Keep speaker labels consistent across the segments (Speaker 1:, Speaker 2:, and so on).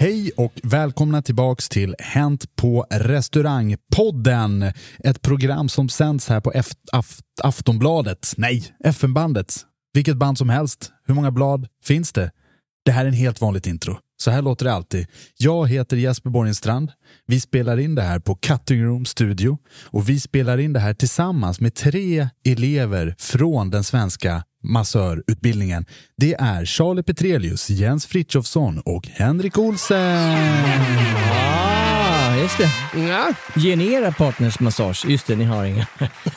Speaker 1: Hej och välkomna tillbaks till Hänt på restaurangpodden. Ett program som sänds här på F- Aft- Aftonbladet. Nej, FN-bandet. Vilket band som helst. Hur många blad finns det? Det här är en helt vanligt intro. Så här låter det alltid. Jag heter Jesper Borgenstrand. Vi spelar in det här på Cutting Room Studio och vi spelar in det här tillsammans med tre elever från den svenska massörutbildningen. Det är Charlie Petrelius, Jens Frithiofsson och Henrik Olsen.
Speaker 2: Ah, just det.
Speaker 3: Ja.
Speaker 2: Genera partners massage. Just det, ni har inga.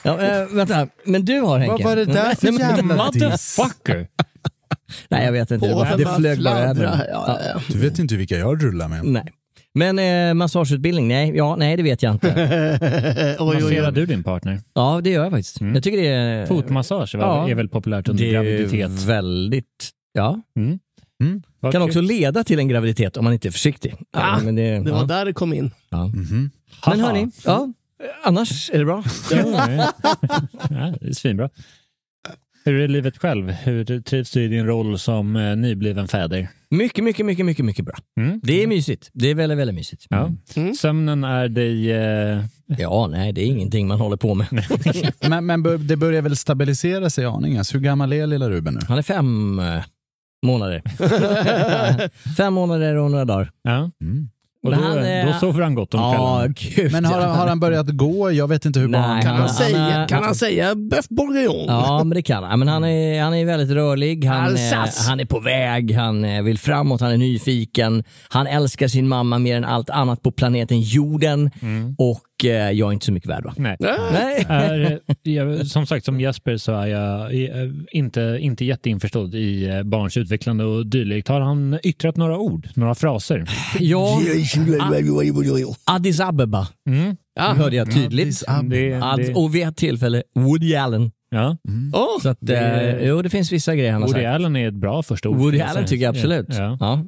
Speaker 2: Ja, äh, vänta, men du har Henke. Mm.
Speaker 1: Vad var det där för
Speaker 2: Nej, men-
Speaker 1: jävla diss?
Speaker 3: Motherfucker!
Speaker 2: Nej, jag vet inte. Det, bara,
Speaker 3: Håren
Speaker 2: det
Speaker 3: bara
Speaker 2: flög bara över.
Speaker 3: fladdrar.
Speaker 2: Ja, ja, ja.
Speaker 1: Du vet inte vilka jag rullar med.
Speaker 2: Nej. Men eh, massageutbildning? Nej, ja, nej, det vet jag inte.
Speaker 3: Masserar du din partner? Mm.
Speaker 2: Ja, det gör jag faktiskt. Jag tycker det är...
Speaker 3: Fotmassage va?
Speaker 2: Ja.
Speaker 3: är väl populärt under
Speaker 2: det är
Speaker 3: graviditet? Mm.
Speaker 2: väldigt... Ja.
Speaker 3: Vad
Speaker 2: Kan
Speaker 3: kul.
Speaker 2: också leda till en graviditet om man inte är försiktig.
Speaker 3: Ah,
Speaker 2: men det,
Speaker 3: det var
Speaker 2: ja.
Speaker 3: där det kom in.
Speaker 2: Ja.
Speaker 3: Mhm. Haha.
Speaker 2: Men hörni, ja,
Speaker 4: Eh,
Speaker 2: annars är det bra.
Speaker 3: Ja, ja, det är svinbra. Hur är livet själv? Hur trivs du i din roll som eh, nybliven fäder?
Speaker 2: Mycket, mycket, mycket, mycket, mycket bra.
Speaker 3: Mm.
Speaker 2: Det är mysigt. Det är väldigt, väldigt mysigt. Mm.
Speaker 3: Ja.
Speaker 1: Mm.
Speaker 3: Sömnen är dig... Eh,
Speaker 2: Ja, nej, det är ingenting man håller på med.
Speaker 1: Men, men bör- det börjar väl stabilisera sig aningens. Hur gammal är lilla Ruben nu?
Speaker 2: Han är fem eh, månader. fem månader och några dagar.
Speaker 3: ja.
Speaker 1: Mm.
Speaker 3: Och då,
Speaker 2: Men han är-
Speaker 3: då sover han gott om
Speaker 2: Ja,
Speaker 3: kvällen.
Speaker 2: gud.
Speaker 1: Men har,
Speaker 2: ja.
Speaker 1: har han börjat gå? Jag vet inte hur
Speaker 2: Nej,
Speaker 1: barn
Speaker 2: han-
Speaker 1: kan
Speaker 3: Kan han
Speaker 2: är-
Speaker 3: säga,
Speaker 2: är-
Speaker 3: kan han säga bœuf bourguignon?
Speaker 2: Ja, men det kan han. Men han är, han är väldigt rörlig. Han, eh,
Speaker 3: Alsace.
Speaker 2: han är på väg, han eh, vill framåt, han är nyfiken. Han älskar sin mamma mer än allt annat på planeten jorden. Och eh, jag är inte så mycket värd va?
Speaker 3: Mm. Nej.
Speaker 2: Nej.
Speaker 3: Är, eh, jag, som sagt, som Jesper så är jag eh, inte, inte jätteinförstådd i eh, barns utvecklande och dylikt. Har han yttrat några ord, några fraser?
Speaker 2: Ja, Addis Abeba.
Speaker 3: Mm.
Speaker 2: Nu hörde jag tydligt.
Speaker 1: Addis Abba.
Speaker 3: Det-
Speaker 2: Att,
Speaker 3: det-
Speaker 2: och vid ett tillfälle Woody Allen.
Speaker 3: Ja.
Speaker 2: Så att, eh, jo, det finns vissa grejer han har
Speaker 3: Woody
Speaker 2: sagt.
Speaker 3: Allen är ett bra första ord.
Speaker 2: Woody
Speaker 3: Jag
Speaker 2: Allen
Speaker 3: säger.
Speaker 2: tycker jag absolut.
Speaker 3: Ja.
Speaker 2: Ja.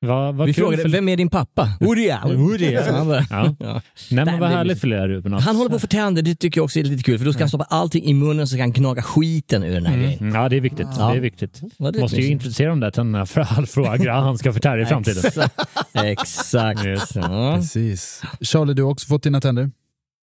Speaker 3: Vad- vad
Speaker 2: Vi
Speaker 3: kul
Speaker 2: frågade,
Speaker 3: för-
Speaker 2: vem är din pappa? Woody Allen.
Speaker 3: Woody Allen.
Speaker 2: Han, bara,
Speaker 3: Ja.
Speaker 2: ja.
Speaker 3: Nej, men
Speaker 2: Nej,
Speaker 3: vad
Speaker 2: det-
Speaker 3: härligt för lilla Ruben. att-
Speaker 2: han håller på och förtänder, det tycker jag också är lite kul, för då ska han stoppa allting i munnen så kan han gnaga skiten ur den här grejen.
Speaker 3: Mm, Ja, det är viktigt.
Speaker 2: Ja.
Speaker 3: Det är viktigt.
Speaker 2: Vad det är
Speaker 3: Måste ju
Speaker 2: mysigt.
Speaker 3: introducera de där tänderna för all fråga han ska förtärja i er framtiden.
Speaker 2: Exakt. Exakt.
Speaker 3: Just det.
Speaker 2: Ja.
Speaker 1: Precis. Charlie, du har också fått dina tänder.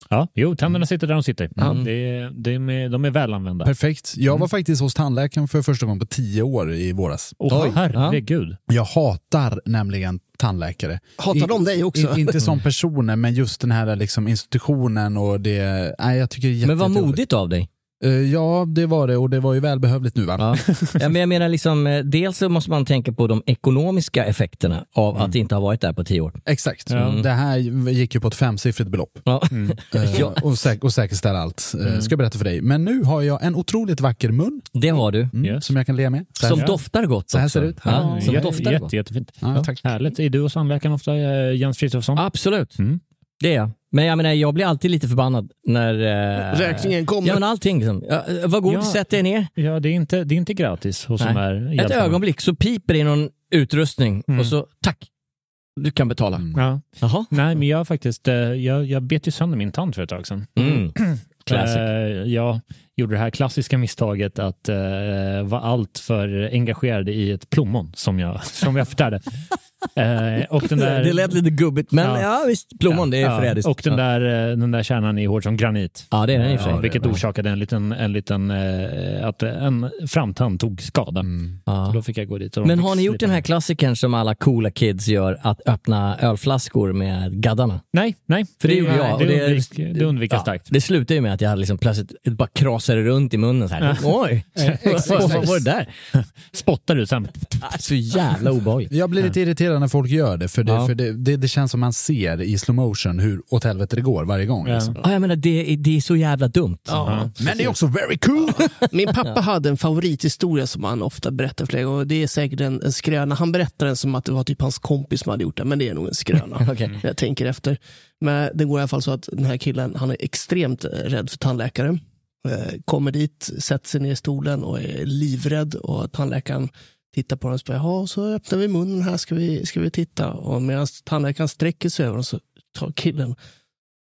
Speaker 3: Ja, jo, tänderna sitter där de sitter. Mm. Det, är- det är, de är välanvända. Mm.
Speaker 1: Perfekt. Jag
Speaker 2: Mm.
Speaker 1: var faktiskt hos tandläkaren för första gången på tio år i våras.
Speaker 3: Åh,
Speaker 4: Oj.
Speaker 3: herregud.
Speaker 1: Jag hatar nämligen tandläkare.
Speaker 4: Hatar
Speaker 1: I-
Speaker 4: de dig också?
Speaker 1: i- inte
Speaker 2: Mm.
Speaker 1: som personer, men just den här liksom institutionen och det... Nej, jag tycker det är jätte,
Speaker 2: Men vad
Speaker 1: jättejobbigt.
Speaker 2: modigt av dig.
Speaker 1: Eh, Ja, det var det och det var ju välbehövligt nu va?
Speaker 2: Ja. Ja, men jag menar liksom, eh, dels så måste man tänka på de ekonomiska effekterna av
Speaker 3: Mm.
Speaker 2: att inte ha varit där på tio år.
Speaker 1: Exakt. Det här gick ju på ett femsiffrigt belopp.
Speaker 2: Ja.
Speaker 1: Eh,
Speaker 2: Ja, Mm.
Speaker 1: Och, säk och säkerställa allt. Eh, Ska jag berätta för dig. Men nu har jag en otroligt vacker mun
Speaker 2: det har du.
Speaker 1: mm,
Speaker 3: Yes.
Speaker 1: som jag kan le med. Så här-
Speaker 2: Som doftar gott
Speaker 1: Så här
Speaker 2: också.
Speaker 1: ser det ut.
Speaker 2: Ja,
Speaker 1: Ja,
Speaker 2: som
Speaker 3: Jätte-
Speaker 2: doftar gott.
Speaker 3: jätte, jättefint.
Speaker 1: Ja,
Speaker 3: Ja,
Speaker 1: tack.
Speaker 3: Härligt. Är du hos tandläkaren ofta, eh, Jens Frithiofsson?
Speaker 2: Absolut,
Speaker 3: Mm.
Speaker 2: det är jag. Men jag menar, jag blir alltid lite förbannad när... eh,
Speaker 4: Räkningen kommer.
Speaker 2: Ja, men allting. Liksom. Ja, eh, Varsågod,
Speaker 3: Ja.
Speaker 2: sätt dig ner.
Speaker 3: Ja, det är inte, det är inte gratis hos de
Speaker 2: Nej.
Speaker 3: här
Speaker 2: Ett
Speaker 3: hjälparna.
Speaker 2: ögonblick så piper det i någon utrustning
Speaker 3: Mm.
Speaker 2: och så tack, du kan betala.
Speaker 3: Ja.
Speaker 2: Jaha.
Speaker 3: Nej, men jag har faktiskt, eh, jag, jag bet ju sönder min tand för ett tag sedan.
Speaker 2: Mm. Classic.
Speaker 3: Eh, Jag gjorde det här klassiska misstaget att eh, vara allt för engagerad i ett plommon som jag, som jag förtärde. Eh, och den där,
Speaker 2: Det lät lite gubbigt, men ja,
Speaker 3: Ja.
Speaker 2: visst, plommon, det är frädiskt.
Speaker 3: Och den
Speaker 2: Ja.
Speaker 3: där, eh, den där kärnan är hård som granit.
Speaker 2: Ja, det är den i och för sig.
Speaker 3: Ja, vilket orsakade en liten, en liten eh, att en framtand tog skada.
Speaker 2: Mm.
Speaker 3: Så då fick jag gå dit. och de
Speaker 2: Men
Speaker 3: fick
Speaker 2: har ni gjort
Speaker 3: slipa
Speaker 2: den här
Speaker 3: ner.
Speaker 2: klassikern som alla coola kids gör, att öppna ölflaskor med gaddarna?
Speaker 3: Nej, nej.
Speaker 2: För det, gjorde jag.
Speaker 3: Det,
Speaker 2: och
Speaker 3: undvik, det undviker jag
Speaker 2: ja,
Speaker 3: starkt.
Speaker 2: Det slutade ju med att jag hade liksom plötsligt det bara krasade runt i munnen så här. Oj, vad vad var det där?
Speaker 3: Eh, Spottar du sen?
Speaker 2: Ah, Så jävla obehagligt.
Speaker 1: Jag blir lite irriterad när folk gör det, för, det,
Speaker 2: Ja.
Speaker 1: för det, det, det känns som man ser i slow motion hur åt helvete det går varje gång. Liksom.
Speaker 2: Ja, Ah, jag menar, det, är- det är så jävla dumt.
Speaker 1: Men det är också very cool!
Speaker 4: Min pappa hade en favorithistoria som han ofta berättar för dig och det är säkert en, en skröna. Han berättar den som att det var typ hans kompis som hade gjort den, men det är nog en skröna. Mm.
Speaker 2: Okej.
Speaker 4: Jag tänker efter. Men det går i alla fall så att den här killen, han är extremt eh, rädd för tandläkare. Eh, Kommer dit, sätter sig ner i stolen och är livrädd och tandläkaren tittar på honom och säger, jaha, så öppnar vi munnen här, ska vi, ska vi titta? Och medan tandläkaren sträcker sig över honom så tar killen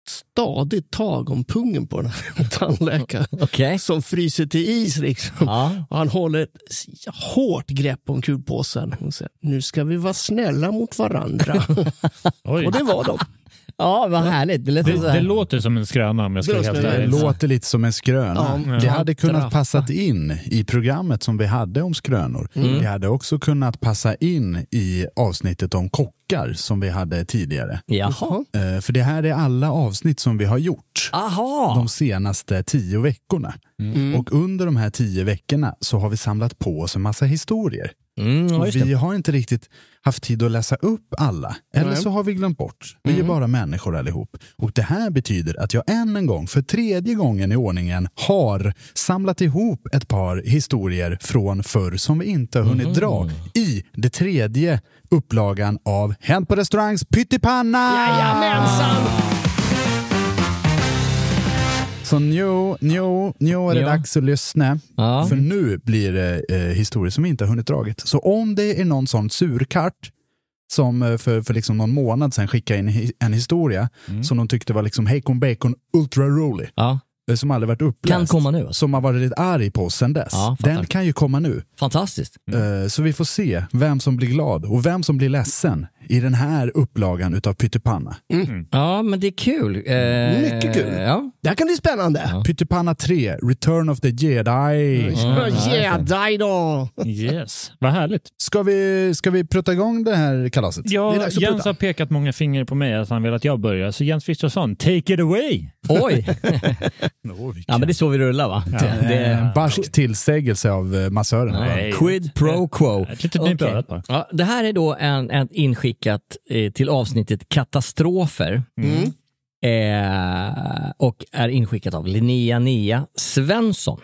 Speaker 4: stadigt tag om pungen på den här tandläkaren
Speaker 2: Okej.
Speaker 4: som fryser till is. Liksom.
Speaker 2: Ja.
Speaker 4: Och han håller ett s- hårt grepp om kulpåsen. Och säger, nu ska vi vara snälla mot varandra.
Speaker 3: Oj.
Speaker 4: och det var de.
Speaker 2: ja, vad härligt. Det lät
Speaker 3: Det,
Speaker 2: så här.
Speaker 3: det låter som en skröna om jag ska
Speaker 4: Det
Speaker 3: vara helt
Speaker 4: låter-
Speaker 1: Det
Speaker 3: ärlig.
Speaker 1: låter lite som en skröna.
Speaker 4: Ja.
Speaker 1: Det hade kunnat passat in i programmet som vi hade om skrönor.
Speaker 2: Mm.
Speaker 1: Det hade också kunnat passa in i avsnittet om kockar som vi hade tidigare.
Speaker 2: Jaha.
Speaker 1: Eh, För det här är alla avsnitt som vi har gjort
Speaker 2: Aha. Mm.
Speaker 1: de senaste tio veckorna. Och under de här tio veckorna så har vi samlat på oss en massa historier.
Speaker 2: Mm, ja, just det.
Speaker 1: vi har inte riktigt haft tid att läsa upp alla. Eller så har vi glömt bort. Vi är bara människor allihop. Och det här betyder att jag än en gång, för tredje gången i ordningen, har samlat ihop ett par historier från förr som vi inte har hunnit dra i det tredje upplagan av Hänt på restaurangs pyttipanna!
Speaker 4: Jajamensan!
Speaker 1: Så nu, nu, nu är det
Speaker 2: Ja.
Speaker 1: dags att lyssna.
Speaker 2: Ja.
Speaker 1: För nu blir det eh, historier som vi inte har hunnit dragit. Så om det är någon sån surkart som eh, för, för liksom någon månad sedan skickade in hi- en historia som de tyckte var liksom Hacon Bacon ultra rolig,
Speaker 2: Mm. Ja.
Speaker 1: eh, som aldrig varit uppläst.
Speaker 2: Kan komma nu, alltså.
Speaker 1: Som har varit lite arg på oss sedan dess.
Speaker 2: Ja, fattar.
Speaker 1: Den kan ju komma nu.
Speaker 2: Fantastiskt.
Speaker 1: Eh, Så vi får se vem som blir glad och vem som blir ledsen i den här upplagan utav Pyttipanna.
Speaker 3: Mm.
Speaker 2: Ja, men det är kul. Eh,
Speaker 4: Mycket kul.
Speaker 2: Ja.
Speaker 4: Det här kan bli spännande.
Speaker 1: Pyttipanna 3, Return of the Jedi.
Speaker 4: Jedi då!
Speaker 3: Yes, vad härligt.
Speaker 1: Ska vi, ska vi prutta igång det här kalaset?
Speaker 4: Det är
Speaker 3: Ja,
Speaker 4: dags att
Speaker 3: Jens
Speaker 4: putta.
Speaker 3: har pekat många fingrar på mig att han vill att jag börjar. Så Jens Frithiofsson, take it away!
Speaker 2: Oj. ja, men det är så vi rullar, va? Det, det är
Speaker 1: En barsk tillsägelse av eh, massören.
Speaker 3: Nej.
Speaker 2: Quid pro quo.
Speaker 3: Ett litet nyp i
Speaker 2: Okej.
Speaker 3: örat bara.
Speaker 2: ja, det här är då en, en inskickat eh, till avsnittet Katastrofer. Eh, och är inskickat av Linnea Nia Svensson.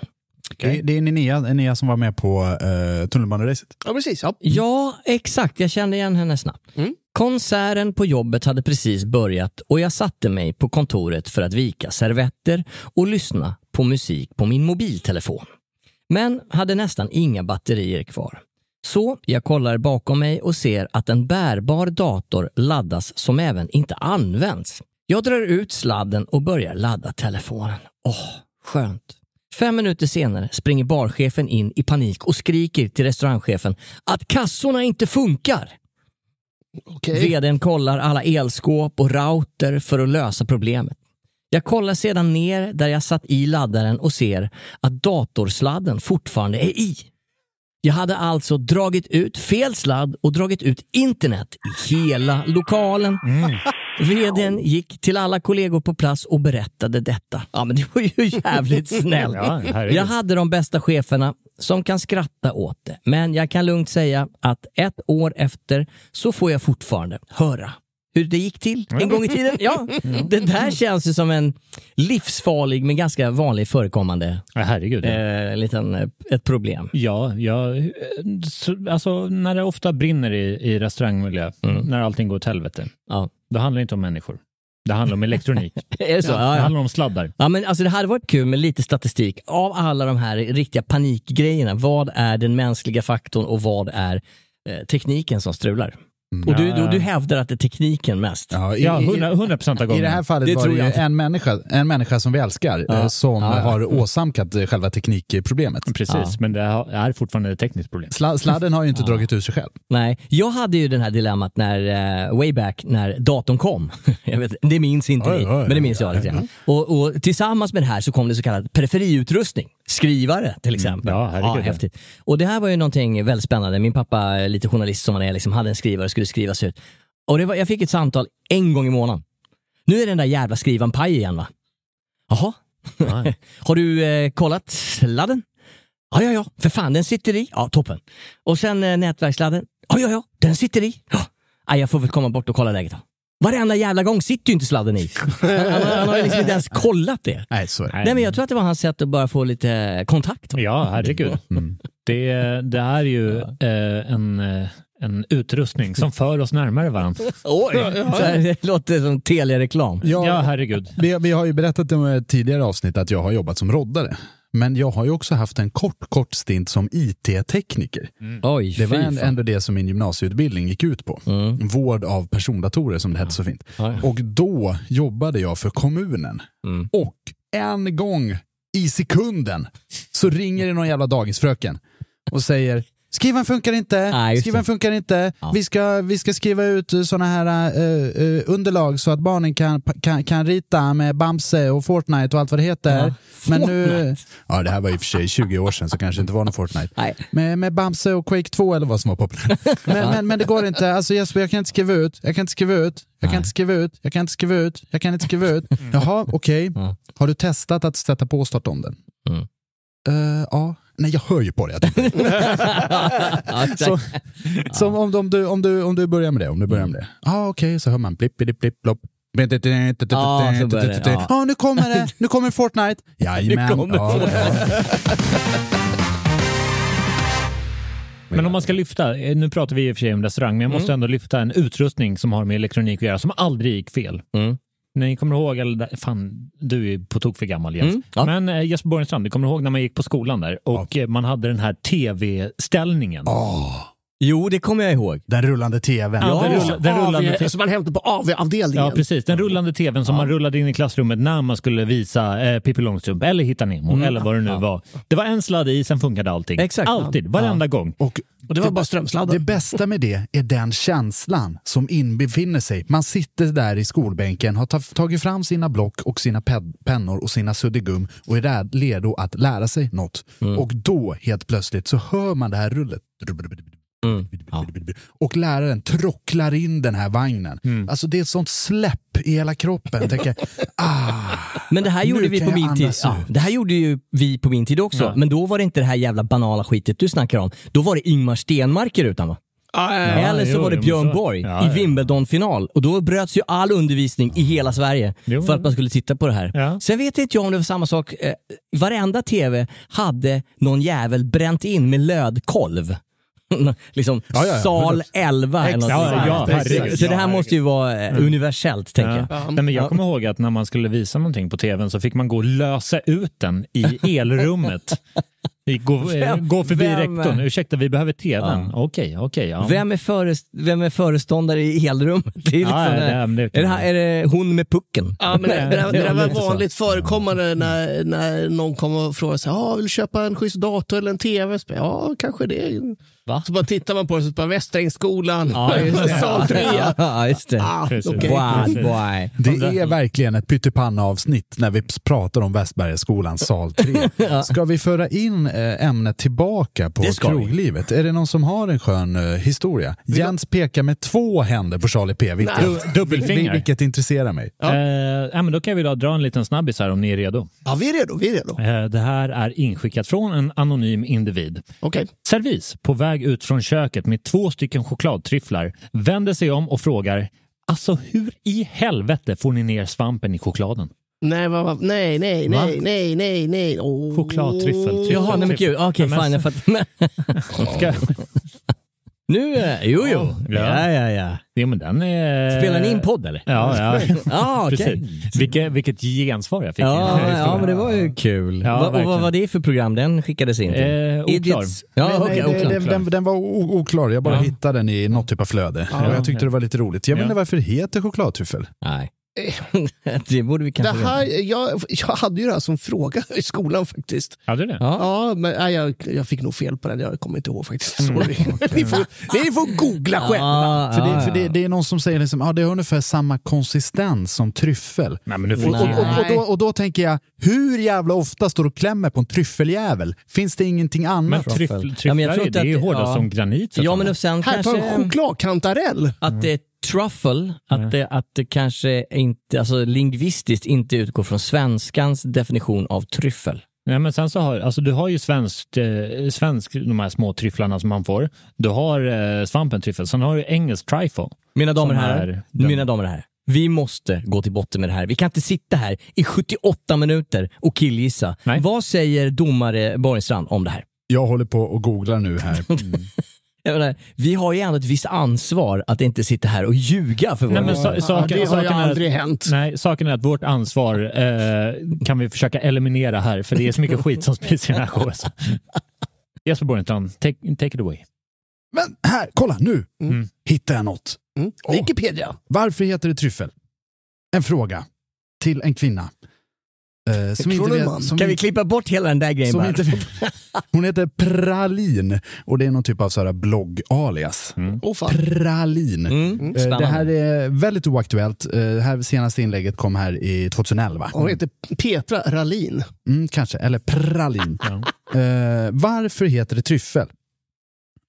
Speaker 1: Det, det är Linnea, Linnea som var med på uh, tunnelbaneracet.
Speaker 4: Ja, precis. Ja.
Speaker 2: Ja, exakt. Jag kände igen henne snabbt. Mm. Konserten på jobbet hade precis börjat och jag satte mig på kontoret för att vika servetter och lyssna på musik på min mobiltelefon. Men hade nästan inga batterier kvar. Så jag kollar bakom mig och ser att en bärbar dator laddas som även inte används. Jag drar ut sladden och börjar ladda telefonen. Åh, skönt. Fem minuter senare springer barchefen in i panik och skriker till restaurangchefen att kassorna inte funkar.
Speaker 4: Okej.
Speaker 2: Vdn kollar alla elskåp och router för att lösa problemet. Jag kollar sedan ner där jag satt i laddaren och ser att datorsladden fortfarande är i. Jag hade alltså dragit ut fel sladd och dragit ut internet i hela lokalen.
Speaker 3: Mm.
Speaker 2: Vdn gick till alla kollegor på plats och berättade detta. Ja, men det var ju jävligt snällt.
Speaker 3: Ja, herregud.
Speaker 2: jag hade de bästa cheferna som kan skratta åt det, men jag kan lugnt säga att ett år efter så får jag fortfarande höra hur det gick till en gång i tiden. Ja, det där känns ju som en livsfarlig men ganska vanlig förekommande
Speaker 3: Ja, herregud. ja.
Speaker 2: eh, liten, eh, ett problem.
Speaker 3: Ja, ja, eh, så- alltså när det ofta brinner i, i restaurangmiljö, när allting går åt helvete,
Speaker 2: Mm. Ja.
Speaker 3: då handlar det inte om människor. Det handlar om elektronik.
Speaker 2: Är det så?
Speaker 3: Det
Speaker 2: Ja, ja.
Speaker 3: handlar om sladdar.
Speaker 2: Ja, men alltså det hade varit kul med lite statistik av alla de här riktiga panikgrejerna. Vad är den mänskliga faktorn och vad är eh, tekniken som strular?
Speaker 1: Mm.
Speaker 2: Och du, du, du hävdar att det är tekniken mest.
Speaker 1: Ja, i-
Speaker 3: Ja,
Speaker 1: i-
Speaker 3: 100, 100% av
Speaker 1: I det
Speaker 3: gångerna.
Speaker 1: här fallet
Speaker 2: Det
Speaker 1: var
Speaker 2: tror
Speaker 1: det ju
Speaker 2: jag inte.
Speaker 1: en människa, en människa som vi älskar eh, som
Speaker 2: Ja, ja.
Speaker 1: har åsamkat eh, själva teknikproblemet.
Speaker 3: Mm, Precis, men det ha- är fortfarande ett tekniskt problem.
Speaker 1: Sla, sladden har ju inte dragit ur sig själv.
Speaker 2: Nej, jag hade ju den här dilemmat när, eh, way back när datorn kom. jag vet, det minns inte
Speaker 1: Oj,
Speaker 2: ni,
Speaker 1: oj, oj. Mm.
Speaker 2: men det minns jag lite grann. Och, och tillsammans med det här så kom det så kallad periferiutrustning. Skrivare
Speaker 1: Mm.
Speaker 2: till exempel.
Speaker 3: Ja, herregud, ja.
Speaker 2: häftigt. Och det här var ju någonting väldigt spännande. Min pappa, är lite journalist som han är, liksom, hade en skrivare och skulle skrivas ut. Och det var, jag fick ett samtal en gång i månaden. Nu är den där jävla skrivaren paj igen va? Jaha, har du eh, kollat sladden? Ja, ja, ja, för fan den sitter i. Ja, toppen. Och sen eh, nätverkssladden. Ja, ja, ja, den sitter i. Ja. Nej, jag får väl komma bort och kolla läget då. Varenda jävla gång sitter ju inte sladden i. Han, han, han har ju liksom inte ens kollat det.
Speaker 1: Nej, så är det.
Speaker 2: Nej, men jag tror att det var hans sätt att bara få lite eh, kontakt. Mm.
Speaker 3: Ja, herregud. Det, det är ju eh, en, eh, en utrustning som för oss närmare varandra.
Speaker 2: Oj! Så här, det låter som Telia-reklam.
Speaker 1: Ja,
Speaker 3: Ja, herregud.
Speaker 1: vi, vi har ju berättat i ett tidigare avsnitt att jag har jobbat som roddare. Men jag har ju också haft en kort, kort stint som IT-tekniker.
Speaker 2: Oj,
Speaker 1: Det var
Speaker 2: fy
Speaker 1: en,
Speaker 2: fan.
Speaker 1: ändå det som min gymnasieutbildning gick ut på.
Speaker 2: Mm.
Speaker 1: Vård av persondatorer som det hette så fint. Och då jobbade jag för kommunen.
Speaker 2: Mm.
Speaker 1: Och en gång i sekunden så ringer det någon jävla dagisfröken och säger Skrivan funkar inte,
Speaker 2: Nej, just
Speaker 1: skrivan
Speaker 2: det.
Speaker 1: funkar inte. Vi, ska, vi ska skriva ut sådana här eh, eh, underlag så att barnen kan, kan, kan rita med Bamse och Fortnite och allt vad det heter.
Speaker 2: Ja,
Speaker 1: Men nu,
Speaker 2: Fortnite.
Speaker 1: ja, det här var i och för sig 20 år sedan så kanske det inte var någon Fortnite.
Speaker 2: Nej.
Speaker 1: Med, med Bamse och Quake 2 eller vad som var populärt. Men, men, men det går inte. Alltså Jesper, jag kan inte skriva ut. Jag kan inte skriva ut. Jag kan inte skriva ut. Jag kan inte skriva ut. Jag kan inte skriva ut.
Speaker 2: Mm.
Speaker 1: Jaha, okej. Har du testat att sätta på och starta om den?
Speaker 2: Mm.
Speaker 1: Eh, ja. Nej, jag hör ju på det. Jag tycker.
Speaker 2: Ja, exakt.
Speaker 1: Så, som om, om, du, om, du, om du börjar med det. Om du
Speaker 2: Mm.
Speaker 1: börjar med det. Ja, ah, okej, så hör man blippidi blipp blopp.
Speaker 2: Ja, så börjar det, ja.
Speaker 1: Ja, Ah, nu kommer det. Ah, Nu kommer Fortnite. Jajamän.
Speaker 2: Nu kommer
Speaker 1: Ja,
Speaker 2: Fortnite.
Speaker 3: Men om man ska lyfta, eh, nu pratar vi i och för sig om restaurang, men jag måste
Speaker 2: Mm.
Speaker 3: ändå lyfta en utrustning som har med elektronik att göra, som aldrig gick fel.
Speaker 2: Mm.
Speaker 3: Ni kommer ihåg, eller där- fan, du är ju på tok för gammal Jens.
Speaker 2: Mm, ja.
Speaker 3: Men eh, Jesper Borgenstrand, du kommer ihåg när man gick på skolan där och eh, man hade den här tv-ställningen.
Speaker 2: Jo, det kommer jag ihåg.
Speaker 1: Den rullande tvn.
Speaker 3: Ja, den rull- den rullande
Speaker 4: AV,
Speaker 3: te-
Speaker 4: som man hämtade på AV-avdelningen.
Speaker 3: Ja, precis. Den rullande tvn som man rullade in i klassrummet när man skulle visa eh, Pippi Långstrump eller Hitta Nemo eller vad det nu var. Det var en sladd i, sen funkade allting.
Speaker 2: Exakt.
Speaker 3: Alltid, varenda gång.
Speaker 1: Och
Speaker 4: Och det var bara strömsladdar.
Speaker 1: det bästa med det är den känslan som inbefinner sig. Man sitter där i skolbänken, har ta- tagit fram sina block och sina ped- pennor och sina suddigum och är där redo att lära sig något. Och då helt plötsligt så hör man det här rullet. Och läraren trocklar in den här vagnen. Alltså det är ett sånt släpp i hela kroppen. Jag Tänker, ah,
Speaker 2: Men det här
Speaker 1: Nu
Speaker 2: gjorde vi
Speaker 1: kan
Speaker 2: på
Speaker 1: jag
Speaker 2: min tid.
Speaker 1: andas
Speaker 2: Ja,
Speaker 1: ut.
Speaker 2: det här gjorde ju vi på min tid också. Men då var det inte det här jävla banala skitet du snackar om. Då var det Ingmar Stenmark i rutan va?
Speaker 4: ja,
Speaker 2: Eller så
Speaker 3: jo,
Speaker 2: var det
Speaker 3: jo, men
Speaker 2: Björn
Speaker 3: så-
Speaker 2: Borg
Speaker 3: Ja,
Speaker 2: i
Speaker 3: ja.
Speaker 2: Wimbledon-final och då bröts ju all undervisning i hela Sverige
Speaker 3: Jo,
Speaker 2: för
Speaker 3: jo.
Speaker 2: att man skulle titta på det här.
Speaker 3: Ja.
Speaker 2: Sen vet inte jag om det var samma sak. Eh, Varenda TV hade någon jävel bränt in med lödkolv. liksom
Speaker 1: Ja, ja, ja,
Speaker 2: sal 11 eller något
Speaker 3: Exakt.
Speaker 2: sånt där.
Speaker 3: Ja, ja,
Speaker 2: så,
Speaker 3: herregud.
Speaker 2: så det här
Speaker 3: Ja,
Speaker 2: måste ju vara eh, universellt, tänker jag.
Speaker 3: Ja. Nej, men jag kommer ihåg att när man skulle visa någonting på tvn så fick man gå och lösa ut den i elrummet. Gå, eh,
Speaker 2: Vem-
Speaker 3: gå förbi
Speaker 2: vem-
Speaker 3: rektorn. Ursäkta, vi behöver tvn. Okej, okej. ja.
Speaker 2: Vem, är före, vem är föreståndare i elrummet? Det är, liksom,
Speaker 3: Ja,
Speaker 2: eh,
Speaker 3: ja, men det kan
Speaker 2: är, det här, är det hon med pucken?
Speaker 4: Ja, men det, det, där- det där
Speaker 3: Ja,
Speaker 4: var
Speaker 3: lite så. Mm.
Speaker 4: vanligt förekommande när, när någon kom och frågade sig, ah, vill du köpa en schysst dator eller en tv? Så, bara, ja, kanske det.
Speaker 2: Va?
Speaker 4: Så bara tittar man på det och så bara Västrängsskolan,
Speaker 3: Ja, just det.
Speaker 4: sal 3.
Speaker 2: Ja, just det.
Speaker 4: Ah,
Speaker 3: Precis.
Speaker 4: okej.
Speaker 2: Wow, boy.
Speaker 1: Det är verkligen ett pyttipanna-avsnitt när vi pratar om Västbergaskolans sal 3. Ska vi föra in eh, ämnet tillbaka på
Speaker 2: Det ska vi.
Speaker 1: kroglivet? Är det någon som har en skön eh, historia? Jens pekar med två händer på Charlie P. Vilket,
Speaker 4: Nej.
Speaker 1: vil-
Speaker 3: dubbelfinger.
Speaker 1: vilket intresserar mig.
Speaker 4: Ja.
Speaker 3: Eh, ja, men då kan vi då dra en liten snabbis här om ni är redo.
Speaker 4: Ja, vi är redo. Vi är redo.
Speaker 3: Eh, det här är inskickat från en anonym individ.
Speaker 4: Okej.
Speaker 3: Servis, på väg ut från köket med två stycken chokladtryfflar, vänder sig om och frågar Alltså hur i helvete får ni ner svampen i chokladen?
Speaker 4: Nej, vad- vad- nej, nej,
Speaker 3: Va?
Speaker 4: nej, nej, nej, nej. Åh.
Speaker 3: Chokladtryffel. tryffel,
Speaker 2: Jaha, nej men
Speaker 3: tryffel.
Speaker 2: gud. Ah, Okej,
Speaker 3: Ja, men-
Speaker 2: fine. Jag fattar.
Speaker 3: Ska...
Speaker 2: Nu, eh, jo, jo.
Speaker 3: Ja.
Speaker 2: Ja, ja, ja.
Speaker 3: Jo, men den är...
Speaker 2: Spelar ni in podd eller?
Speaker 3: Ja, ja.
Speaker 2: Ja, okej.
Speaker 3: Precis. Vilket, vilket gensvar jag fick.
Speaker 2: Ja, ja, men det var ju kul.
Speaker 3: Ja,
Speaker 2: Va- och vad
Speaker 3: verkligen.
Speaker 2: var det för program den skickades in till?
Speaker 3: Eh, oklar. eh,
Speaker 2: Ja,
Speaker 1: Nej,
Speaker 2: okej,
Speaker 1: nej, det-
Speaker 2: oklar.
Speaker 1: den, den, den var o- oklar, jag bara
Speaker 3: Ja.
Speaker 1: hittade den i något typ av flöde. och jag tyckte det var lite roligt. Jag vet
Speaker 3: Ja.
Speaker 1: inte varför det heter chokladtryffel.
Speaker 2: Nej. det borde vi
Speaker 4: Det
Speaker 2: kanske
Speaker 4: här, jag, jag hade ju det här som fråga i skolan faktiskt.
Speaker 3: Hade du det?
Speaker 2: Ja.
Speaker 4: Ja, men nej, jag, jag fick nog fel på den. Jag kommer inte ihåg faktiskt.
Speaker 3: Mm.
Speaker 4: Sorry. ni, får, ni får googla själva.
Speaker 2: Ah,
Speaker 1: För,
Speaker 2: ah,
Speaker 1: det, för det,
Speaker 2: ja.
Speaker 1: det är någon som säger liksom, ah, det har ungefär samma konsistens som tryffel.
Speaker 3: Nej, men nu
Speaker 1: Och,
Speaker 3: får
Speaker 1: och, och, och,
Speaker 4: Nej.
Speaker 1: då, och då tänker jag, hur jävla ofta står du och klämmer på en tryffeljävel? Finns det ingenting
Speaker 3: Men
Speaker 1: annat?
Speaker 3: tryffel,
Speaker 2: Ja, men
Speaker 3: tryfflar
Speaker 2: jag tror
Speaker 3: är-
Speaker 2: inte
Speaker 3: det är ju
Speaker 2: att-
Speaker 3: hårdare
Speaker 2: ja.
Speaker 3: som granit. så
Speaker 2: Ja,
Speaker 3: att
Speaker 2: men
Speaker 3: säga.
Speaker 2: och sen
Speaker 4: Här, ta
Speaker 2: kanske
Speaker 4: en chokladkantarell.
Speaker 2: att det är truffle, att det, att det kanske inte, alltså lingvistiskt inte utgår från svenskans definition av tryffel.
Speaker 3: Nej, men sen så har, alltså, du har ju svenskt, eh, svensk, de här små tryfflarna som man får. Du har eh, svampen tryffel, sen har du engelsk trifle.
Speaker 2: Mina damer och
Speaker 3: Som
Speaker 2: herrar,
Speaker 3: är den-
Speaker 2: mina damer och herrar. Vi måste gå till botten med det här. Vi kan inte sitta här i 78 minuter och killgissa.
Speaker 3: Nej.
Speaker 2: Vad säger domare Borgenstrand om det här?
Speaker 1: Jag håller på och googlar nu här. Mm.
Speaker 2: Jag menar, vi har ju ändå ett visst ansvar att inte sitta här och ljuga för våra
Speaker 3: Nej, men
Speaker 2: lyssnare.
Speaker 3: sa- saken-
Speaker 4: det har ju
Speaker 3: saken är att-
Speaker 4: aldrig hänt.
Speaker 3: Nej, saken är att vårt ansvar eh, kan vi försöka eliminera här, för det är så mycket skit som sprids i den här showen. Jesper Borgenstrand, take, take it away.
Speaker 1: Men här, kolla nu!
Speaker 3: Mm.
Speaker 1: Hittar jag något.
Speaker 4: Mm.
Speaker 1: Åh.
Speaker 4: Wikipedia.
Speaker 1: Varför heter det tryffel? En fråga till en kvinna. Eh, som
Speaker 4: Tror
Speaker 1: inte
Speaker 4: du
Speaker 1: vet,
Speaker 4: man?
Speaker 1: som
Speaker 2: Kan vi klippa bort hela den där grejen
Speaker 1: som
Speaker 2: bara?
Speaker 1: inte, Hon heter Pralin och det är någon typ av så här blogg-alias.
Speaker 4: Åh fan.
Speaker 1: Pralin.
Speaker 2: Mm,
Speaker 1: Eh, Det här
Speaker 2: spännande.
Speaker 1: är väldigt oaktuellt. Eh, Det här senaste inlägget kom här i 2011.
Speaker 4: Hon heter Petra Ralin.
Speaker 1: Mm, kanske, eller pralin. Eh, varför heter det tryffel?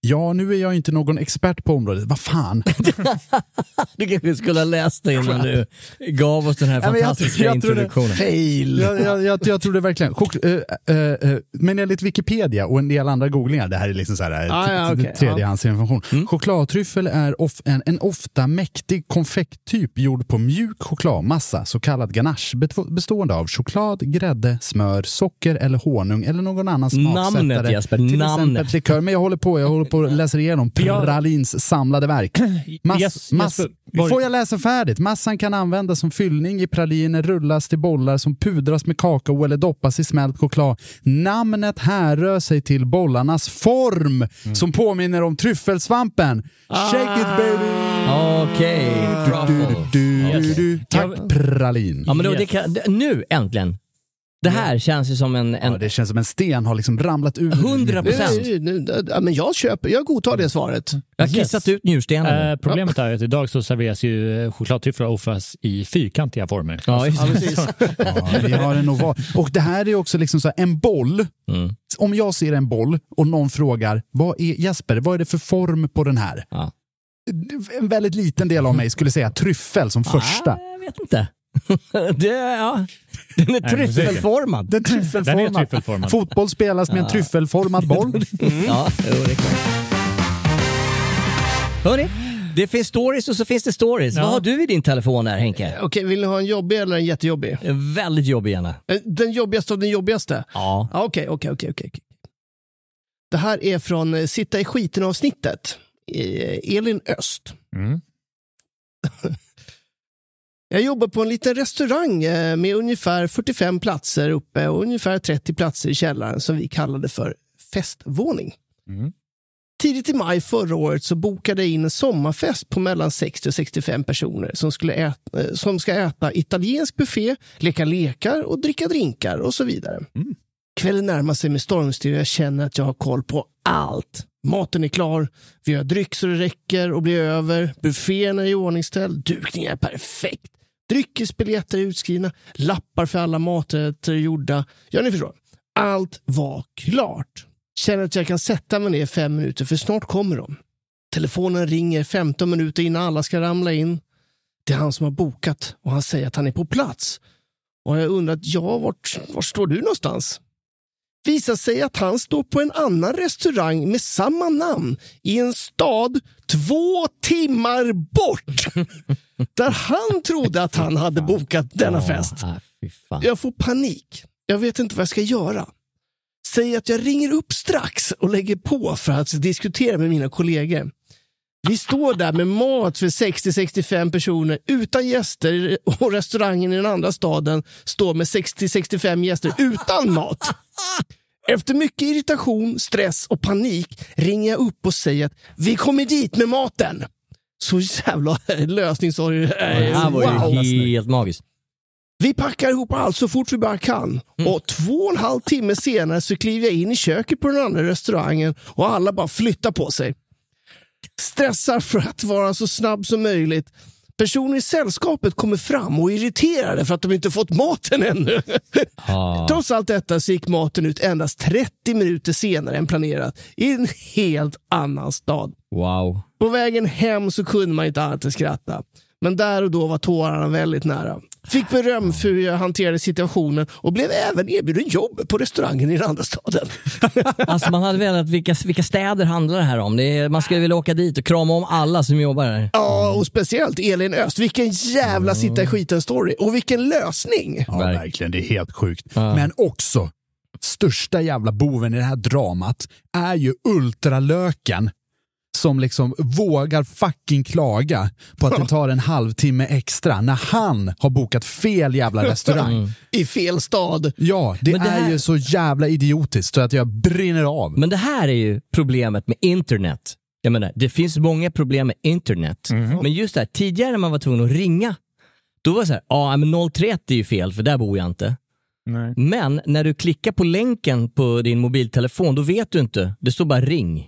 Speaker 1: Ja, nu är jag inte någon expert på området. Vad fan?
Speaker 2: Du kanske skulle ha läst det innan du gav oss den här
Speaker 1: Nej, men jag-
Speaker 2: fantastiska
Speaker 1: jag tror det-
Speaker 2: introduktionen.
Speaker 4: Fail.
Speaker 1: Jag, jag, jag, jag tror det verkligen. Chok- eh, eh, eh, men enligt Wikipedia och en del andra googlingar, det här är liksom så här, eh,
Speaker 4: Ah,
Speaker 1: t-
Speaker 4: ja,
Speaker 1: t-
Speaker 4: okej,
Speaker 1: tredjehandsinformation.
Speaker 2: Mm.
Speaker 1: Chokladtryffel är of, en, en ofta mäktig konfekttyp gjord på mjuk chokladmassa, så kallad ganache, bet- bestående av choklad, grädde, smör, socker eller honung eller någon annan smaksättare.
Speaker 2: Namnet, Jesper,
Speaker 1: Till
Speaker 2: namnet.
Speaker 1: exempel likör. Men jag håller på, jag håller på och läser igenom
Speaker 3: Ja.
Speaker 1: Pralins samlade verk. Mass,
Speaker 3: Yes,
Speaker 1: mass,
Speaker 3: Jesper, Borg-
Speaker 1: får jag läsa färdigt? Massan kan användas som fyllning i praliner, rullas till bollar som pudras med kakao eller doppas i smält choklad. Namnet härrör sig till bollarnas form
Speaker 3: Mm.
Speaker 1: som påminner om tryffelsvampen. Shake it baby!
Speaker 2: Okej,
Speaker 1: Ah. Du,
Speaker 2: truffle.
Speaker 1: du, du,
Speaker 2: Yes.
Speaker 1: du. Tack pralin.
Speaker 2: Ja, men då,
Speaker 3: Yes.
Speaker 2: det kan, det- nu äntligen. Det här känns ju som en...
Speaker 1: Ja,
Speaker 2: en
Speaker 1: det känns som en sten har liksom ramlat ur.
Speaker 2: 100 procent.
Speaker 4: Nu, nu, nu, ja, men jag köper, jag godtar det svaret.
Speaker 2: Jag har kissat ut njurstenen. nu.
Speaker 3: Eh, problemet är att idag så serveras ju eh, chokladtryfflor oftas i fyrkantiga former. Alltså,
Speaker 2: Ja, just det.
Speaker 1: Ja, vi har en oval. Och det här är också liksom så här, en boll.
Speaker 2: Mm.
Speaker 1: Om jag ser en boll och någon frågar vad är, Jesper, vad är det för form på den här?
Speaker 2: Ja.
Speaker 1: En väldigt liten del av mig skulle säga tryffel som första.
Speaker 2: Ah, jag vet inte. det, ja. Den är
Speaker 3: men säkert.
Speaker 2: tryffelformad.
Speaker 1: Den är tryffelformad.
Speaker 3: Den är tryffelformad.
Speaker 1: Mm. Fotboll spelas med en tryffelformad boll.
Speaker 2: Ja, jo, det är klart. Hörni, det finns stories och så finns det stories.
Speaker 3: Ja.
Speaker 2: Vad har du i din telefon här Henke?
Speaker 4: Eh, Okej, vill ni ha en jobbig eller en jättejobbig?
Speaker 2: En Väldigt jobbig gärna.
Speaker 4: Eh, Den jobbigaste av den jobbigaste?
Speaker 2: Ja.
Speaker 4: Ja, Okej, okej, okej. okej. Det här är från eh, Sitta i skiten-avsnittet. Eh, Elin Öst.
Speaker 3: Mm.
Speaker 4: Jag jobbar på en liten restaurang eh, med ungefär 45 platser uppe och ungefär 30 platser i källaren som vi kallade för festvåning.
Speaker 3: Mm.
Speaker 4: Tidigt i maj förra året så bokade jag in en sommarfest på mellan 60 och 65 personer som, skulle äta, eh, som ska äta italiensk buffé, leka lekar och dricka drinkar och så vidare.
Speaker 3: Mm.
Speaker 4: Kvällen närmar sig med stormsteg och jag känner att jag har koll på allt. Maten är klar, vi har dryck så det räcker och blir över, buffén är i ordningställd, dukningen är perfekt, dryckesbiljetter är utskrivna, lappar för alla maträtter är gjorda. Ja, ni förstår. Allt var klart. Känner att jag kan sätta mig ner fem minuter för snart kommer de. Telefonen ringer 15 minuter innan alla ska ramla in. Det är han som har bokat och han säger att han är på plats. Och jag undrar, ja, vart, var står du någonstans? visar sig att han står på en annan restaurang med samma namn i en stad två timmar bort. Där han trodde att han hade bokat denna fest.
Speaker 2: Ja, ah, fy fan.
Speaker 4: Jag får panik. Jag vet inte vad jag ska göra. Säg att jag ringer upp strax och lägger på för att diskutera med mina kollegor. Vi står där med mat för 60-65 personer utan gäster och restaurangen i den andra staden står med 60-65 gäster utan mat. Efter mycket irritation, stress och panik ringer jag upp och säger att vi kommer dit med maten. Så jävla
Speaker 2: Det
Speaker 4: lösningsorienterad.
Speaker 2: här var ju helt magiskt.
Speaker 4: Vi packar ihop allt så fort vi bara kan. Och två och en halv timme senare så kliver jag in i köket på den andra restaurangen och alla bara flyttar på sig. Stressar för att vara så snabb som möjligt. Personer i sällskapet kommer fram och är irriterade för att de inte fått maten ännu.
Speaker 2: Ja.
Speaker 4: Trots allt detta så gick maten ut endast 30 minuter senare än planerat i en helt annan stad.
Speaker 2: Wow.
Speaker 4: På vägen hem så kunde man inte annat än skratta. Men där och då var tårarna väldigt nära. Fick beröm för hur jag hanterade situationen och blev även erbjuden jobb på restaurangen i den andra staden.
Speaker 2: Alltså man hade velat, vilka, vilka städer handlar det här om? Det är, man skulle vilja åka dit och krama om alla som jobbar där.
Speaker 4: Ja, och speciellt Elin Öst. Vilken jävla sitta i skiten-story. Och vilken lösning!
Speaker 1: Ja,
Speaker 2: Verk-
Speaker 1: verkligen. Det är helt sjukt. Men också, största jävla boven i det här dramat är ju ultralöken som liksom vågar fucking klaga på att det tar en halvtimme extra när han har bokat fel jävla restaurang.
Speaker 4: I fel stad.
Speaker 1: Ja, det,
Speaker 2: Mm. Men det
Speaker 1: är
Speaker 2: här-
Speaker 1: ju så jävla idiotiskt så att jag brinner av.
Speaker 2: Men det här är ju problemet med internet. Jag menar, det finns många problem med internet.
Speaker 4: Mhm.
Speaker 2: Men just det här, tidigare när man var tvungen att ringa, då var det så här, ja men 031 är ju fel för där bor jag inte.
Speaker 3: Nej.
Speaker 2: Men när du klickar på länken på din mobiltelefon, då vet du inte. Det står bara ring.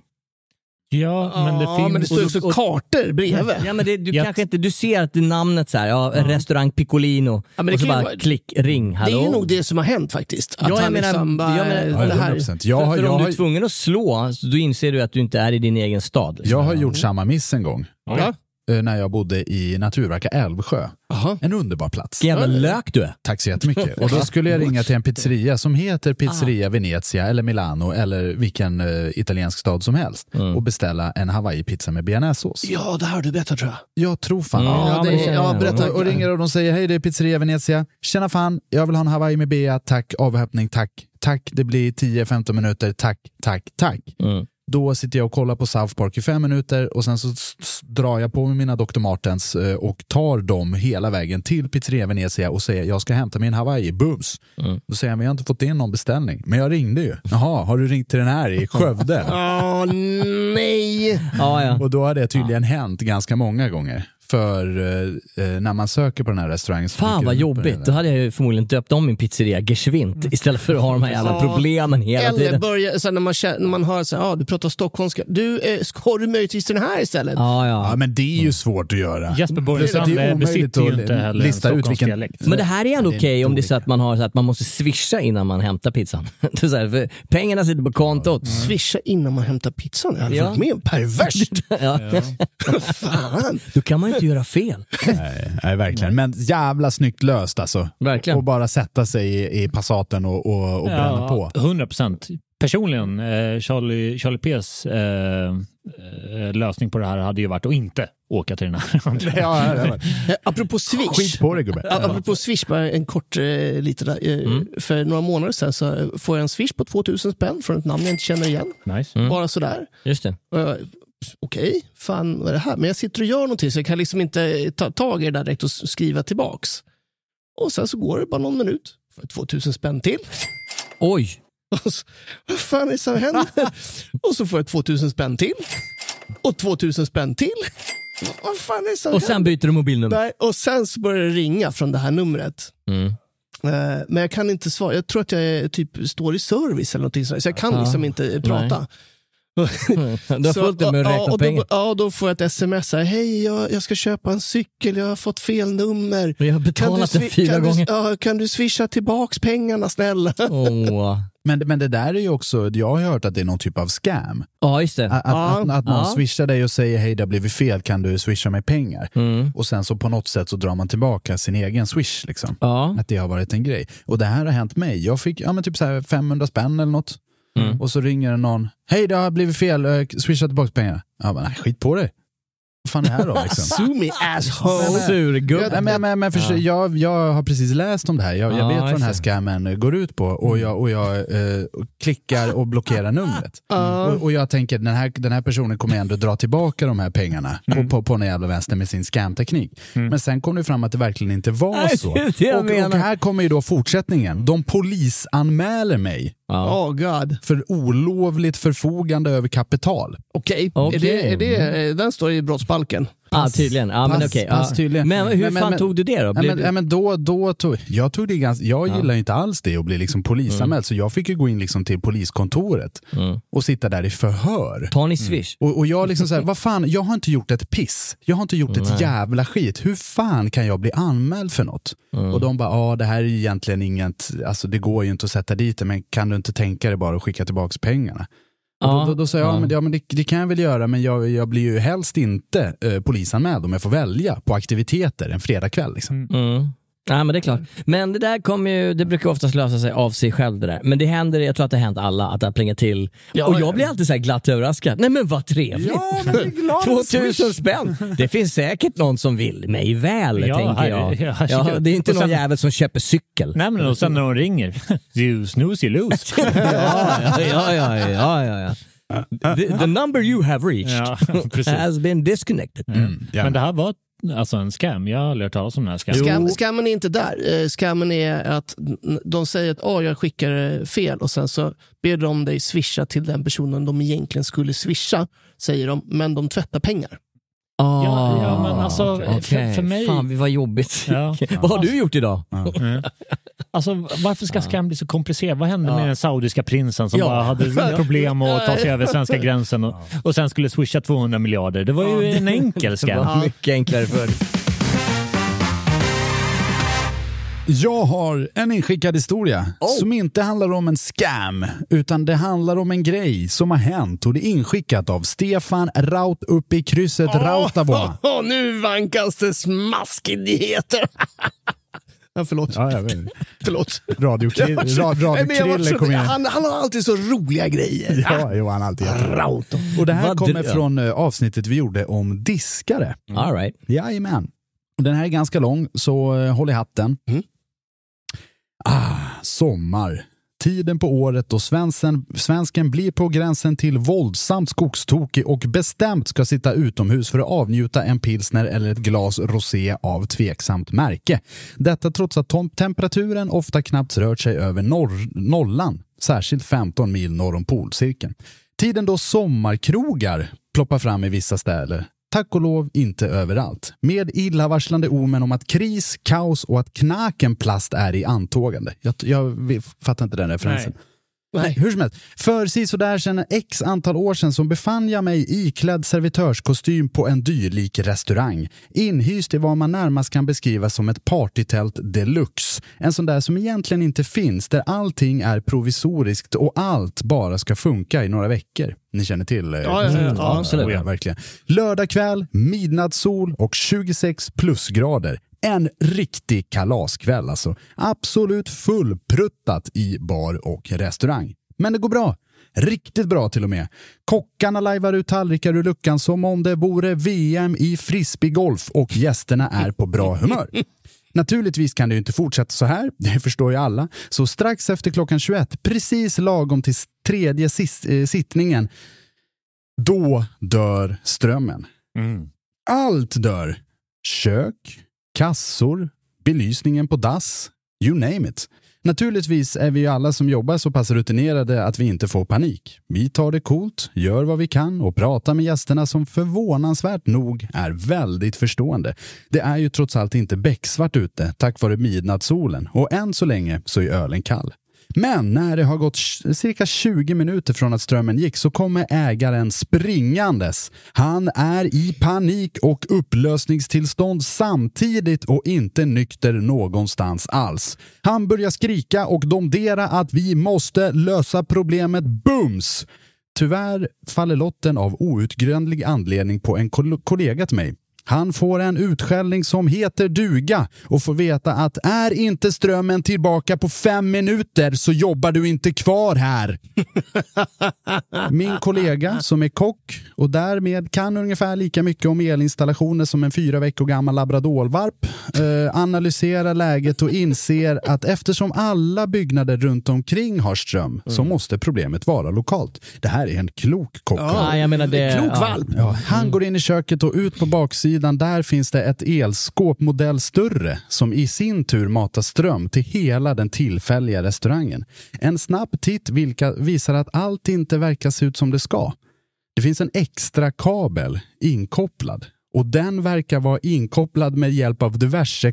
Speaker 3: Ja, men det
Speaker 4: ja,
Speaker 3: finns...
Speaker 4: men det står
Speaker 3: och då-
Speaker 4: också kartor bredvid.
Speaker 2: Ja, men det, du
Speaker 3: Jag-
Speaker 2: kanske inte, du ser att det är namnet så här, ja, restaurang Piccolino,
Speaker 4: men det
Speaker 2: och så
Speaker 4: kan ju
Speaker 2: bara
Speaker 4: vara-
Speaker 2: klick, ring,
Speaker 4: Det
Speaker 2: hallå.
Speaker 4: är ju nog det som har hänt faktiskt. Att
Speaker 2: Ja, jag
Speaker 4: han
Speaker 2: menar-
Speaker 4: liksom bara,
Speaker 2: jag menar-
Speaker 4: det här,
Speaker 1: 100%. Jag, har-
Speaker 2: för, för
Speaker 1: jag,
Speaker 2: om du
Speaker 1: har,
Speaker 2: är tvungen att slå, så då inser du att du inte är i din egen stad. Liksom.
Speaker 1: jag har gjort samma miss en gång
Speaker 4: ja.
Speaker 1: eh, när jag bodde i Naturverka Älvsjö.
Speaker 4: Aha.
Speaker 1: En underbar plats.
Speaker 2: Vilken jävla lök du är.
Speaker 1: Tack så jättemycket. Och då skulle jag ringa till en pizzeria som heter Pizzeria Venezia eller Milano eller vilken eh, italiensk stad som helst
Speaker 2: Mm.
Speaker 1: och beställa en hawaii-pizza med bearnaisesås.
Speaker 4: ja, det här har du bättre tror jag.
Speaker 1: Jag tror fan
Speaker 2: Mm. Ja,
Speaker 4: det-
Speaker 1: men känner
Speaker 4: ja,
Speaker 1: jag.
Speaker 4: berätta.
Speaker 1: Och, och ringer och de säger hej det är pizzeria Venezia. Tjena fan, jag vill ha en hawaii med bea, tack, avhämtning, tack, tack, det blir 10-15 minuter, tack, tack, tack.
Speaker 2: Mm.
Speaker 1: Då sitter jag och kollar på South Park i fem minuter och sen så s- s- drar jag på mig mina Dr. Martens eh, och tar dem hela vägen till Pizzeria Venezia och säger jag ska hämta min Hawaii, bums.
Speaker 4: Mm.
Speaker 1: Då säger han, vi har inte fått in någon beställning, men jag ringde ju. Jaha, har du ringt till den här i Skövde?
Speaker 4: Åh, nej!
Speaker 2: Ja, ja.
Speaker 1: Och då har det tydligen hänt ganska många gånger. För eh, eh, när man söker på den här restaurangen så dyker
Speaker 2: Fan vad
Speaker 1: det upp en
Speaker 2: jobbigt. Då hade jag ju förmodligen döpt om min pizzeria
Speaker 1: Mm.
Speaker 2: Geschwint istället för att ha de här jävla
Speaker 4: Ja.
Speaker 2: problemen hela
Speaker 4: Eller
Speaker 2: tiden.
Speaker 4: börja, så här, när, man, känner- när man hör så här, ah, du pratar stockholmska, du, eh, har du möjligtvis den här istället?
Speaker 2: Ja, ja. Mm.
Speaker 1: Ja, men det är ju svårt att göra.
Speaker 3: Jesper
Speaker 1: Plus att
Speaker 3: Borgesson
Speaker 1: det är omöjligt
Speaker 3: besitter
Speaker 1: att
Speaker 3: ju inte heller
Speaker 1: lista
Speaker 3: en
Speaker 1: ut vilken-
Speaker 3: Stockholmsdialekt.
Speaker 2: Men det här är ändå
Speaker 1: det är
Speaker 2: okej om det är så
Speaker 1: olika.
Speaker 2: att man har så att man måste swisha innan man hämtar pizzan. Det är så här, för pengarna sitter på kontot.
Speaker 3: Mm.
Speaker 4: Swisha innan man hämtar pizzan. Jag hade
Speaker 2: Ja.
Speaker 4: varit med om perverst.
Speaker 2: Ja.
Speaker 4: Fan.
Speaker 2: Då kan man ju inte göra fel.
Speaker 1: Nej, verkligen. Men jävla snyggt löst alltså.
Speaker 2: Verkligen.
Speaker 1: Och bara sätta sig i, i Passaten och, och, och bränna på.
Speaker 3: 100 procent. Personligen, eh, Charlie, Charlie P's eh, eh, lösning på det här hade ju varit att inte åka till den här andra.
Speaker 1: Ja, ja, ja.
Speaker 4: Eh, apropå Swish.
Speaker 1: Skit på dig gubbe.
Speaker 4: Ja, Apropå Swish, bara en kort eh, lite där. Eh,
Speaker 2: Mm.
Speaker 4: För några månader sedan så får jag en Swish på 2000 spänn från ett namn jag inte känner igen.
Speaker 3: Nice.
Speaker 2: Mm.
Speaker 4: Bara sådär.
Speaker 2: Just det.
Speaker 4: Och jag, Okej, fan vad är det här? Men jag sitter och gör någonting så jag kan liksom inte ta tag i det där direkt och s- skriva tillbaks. Och sen så går det bara någon minut. Får jag 2000 spänn till.
Speaker 2: Oj!
Speaker 4: Och så, vad fan är det som händer? Och så får jag 2000 spänn till. Och 2000 spänn till. Vad fan är det som
Speaker 2: Och sen byter du mobilnummer.
Speaker 4: Nej, och sen så börjar det ringa från det här numret.
Speaker 2: Mm.
Speaker 4: Eh, Men jag kan inte svara. Jag tror att jag är, typ står i service eller någonting sådär. Så jag kan
Speaker 2: Ja.
Speaker 4: liksom inte prata.
Speaker 2: Du har
Speaker 4: Så-
Speaker 2: fullt upp med att
Speaker 4: ja,
Speaker 2: räkna
Speaker 4: och då,
Speaker 2: pengar.
Speaker 4: ja, då får jag ett sms. Här, Hej, jag, jag ska köpa en cykel. Jag har fått fel nummer.
Speaker 2: Men jag har betalat den
Speaker 4: swi-
Speaker 2: fyra
Speaker 4: kan
Speaker 2: gånger.
Speaker 4: Du, ja, kan du swisha tillbaks pengarna snälla?
Speaker 2: Åh.
Speaker 1: Men, men det där är ju också, jag har hört att det är någon typ av scam.
Speaker 2: Ja, just det.
Speaker 1: Att, att, att någon
Speaker 2: Ja.
Speaker 1: swishar dig och säger hej det har blivit fel, kan du swisha mig pengar?
Speaker 2: Mm.
Speaker 1: Och sen så på något sätt så drar man tillbaka sin egen swish. Liksom.
Speaker 2: Ja.
Speaker 1: Att det har varit en grej. Och det här har hänt mig. Jag fick ja, men typ så här 500 spänn eller något.
Speaker 2: Mm.
Speaker 1: Och så ringer det någon, hej det har blivit fel, eh, swisha tillbaka pengar. Jag bara, nej skit på dig. Vad fan är det här då? Liksom?
Speaker 4: Sue me asshole.
Speaker 2: Surgubbe.
Speaker 1: Nej, men, men, men förstå, jag, jag har precis läst om det här. Jag,
Speaker 2: Ja,
Speaker 1: jag vet vad den här
Speaker 2: just det.
Speaker 1: scammen går ut på och jag, och jag eh, klickar och blockerar numret.
Speaker 4: Mm.
Speaker 1: Och, och jag tänker den här, den här personen kommer ändå dra tillbaka de här pengarna
Speaker 2: Mm.
Speaker 1: på, på, på den jävla vänster med sin scamteknik. Men sen kom det fram att det verkligen inte var
Speaker 2: Nej,
Speaker 1: så.
Speaker 2: det är det jag
Speaker 1: och,
Speaker 2: menar.
Speaker 1: och här kommer ju då fortsättningen. De polisanmäler mig
Speaker 2: Ja.
Speaker 4: Oh god.
Speaker 1: för olovligt förfogande över kapital.
Speaker 4: Okej,
Speaker 2: Okej. Mm.
Speaker 4: är det, är det, eh, den står i brottsbalken.
Speaker 2: Ah, tydligen. Ja, men
Speaker 1: pass-
Speaker 2: okej.
Speaker 1: pass
Speaker 2: ja.
Speaker 1: tydligen.
Speaker 2: Men hur
Speaker 1: Men- men-
Speaker 2: fan
Speaker 1: men-
Speaker 2: tog du det då?
Speaker 1: Ja,
Speaker 2: Blev
Speaker 1: men,
Speaker 2: du-
Speaker 1: ja, men då, då tog, jag tog det ganska, jag gillar ju inte alls det att bli liksom polisanmäld,
Speaker 2: Mm.
Speaker 1: så jag fick ju gå in liksom till poliskontoret
Speaker 3: Mm.
Speaker 1: och sitta där i förhör.
Speaker 2: Tar ni swish?
Speaker 1: Och, och jag liksom såhär, vad fan, jag har inte gjort ett piss. Jag har inte gjort ett jävla skit. Hur fan kan jag bli anmäld för något?
Speaker 2: Mm.
Speaker 1: Och de bara, ja det här är ju egentligen inget, alltså det går ju inte att sätta dit det, men kan du inte tänka dig bara att skicka tillbaka pengarna? Och
Speaker 2: Ja.
Speaker 1: Då, då, då sa jag, ja, men, det- ja, men det, det kan jag väl göra, men jag, jag blir ju helst inte eh, polisanmäld om jag får välja på aktiviteter en fredagkväll. Liksom.
Speaker 2: Mm. Ja, men det är klart. Men det där kommer ju, det brukar oftast lösa sig av sig själv det där. Men det händer, jag tror att det har hänt alla, att det har plingat till. och jag
Speaker 4: ja.
Speaker 2: blir alltid så här glatt överraskad. Nej men vad trevligt!
Speaker 1: Ja, men det är glad
Speaker 2: 2000 spänn! Det finns säkert någon som vill mig väl,
Speaker 3: Ja,
Speaker 2: tänker
Speaker 3: här-
Speaker 2: jag.
Speaker 3: ja,
Speaker 2: Ja, det är inte
Speaker 3: och
Speaker 2: någon
Speaker 3: sen-
Speaker 2: jävel som köper cykel.
Speaker 3: Nej, men och sen när de ringer, you snooze you lose.
Speaker 2: ja, ja, ja, ja, ja, ja. The, the number you have reached
Speaker 3: ja, precis. Mm.
Speaker 2: has been disconnected.
Speaker 1: Mm, Ja.
Speaker 3: Men det här var alltså en scam. Jag har aldrig hört talas om den här scammen.
Speaker 4: Skam, skammen är inte där. Eh, Skammen är att n- de säger att oh, jag skickar eh, fel och sen så ber de dig swisha till den personen de egentligen skulle swisha, säger de, men de tvättar pengar.
Speaker 2: Ah,
Speaker 3: Ja, ja, men alltså,
Speaker 2: okej.
Speaker 3: för- för
Speaker 2: Okej.
Speaker 3: mig-
Speaker 2: Fan, vad jobbigt.
Speaker 3: Ja.
Speaker 2: vad har du gjort idag?
Speaker 3: Alltså, varför ska scam bli så komplicerat? Vad hände med den saudiska prinsen som
Speaker 2: Ja.
Speaker 3: bara hade problem att ta sig över svenska gränsen och, och sen skulle swisha 200 miljarder? Det var ju en enkel
Speaker 2: Det
Speaker 3: scam.
Speaker 2: var mycket enklare förr.
Speaker 1: Jag har en inskickad historia
Speaker 2: Oh.
Speaker 1: som inte handlar om en scam, utan det handlar om en grej som har hänt och det är inskickat av Stefan Raut uppe i krysset Rautavaara.
Speaker 4: Och nu vankas det smaskigheter! ja, förlåt.
Speaker 1: Ja, jag vet.
Speaker 4: förlåt.
Speaker 1: Radiokri- ra-
Speaker 4: Nej, men jag var
Speaker 1: Radiokrillen
Speaker 4: så-
Speaker 1: kom in.
Speaker 4: han, han har alltid så roliga grejer.
Speaker 1: Ja, jo, han är alltid Raut. Och det här
Speaker 2: Vad
Speaker 1: kommer
Speaker 2: dröm.
Speaker 1: från eh, avsnittet vi gjorde om diskare.
Speaker 2: Mm. All right.
Speaker 1: Jajamän. Och Den här är ganska lång, så eh, håll i hatten.
Speaker 2: Mm.
Speaker 1: Ah, sommar. Tiden på året då svensken, svensken blir på gränsen till våldsamt skogstokig och bestämt ska sitta utomhus för att avnjuta en pilsner eller ett glas rosé av tveksamt märke. Detta trots att tom- temperaturen ofta knappt rört sig över norr- nollan, särskilt 15 mil norr om polcirkeln. Tiden då sommarkrogar ploppar fram i vissa städer. Tack och lov inte överallt. Med illavarslande omen om att kris, kaos och att knakenplast är i antågande. Jag, jag fattar inte den referensen. Nej, hur som helst. För sisådär sedan x antal år sedan som befann jag mig iklädd servitörskostym på en dyrlik restaurang. Inhyst i vad man närmast kan beskriva som ett partytält deluxe. En sån där som egentligen inte finns, där allting är provisoriskt och allt bara ska funka i några veckor. Ni känner till? eh,
Speaker 4: Ja, ja, ja, ja,
Speaker 2: absolut.
Speaker 1: ja, verkligen. Lördag kväll, midnattssol och 26 plusgrader. En riktig kalaskväll alltså. Absolut fullpruttat i bar och restaurang. Men det går bra. Riktigt bra till och med. Kockarna lajvar ut tallrikar ur luckan som om det vore VM i frisbeegolf och gästerna är på bra humör. Naturligtvis kan det ju inte fortsätta så här, det förstår ju alla. Så strax efter klockan 21, precis lagom till tredje sis- eh, sittningen, då dör strömmen. Allt dör. Kök, kassor, belysningen på dass, you name it. Naturligtvis är vi ju alla som jobbar så pass rutinerade att vi inte får panik. Vi tar det coolt, gör vad vi kan och pratar med gästerna som förvånansvärt nog är väldigt förstående. Det är ju trots allt inte becksvart ute tack vare midnattssolen och än så länge så är ölen kall. Men när det har gått tj- cirka 20 minuter från att strömmen gick så kommer ägaren springandes. Han är i panik och upplösningstillstånd samtidigt och inte nykter någonstans alls. Han börjar skrika och domdera att vi måste lösa problemet bums. Tyvärr faller lotten av outgrundlig anledning på en kol- kollega till mig. Han får en utskällning som heter duga och får veta att är inte strömmen tillbaka på fem minuter så jobbar du inte kvar här. Min kollega som är kock och därmed kan ungefär lika mycket om elinstallationer som en fyra veckor gammal labradorvalp eh, analyserar läget och inser att eftersom alla byggnader runt omkring har ström
Speaker 2: Mm.
Speaker 1: så måste problemet vara lokalt. Det här är en klok kock.
Speaker 2: Ja, jag menar det...
Speaker 4: Klok
Speaker 2: ja.
Speaker 4: valp!
Speaker 1: Ja,
Speaker 2: Mm.
Speaker 1: han går in i köket och ut på baksidan. Där finns det ett elskåp modell större som i sin tur matar ström till hela den tillfälliga restaurangen. En snabb titt vilka visar att allt inte verkar se ut som det ska. Det finns en extra kabel inkopplad och den verkar vara inkopplad med hjälp av diverse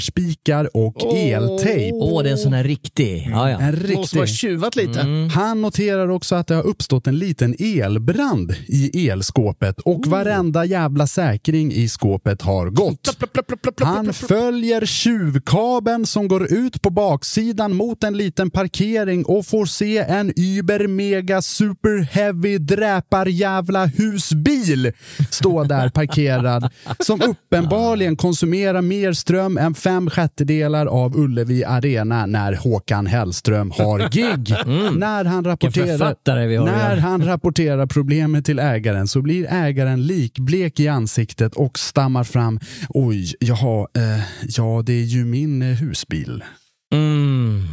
Speaker 1: kopparspikar och eltejp.
Speaker 2: Åh, det är en sån här riktig. Ja, Mm. ja.
Speaker 1: En
Speaker 4: Någon som har
Speaker 1: riktig
Speaker 4: tjuvat lite.
Speaker 1: han noterar också att det har uppstått en liten elbrand i elskåpet och varenda jävla säkring i skåpet har gått. Han följer tjuvkabeln som går ut på baksidan mot en liten parkering och får se en Uber Mega Super Heavy dräpar jävla husbil stå där parkerad som uppenbarligen konsumerar mer ström än fem sjättedelar av Ullevi Arena när Håkan Hellström har gig. När han
Speaker 2: Mm. Vilken
Speaker 1: rapporterar
Speaker 2: författare vi har att göra
Speaker 1: när
Speaker 2: med.
Speaker 1: han rapporterar problemet till ägaren så blir ägaren likblek i ansiktet och stammar fram Oj, jaha, eh, ja det är ju min eh, husbil.
Speaker 2: Mm.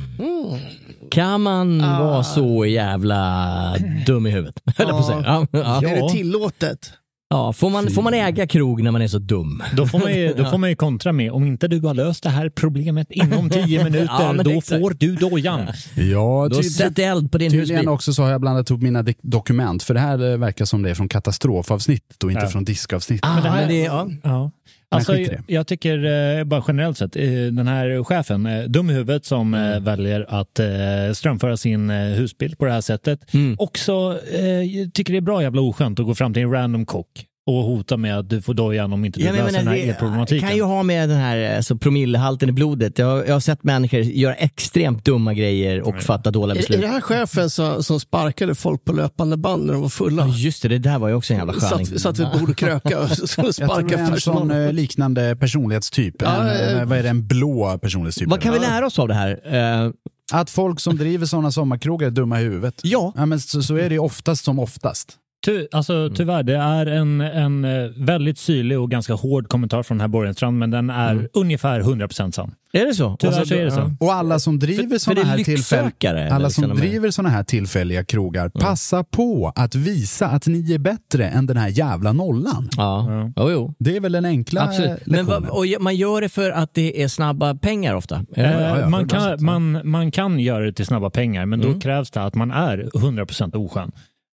Speaker 2: Kan man
Speaker 4: Ah.
Speaker 2: vara så jävla dum i huvudet? Höll jag på att säga. Ja, ja.
Speaker 4: Är det tillåtet?
Speaker 2: Ja, får, man, får man äga krog när man är så dum?
Speaker 3: Då får, man ju, då får man ju kontra med, om inte du har löst det här problemet inom tio minuter,
Speaker 2: Ja, men
Speaker 3: då
Speaker 2: exakt.
Speaker 3: får du dojan.
Speaker 1: Ja,
Speaker 2: Då sätter jag eld på din husbil.
Speaker 1: Tydligen också så har jag blandat ihop mina dek- dokument, för det här eh, verkar som det är från katastrofavsnitt och inte
Speaker 3: Ja.
Speaker 1: från diskavsnitt.
Speaker 2: Ah, men det,
Speaker 4: Ja.
Speaker 3: Ja. Alltså,
Speaker 1: skit i
Speaker 3: jag,
Speaker 1: det.
Speaker 3: jag tycker eh, bara generellt sett, eh, den här chefen, eh, dum i huvudet som eh,
Speaker 2: Mm.
Speaker 3: väljer att eh, strömföra sin eh, husbil på det här sättet.
Speaker 2: Mm.
Speaker 3: Också eh, tycker det är bra jävla oskönt att gå fram till en random kock och hota med att du får dojan om inte du
Speaker 2: Ja, men jag
Speaker 3: löser den här
Speaker 2: menar, det
Speaker 3: elproblematiken.
Speaker 2: kan ju ha med den här alltså, promillehalten i blodet. Jag, har- jag har sett människor göra extremt dumma grejer
Speaker 3: Mm.
Speaker 2: och fatta dåliga
Speaker 4: Är, är
Speaker 2: beslut.
Speaker 4: det här chefen som, som sparkade folk på löpande band när de var fulla?
Speaker 2: Ja, Just det, det där var ju också en jävla
Speaker 4: Så
Speaker 2: sköning.
Speaker 4: att, så att vi borde kröka och så- så
Speaker 1: Jag tror det
Speaker 4: sparka
Speaker 1: är en sån
Speaker 4: personalen. eh,
Speaker 1: eh, liknande personlighetstyp. en, en, vad är det, en blå personlighetstyp?
Speaker 2: Vad kan vi
Speaker 1: eller?
Speaker 2: lära oss av det här? Eh,
Speaker 1: Att folk som driver sådana sommarkrogar är dumma i huvudet.
Speaker 2: ja,
Speaker 1: Ja, men så, så är det ju oftast som oftast.
Speaker 3: Ty, alltså,
Speaker 2: Mm.
Speaker 3: tyvärr, det är en, en eh, väldigt syrlig och ganska hård kommentar från den här borgenstrand, men den är ungefär 100% sann.
Speaker 2: Mm. är det så?
Speaker 3: Tyvärr
Speaker 2: Alltså,
Speaker 3: så är det
Speaker 2: ja.
Speaker 3: så.
Speaker 1: Och alla som driver
Speaker 2: för det
Speaker 1: sådana
Speaker 2: är
Speaker 1: här, tillfäll...
Speaker 2: lycksökare, eller
Speaker 1: alla
Speaker 2: liksom
Speaker 1: som
Speaker 2: de här-
Speaker 1: driver såna här tillfälliga krogar,
Speaker 2: Mm.
Speaker 1: passa på att visa att ni är bättre än den här jävla nollan.
Speaker 2: Ja, jo, jo.
Speaker 1: Det är väl den enkla eh,
Speaker 2: Absolut. Men,
Speaker 1: lektionen.
Speaker 2: vad- och man gör det för att det är snabba pengar ofta. Är det-
Speaker 3: Eh,
Speaker 1: ja,
Speaker 3: man,
Speaker 1: 100%.
Speaker 3: kan, man, man kan göra det till snabba pengar, men
Speaker 2: Mm.
Speaker 3: då krävs det att man är 100% oskön.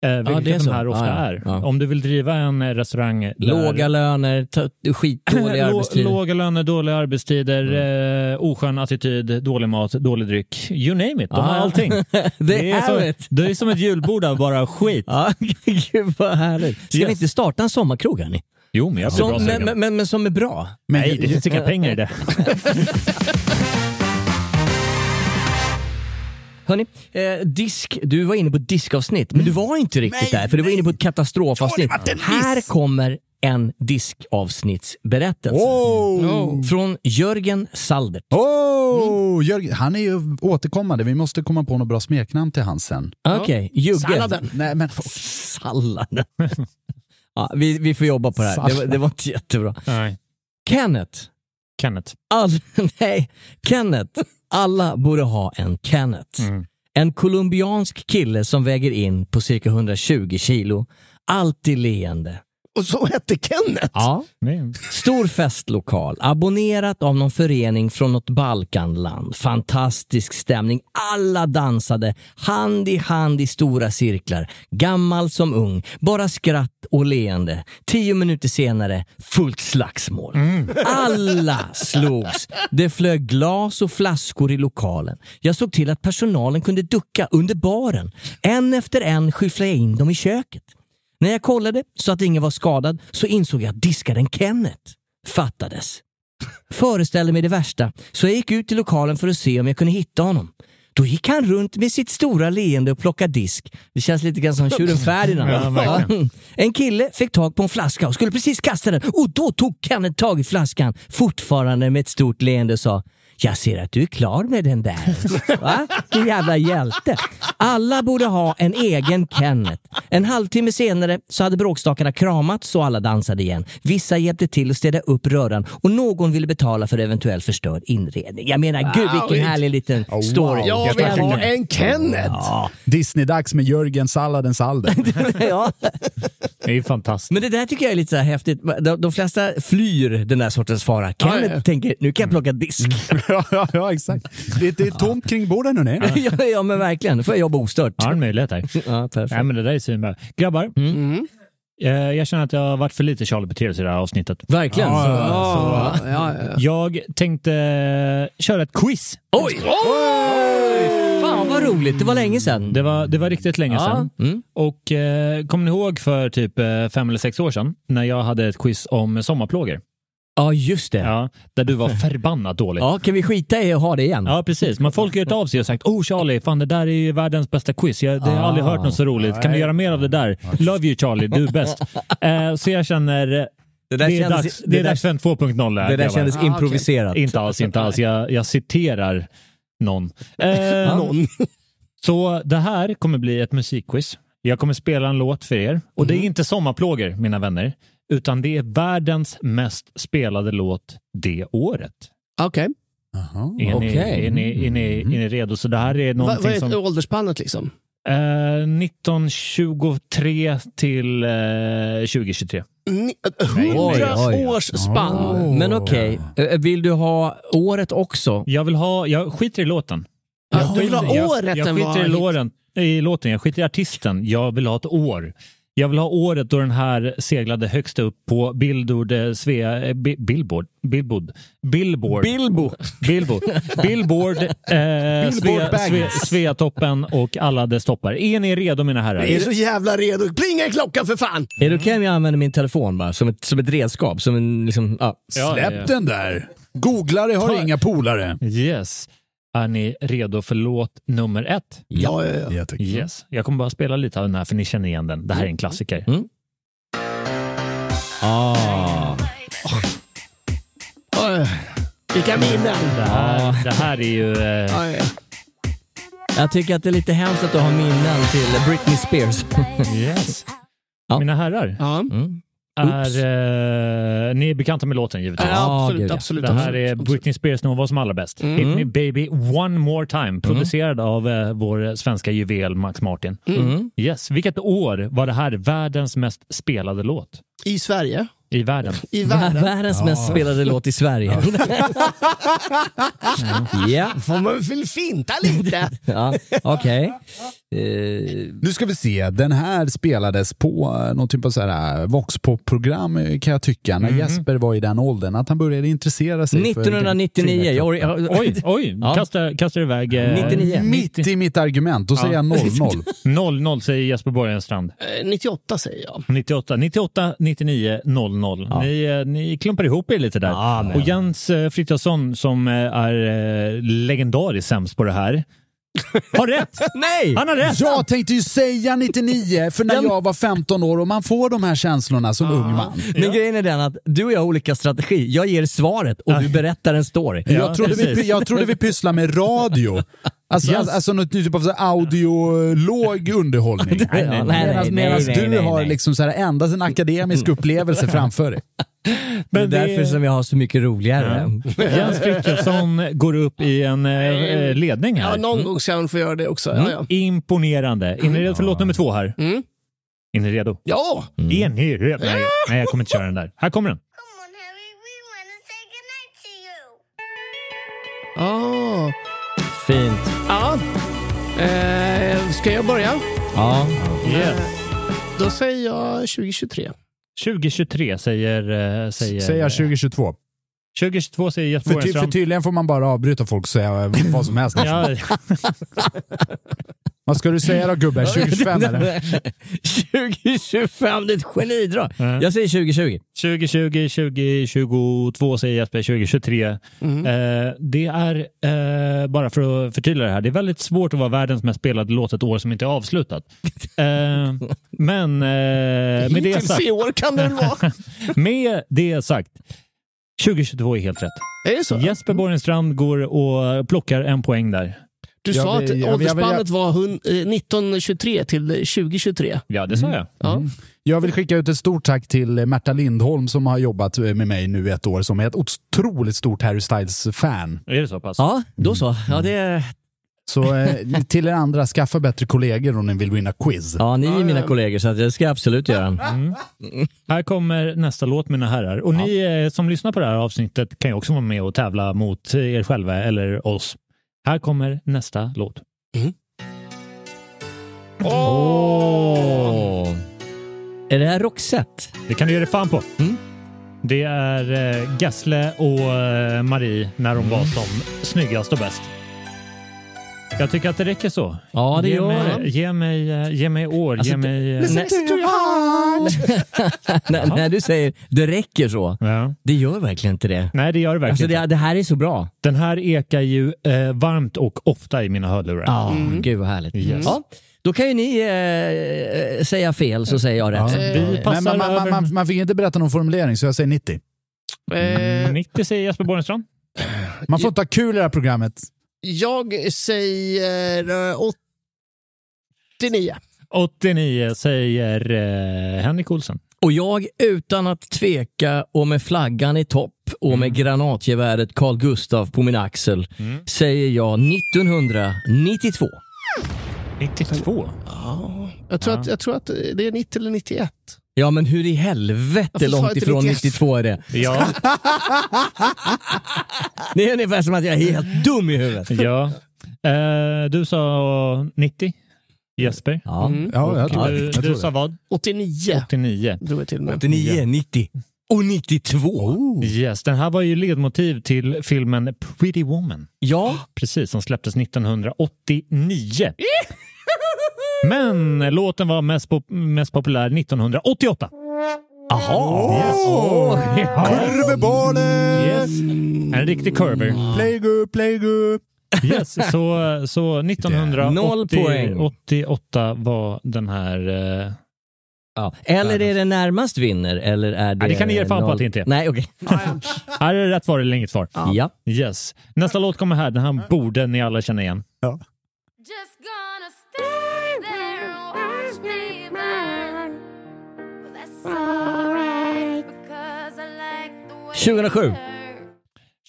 Speaker 3: Eh, vilket
Speaker 2: det är så.
Speaker 3: de här ofta
Speaker 2: Ja, ja,
Speaker 3: är.
Speaker 2: ja.
Speaker 3: Om du vill driva en eh, restaurang...
Speaker 2: Låga löner, t- skitdåliga
Speaker 3: Lå-
Speaker 2: arbetstider. Mm.
Speaker 3: Låga löner, dåliga arbetstider, eh, oskön attityd, dålig mat, dålig dryck. You name it, de har
Speaker 2: Ja.
Speaker 3: allting.
Speaker 2: Ah. det är
Speaker 3: som,
Speaker 2: det.
Speaker 3: det är som ett julbord av bara skit.
Speaker 2: Ja, gud vad härligt. Ska
Speaker 3: Yes.
Speaker 2: vi inte starta en sommarkrog hörni?
Speaker 3: Jo, men jag blir bra
Speaker 2: Som,
Speaker 3: sugen.
Speaker 2: men, men, men, men som är bra.
Speaker 1: Men-
Speaker 3: Nej, det finns inga pengar i det.
Speaker 2: Hörni, eh, disk, du var inne på ett diskavsnitt, men du var inte riktigt där, för du var inne på ett katastrofavsnitt. Här kommer en diskavsnittsberättelse.
Speaker 1: Oh!
Speaker 2: Från Jörgen Saldert.
Speaker 1: Oh! Oh, Jörgen, han är ju återkommande. Vi måste komma på något bra smeknamn till han sen.
Speaker 2: Okej, Jugge.
Speaker 4: Salladen.
Speaker 1: Nej, men
Speaker 2: Salladen. ja, vi, vi får jobba på det här. Det, var- det var inte jättebra.
Speaker 3: Nej.
Speaker 2: Kenneth.
Speaker 3: Kenneth.
Speaker 2: All, nej, Kenneth. Alla borde ha en Kenneth.
Speaker 3: Mm.
Speaker 2: En colombiansk kille som väger in på cirka 120 kilo. Alltid leende.
Speaker 4: Och så hette Kenneth!
Speaker 2: Ja.
Speaker 3: Nej.
Speaker 2: Stor festlokal, abonnerat av någon förening från något Balkanland. Fantastisk stämning. Alla dansade hand i hand i stora cirklar. Gammal som ung. Bara skratt och leende. Tio minuter senare, fullt slagsmål.
Speaker 4: Mm.
Speaker 2: Alla slogs. Det flög glas och flaskor i lokalen. Jag såg till att personalen kunde ducka under baren. En efter en skyfflade jag in dem i köket. När jag kollade så att ingen var skadad så insåg jag att diskaren Kenneth fattades. Föreställde mig det värsta, så jag gick ut i lokalen för att se om jag kunde hitta honom. Då gick han runt med sitt stora leende och plockade disk. Det känns lite grann som tjuren Ferdinand.
Speaker 3: Ja, verkligen.
Speaker 2: en kille fick tag på en flaska och skulle precis kasta den och då tog Kenneth tag i flaskan, fortfarande med ett stort leende och sa jag ser att du är klar med den där. Va? Du jävla hjälte. Alla borde ha en egen Kenneth. En halvtimme senare så hade bråkstakarna kramats och alla dansade igen. Vissa hjälpte till att städa upp röran och någon ville betala för eventuell förstörd inredning. Jag menar, gud vilken härlig
Speaker 1: Oh,
Speaker 2: liten story.
Speaker 4: Jag vill ha alltså, en Kenneth!
Speaker 1: Disney-dags med Jörgen Salladen Salden.
Speaker 2: ja.
Speaker 3: Det är ju fantastiskt.
Speaker 2: Men det där tycker jag är lite så här häftigt. De, de flesta flyr den där sortens fara. Kenneth tänker, nu kan jag plocka disk.
Speaker 3: Mm.
Speaker 1: ja, ja, ja, exakt. Det, det är tomt kring borden hörni.
Speaker 2: ja, ja, men verkligen. Då får jag jobba ostört.
Speaker 3: Ja, en möjlighet här.
Speaker 2: Ja, perfekt. Mm.
Speaker 3: Nej, men det där är svinbra. Grabbar,
Speaker 4: Mm.
Speaker 3: eh, jag känner att jag har varit för lite Charlie Peteros i det här avsnittet.
Speaker 2: Verkligen.
Speaker 4: Ja, ja, ja.
Speaker 3: Jag tänkte eh, köra ett quiz.
Speaker 2: Oj! Fan vad roligt, det var länge sedan.
Speaker 3: Det var, det var riktigt länge
Speaker 2: ja.
Speaker 3: sedan.
Speaker 2: Mm.
Speaker 3: Och eh, kommer ni ihåg för typ eh, fem eller sex år sedan när jag hade ett quiz om sommarplågor?
Speaker 2: ja, just det. Ja.
Speaker 3: Ja, där du var förbannat dålig.
Speaker 2: kan vi skita i att ha det igen?
Speaker 3: Ja, precis. Men folk har hört av sig och sagt “Oh Charlie, fan det där är ju världens bästa quiz. Jag, det, jag har aldrig
Speaker 2: Ah.
Speaker 3: hört något så roligt. Kan du göra mer av det där? Love you Charlie, du är bäst.” eh, Så jag känner, eh, det,
Speaker 2: Det där
Speaker 3: är dags,
Speaker 2: kändes,
Speaker 3: det är
Speaker 2: där-
Speaker 3: dags för en 2.0 här.
Speaker 2: det där
Speaker 3: grabbar. Ah,
Speaker 2: kändes improviserat.
Speaker 3: Inte alls, inte alls. Jag, jag citerar någon. Eh,
Speaker 4: Någon.
Speaker 3: Så det här kommer bli ett musikquiz. Jag kommer spela en låt för er. Och det är inte sommarplågor, mina vänner. Utan det är världens mest spelade låt det året.
Speaker 4: Okej.
Speaker 3: Är, ni,
Speaker 2: Okej.
Speaker 3: är, ni, är, ni, är ni redo? Så det här är
Speaker 4: Mm. Va- Vad
Speaker 3: någonting
Speaker 4: är
Speaker 3: som...
Speaker 4: åldersspannet liksom?
Speaker 3: Eh, 1923 till eh, 2023.
Speaker 4: Ni- Hundra
Speaker 2: Oj, oj, oj.
Speaker 4: års spann!
Speaker 2: Men okej, eh, vill du ha året också?
Speaker 3: Jag vill ha... Jag skiter i låten.
Speaker 4: Ja, du vill ha
Speaker 3: Jag-
Speaker 4: året
Speaker 3: Jag
Speaker 4: den var
Speaker 3: skiter i
Speaker 4: hit.
Speaker 3: låren, i låten, jag skiter i artisten. Jag vill ha ett år. Jag vill ha året då den här seglade högst upp på Billboard, eh, Svea, eh, Bi- Billboard, Billboard, Billboard,
Speaker 2: Bilbo!
Speaker 3: Billboard, Billboard, eh, Svea,
Speaker 1: Baggins.
Speaker 3: Svea, Sveatoppen och alla dess toppar. Är ni redo mina herrar?
Speaker 4: Jag är så jävla redo. Plinga i klockan för fan!
Speaker 2: Är det okej om jag använder min telefon bara som ett, som ett redskap? Som en, liksom, ja.
Speaker 3: Ja, ja,
Speaker 1: Släpp
Speaker 3: ja.
Speaker 1: den där. Googlare har
Speaker 3: Ta-
Speaker 1: inga polare.
Speaker 3: Yes. Är ni redo för låt nummer ett?
Speaker 4: Ja, ja, ja.
Speaker 1: Jag tycker-
Speaker 3: Yes. Jag kommer bara spela lite av den här för ni känner igen den. Det här är en klassiker.
Speaker 2: Mm. Ah.
Speaker 4: Oj. Ah. Vilka minnen!
Speaker 3: Det, här, det här är ju... Eh,
Speaker 4: Oj.
Speaker 2: Jag tycker att det är lite hemskt att du har minnen till Britney Spears.
Speaker 3: Yes.
Speaker 2: Ja.
Speaker 3: Mina herrar,
Speaker 4: Ja.
Speaker 2: Mm. Oops.
Speaker 3: är, eh, ni är bekanta med låten givetvis.
Speaker 4: Ja,
Speaker 2: Ja, gud,
Speaker 4: absolut,
Speaker 2: ja.
Speaker 4: absolut.
Speaker 3: Det här är
Speaker 4: absolut. Mm.
Speaker 3: Britney Spears när hon var som allra bäst. Hit me baby one more
Speaker 2: Mm.
Speaker 3: time. Producerad av eh, vår svenska juvel Max Martin.
Speaker 2: Mm.
Speaker 3: Yes. Vilket år var det här världens mest spelade låt?
Speaker 4: I Sverige?
Speaker 3: I världen.
Speaker 4: I
Speaker 2: Vär-
Speaker 4: världen?
Speaker 2: Världens mest spelade låt i Sverige. ja,
Speaker 4: Får man väl finta lite?
Speaker 2: ja okej. Eh,
Speaker 1: Nu ska vi se, den här spelades på eh, någon typ av så här voxpop-program eh, kan jag tycka,
Speaker 3: Mhm.
Speaker 1: när Jesper var i den åldern, att han började intressera sig för...
Speaker 2: 1999. Jag, or- jag,
Speaker 3: Oj, oj.
Speaker 2: Ja.
Speaker 3: Kasta, kastar iväg... eh,
Speaker 2: 99.
Speaker 1: Mitt i mitt argument, då säger jag 00.
Speaker 3: 00 säger Jesper Borgenstrand.
Speaker 4: Eh, 98 säger jag.
Speaker 3: 98, 98 99, 00. Ni, eh, ni klumpar ihop er lite där.
Speaker 2: Ja, men-
Speaker 3: och Jens eh, Frithiofsson som eh, är eh, legendariskt sämst på det här. Har rätt!
Speaker 2: Nej!
Speaker 3: Han har rätt!
Speaker 1: Jag tänkte ju säga 99, för när jag var 15 år och man får de här känslorna som ung man.
Speaker 2: Men grejen är den att du och jag har olika strategi. Jag ger svaret och du berättar en story.
Speaker 1: jag, trodde vi,
Speaker 3: precis.
Speaker 1: jag trodde vi pysslade med radio. Alltså,
Speaker 3: Yes.
Speaker 1: alltså, alltså något nytt typ av så här audiolog underhållning.
Speaker 2: nej, nej, nej,
Speaker 1: Medan-
Speaker 2: nej,
Speaker 1: medan
Speaker 2: nej,
Speaker 1: du
Speaker 2: nej,
Speaker 1: har
Speaker 2: nej. Mm.
Speaker 1: liksom så här endast en akademisk upplevelse framför dig.
Speaker 3: Men
Speaker 2: det är därför som jag har så mycket roligare.
Speaker 3: Jens Frithiofsson går upp i en eh, ledning här.
Speaker 4: Mm.
Speaker 3: Mm.
Speaker 4: Ja, någon gång ska han få göra det också. Ja, ja.
Speaker 3: Imponerande. Är ni redo för låt nummer två här?
Speaker 4: Mm.
Speaker 3: Är ni redo? Mm.
Speaker 4: ja.
Speaker 3: Är ni redo? Nej, nej, jag kommer inte köra den där. Här kommer den.
Speaker 5: Come on, Harry, we want to say goodnight to you.
Speaker 4: Ah.
Speaker 2: Fint.
Speaker 4: Ja. Eh, ska jag börja? Eh,
Speaker 2: Ja.
Speaker 3: Yes.
Speaker 4: Då säger jag 2023.
Speaker 3: 2023 säger... eh, säger
Speaker 1: Säger jag 2022.
Speaker 3: 2022 säger Jesper
Speaker 1: För, ty, för
Speaker 3: Borgenström.
Speaker 1: tydligen får man bara avbryta folk och säga eh, vad som helst.
Speaker 3: Ja,
Speaker 1: Vad ska du säga då gubben? 2025 eller?
Speaker 2: 2025, det är ett genidrag.
Speaker 3: Mm.
Speaker 2: Jag säger 2020.
Speaker 3: 2020, 2022 säger Jesper, 2023.
Speaker 4: Mm.
Speaker 3: Eh, det är, eh, bara för att förtydliga det här, det är väldigt svårt att vara världens mest spelade låt ett år som inte är avslutat. Eh, men eh, med det
Speaker 4: Hittills
Speaker 3: sagt,
Speaker 4: i år kan det väl vara.
Speaker 3: med det sagt, 2022 är helt rätt.
Speaker 4: Är det så? Mm.
Speaker 3: Jesper Borgenstrand går och plockar en poäng där.
Speaker 4: Du
Speaker 1: Jag
Speaker 4: sa
Speaker 1: vill- jag vill-
Speaker 4: att
Speaker 1: jag vill-
Speaker 4: åldersspannet var hun- eh, 1923 till 2023.
Speaker 3: Ja, det sa jag.
Speaker 4: Ja.
Speaker 1: Mm. Jag vill skicka ut ett stort tack till eh, Märta Lindholm som har jobbat eh, med mig nu i ett år som är ett otroligt stort Harry Styles-fan.
Speaker 3: Är det så pass?
Speaker 2: Ja, då så. Ja, det,
Speaker 1: Så eh, till er andra, skaffa bättre kollegor om ni vill vinna quiz.
Speaker 2: ja ni är mina kollegor så att det ska jag absolut göra.
Speaker 3: Mm. Här kommer nästa låt mina herrar. Och ni eh, som lyssnar på det här avsnittet kan ju också vara med och tävla mot er själva eller oss. Här kommer nästa låt.
Speaker 2: Åh. Är det här Roxette?
Speaker 3: Det kan du ge dig fan på.
Speaker 2: Mm.
Speaker 3: Det är eh, Gessle och eh, Marie när
Speaker 2: Mm.
Speaker 3: de var som snyggast och bäst. Jag tycker att det räcker så.
Speaker 2: Ja, det
Speaker 3: ge,
Speaker 2: gör
Speaker 3: mig,
Speaker 2: det.
Speaker 3: ge, mig, eh, ge mig år,
Speaker 2: Alltså,
Speaker 3: ge
Speaker 2: det-
Speaker 3: mig... eh,
Speaker 2: Nej. När, när du säger det räcker så,
Speaker 3: Ja.
Speaker 2: det gör verkligen inte det.
Speaker 3: Nej, det gör det verkligen
Speaker 2: Alltså det,
Speaker 3: inte.
Speaker 2: det här är så bra.
Speaker 3: Den här ekar ju eh, varmt och ofta i mina hörlurar.
Speaker 2: Ja,
Speaker 1: Mm.
Speaker 2: Gud vad härligt. Ja, då kan ju ni eh, eh, säga fel så säger jag rätt.
Speaker 1: Ja. Eh,
Speaker 3: Vi passar
Speaker 1: Men man, man,
Speaker 3: över...
Speaker 1: man, man, man fick inte berätta någon formulering, så jag säger 90.
Speaker 4: Eh,
Speaker 3: 90 säger Jesper Borgenstrand.
Speaker 1: Man får inte ha kul i det här programmet.
Speaker 4: jag säger eh, 89.
Speaker 3: 89 säger eh, Henrik Olsen.
Speaker 2: Och jag utan att tveka och med flaggan i topp och
Speaker 3: Mm.
Speaker 2: med granatgeväret Carl Gustaf på min axel säger jag 1992.
Speaker 3: 92?
Speaker 4: Ja. Jag, tror att, jag tror att eh, det är 90 eller 91.
Speaker 2: Ja men hur i helvete
Speaker 4: Varför sa jag
Speaker 2: långt
Speaker 4: inte
Speaker 2: ifrån
Speaker 4: 91?
Speaker 2: 92 är det?
Speaker 3: Ja,
Speaker 2: Det är ungefär som att jag är helt dum i huvudet.
Speaker 3: ja. Eh, du sa 90, Jesper.
Speaker 2: Ja.
Speaker 1: Mm. Ja, jag tror,
Speaker 3: Du,
Speaker 1: jag tror
Speaker 3: du sa
Speaker 1: det.
Speaker 3: vad?
Speaker 4: 89
Speaker 3: 89.
Speaker 4: drog jag till med.
Speaker 2: 89, 90 och 92.
Speaker 3: Oh. Yes, den här var ju ledmotiv till filmen Pretty Woman.
Speaker 2: Ja,
Speaker 3: Precis, som släpptes 1989. Men låten var mest, pop- mest populär 1988.
Speaker 2: jaha.
Speaker 1: Kurvebollen!
Speaker 3: Yes. En riktig curver.
Speaker 2: Mm.
Speaker 1: Play good, play good.
Speaker 3: Yes, så, så
Speaker 2: Noll poäng.
Speaker 3: 1988 var den här... eh,
Speaker 2: Ja. Eller är det närmast vinner eller är det...
Speaker 3: Ja, det kan ni ge fan på
Speaker 2: noll-
Speaker 3: att det inte är.
Speaker 2: Nej, okej.
Speaker 3: Här är det rätt svar eller inget svar.
Speaker 2: Ja.
Speaker 3: Yes. Nästa låt kommer här. Den här borde ni alla känna igen.
Speaker 5: Just gonna stay there and watch me burn. Well, that's alright because I like the way
Speaker 2: 2007.
Speaker 5: it hurts.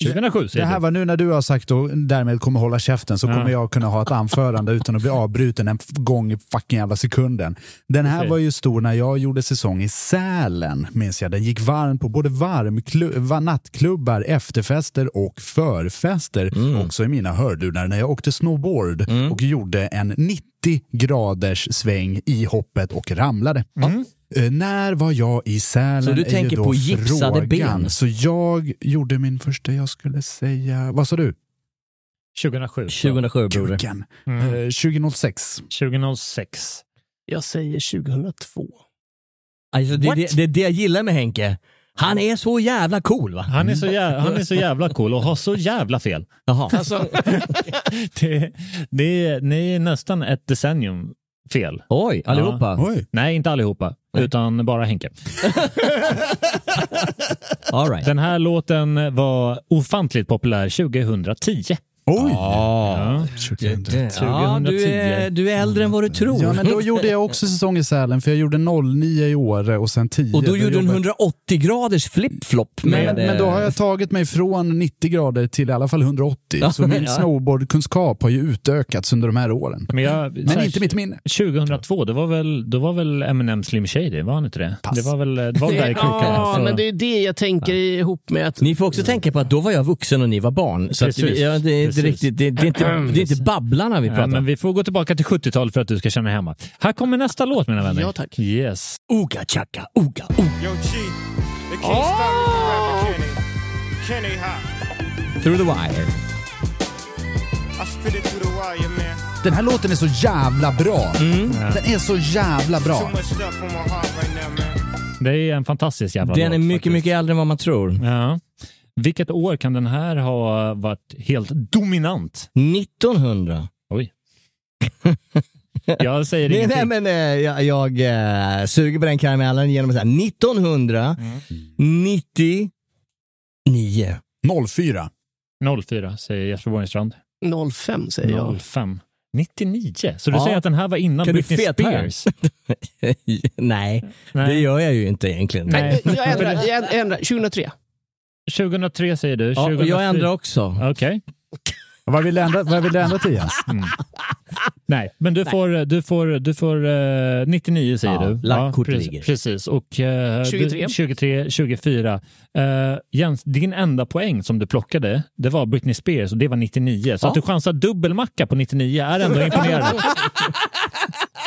Speaker 3: 2007
Speaker 1: Det
Speaker 3: säger
Speaker 1: här
Speaker 3: du.
Speaker 1: var nu när du har sagt och därmed kommer hålla käften så
Speaker 3: Ja.
Speaker 1: kommer jag kunna ha ett anförande utan att bli avbruten en f- gång i fucking jävla sekunden. Den här
Speaker 3: Precis.
Speaker 1: var ju stor när jag gjorde säsong i Sälen, minns jag. Den gick varm på både varmklu- va- nattklubbar, efterfester och förfester. Också i mina hörlurar när jag åkte snowboard och gjorde en 90 graders sväng i hoppet och ramlade. Eh, när var jag i Sälen?
Speaker 2: Så du
Speaker 1: är ju
Speaker 2: tänker
Speaker 1: då
Speaker 2: på gipsade
Speaker 1: frågan.
Speaker 2: ben?
Speaker 1: Så jag gjorde min första, jag skulle säga, vad sa du?
Speaker 3: 2007.
Speaker 2: 2007 broder.
Speaker 1: Kuken. Eh, 2006.
Speaker 3: 2006.
Speaker 4: Jag säger 2002.
Speaker 2: Alltså, det,
Speaker 3: What?
Speaker 2: Alltså, det, det är det jag gillar med Henke. Han är så jävla cool va? Mm.
Speaker 3: Han är, så jävla, han är så jävla cool och har så jävla fel.
Speaker 2: Jaha.
Speaker 1: Alltså,
Speaker 3: Det, det är, ni är nästan ett decennium fel.
Speaker 2: Oj, allihopa.
Speaker 1: Oj.
Speaker 3: Nej, inte allihopa, utan bara Henke.
Speaker 2: All right.
Speaker 3: Den här låten var ofantligt populär 2010.
Speaker 1: Oj!
Speaker 3: Ja.
Speaker 2: Ja, du är, du är äldre än vad du tror.
Speaker 1: Ja, men då gjorde jag också säsong i Sälen, för jag gjorde 09 i Åre och sen 10.
Speaker 2: Och då gjorde du en
Speaker 1: jobbade-
Speaker 2: 180 graders flip-flop.
Speaker 1: men,
Speaker 2: med,
Speaker 3: eh,
Speaker 1: men då har jag tagit mig från 90 grader till i alla fall 180. Så min
Speaker 2: Ja.
Speaker 1: snowboardkunskap har ju utökats under de här åren.
Speaker 3: Men, jag, så
Speaker 1: Men
Speaker 3: här,
Speaker 1: inte mitt minne.
Speaker 3: 2002, det var väl, då var väl Eminem Slim Shady, var han inte det? Det var väl det var väl där i krokarna.
Speaker 4: Ja,
Speaker 3: Så-
Speaker 4: men det är det jag tänker ihop med att...
Speaker 2: Ni får också tänka på att då var jag vuxen och ni var barn. Så att,
Speaker 3: Precis.
Speaker 2: ja, det, är inte
Speaker 3: Precis.
Speaker 2: riktigt, det, det, är inte, det är inte Babblarna vi
Speaker 3: Ja,
Speaker 2: pratar
Speaker 3: men
Speaker 2: om.
Speaker 3: vi får gå tillbaka till 70-talet för att du ska känna dig hemma. Här kommer nästa låt mina vänner.
Speaker 4: Ja, tack.
Speaker 3: Yes.
Speaker 2: Oga chaka, oga, oga.
Speaker 6: Yo, G, the King
Speaker 2: Ah!
Speaker 6: oh! Kenny. Kenny hot.
Speaker 2: Through the
Speaker 6: I
Speaker 2: wire.
Speaker 6: spit it through the wire, man.
Speaker 1: Den här låten är så jävla bra.
Speaker 4: Mm.
Speaker 1: Den är så jävla bra.
Speaker 6: much stuff on my heart right now, man.
Speaker 3: Det är en fantastisk jävla
Speaker 2: Den
Speaker 3: låt.
Speaker 2: är mycket,
Speaker 3: faktiskt.
Speaker 2: mycket äldre än vad man tror.
Speaker 3: Ja. Vilket år kan den här ha varit helt dominant?
Speaker 2: 1900.
Speaker 3: Oj. Jag säger
Speaker 2: Nej,
Speaker 3: ingenting.
Speaker 2: nej, men eh, jag, jag eh, suger på den karamellen genom att säga 1999.
Speaker 1: 04.
Speaker 3: 04 säger Jesper Borgenstrand.
Speaker 4: 05 säger jag.
Speaker 3: 05. 99. Så du
Speaker 2: Ja.
Speaker 3: säger att den här var innan
Speaker 2: Kan du
Speaker 3: Britney
Speaker 2: feta här?
Speaker 3: Spears?
Speaker 2: nej, det
Speaker 3: Nej.
Speaker 2: gör jag ju inte egentligen.
Speaker 3: Nej.
Speaker 4: Jag ändrar, jag ändrar. 2003.
Speaker 3: 2003 säger du.
Speaker 2: Ja, och
Speaker 3: 2004.
Speaker 2: jag ändrar också.
Speaker 3: Okej. Mm.
Speaker 1: Vad vill du ändra, vad vill du ändra till Jens?
Speaker 3: Nej, men du får, du får, du får eh, 99 säger
Speaker 2: Ja,
Speaker 3: du.
Speaker 2: lackkortet
Speaker 3: precis,
Speaker 2: ligger.
Speaker 3: Precis, och eh, du-
Speaker 4: 23.
Speaker 3: 23, 24. Eh, Jens, din enda poäng som du plockade, det var Britney Spears och det var 99. Så
Speaker 2: Ja.
Speaker 3: att du chansar dubbelmacka på 99 är ändå imponerande.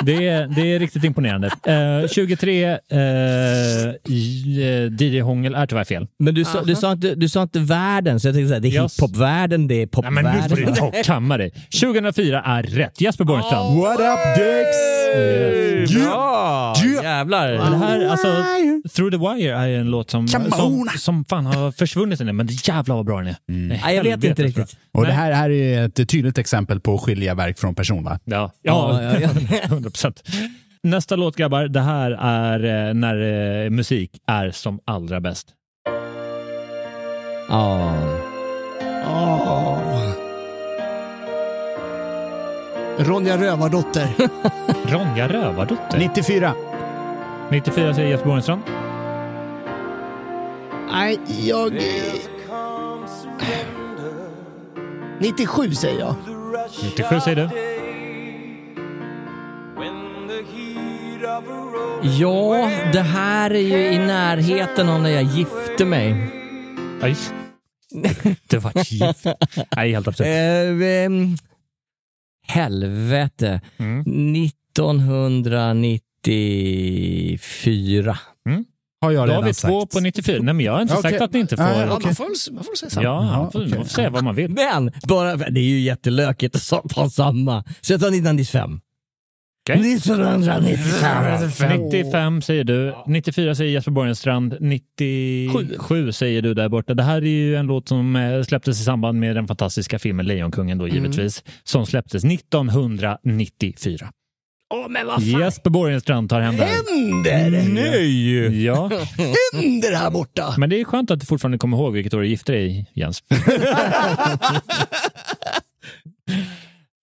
Speaker 3: det, är, det är riktigt imponerande. Eh, 23, eh, i- eh, DJ Hångel är tyvärr fel.
Speaker 2: Men du sa, du, sa inte, du sa inte världen, så jag tänkte säga det är
Speaker 3: Yes.
Speaker 2: hiphopvärlden, det är
Speaker 3: Nej, men nu får du
Speaker 2: popvärlden.
Speaker 3: ta och kamma dig. 2004 är rätt. Jesper Borgenstrand.
Speaker 2: Oh.
Speaker 1: What up dicks?
Speaker 3: Yes.
Speaker 2: Bra!
Speaker 1: Ja.
Speaker 2: Jävlar!
Speaker 3: Det här, alltså, Through the Wire är en låt som, som,
Speaker 1: Kameruna.
Speaker 3: som fan har försvunnit nu, men jävlar vad bra den är. Nej,
Speaker 2: Mm. Nej, jag vet inte
Speaker 3: helvetes bra.
Speaker 2: riktigt.
Speaker 1: Och det här, här är ett tydligt exempel på att skilja verk från person va?
Speaker 3: Ja, ja,
Speaker 2: Ja, ja,
Speaker 3: 100 procent. Nästa låt grabbar, det här är eh, när eh, musik är som allra bäst.
Speaker 2: Ja.
Speaker 4: Ronja Rövardotter.
Speaker 3: Ronja Rövardotter.
Speaker 1: 94.
Speaker 3: 94 säger Jesper Borgenstrand.
Speaker 4: Nej, jag... eh, 97 säger jag.
Speaker 3: 97 säger du.
Speaker 2: ja, det här är ju i närheten av när jag gifte mig.
Speaker 3: Ja, just. Det var gift. Nej, helt absurt.
Speaker 2: Eh, ehm, helvete.
Speaker 3: Mm.
Speaker 2: 1994.
Speaker 1: Har jag
Speaker 3: Mm. Då har
Speaker 1: redan
Speaker 3: vi
Speaker 1: sagt.
Speaker 3: två på 94. Nej, men jag har inte sagt
Speaker 1: Okej.
Speaker 3: att ni inte får.
Speaker 1: Nej,
Speaker 4: Ja,
Speaker 1: okej.
Speaker 4: man, får, väl- man får väl säga samma.
Speaker 3: Ja, man
Speaker 1: Ja,
Speaker 3: får, man
Speaker 1: okej.
Speaker 3: får säga vad man vill.
Speaker 2: Men, bara, det är ju jättelökigt att sa- ta samma. Så jag tar 1995.
Speaker 3: Okej.
Speaker 2: 1995.
Speaker 3: 95 säger du, 94 säger Jesper Borgenstrand, 97 säger du där borta. Det här är ju en låt som eh, släpptes i samband med den fantastiska filmen Lejonkungen då givetvis, som släpptes 1994.
Speaker 4: Åh, men vad fan
Speaker 3: Jesper Borgenstrand tar hem det här.
Speaker 4: händer?
Speaker 2: Nej!
Speaker 3: Ja,
Speaker 4: Händer här borta?
Speaker 3: men det är skönt att du fortfarande kommer ihåg vilket år du gifte dig, Jens.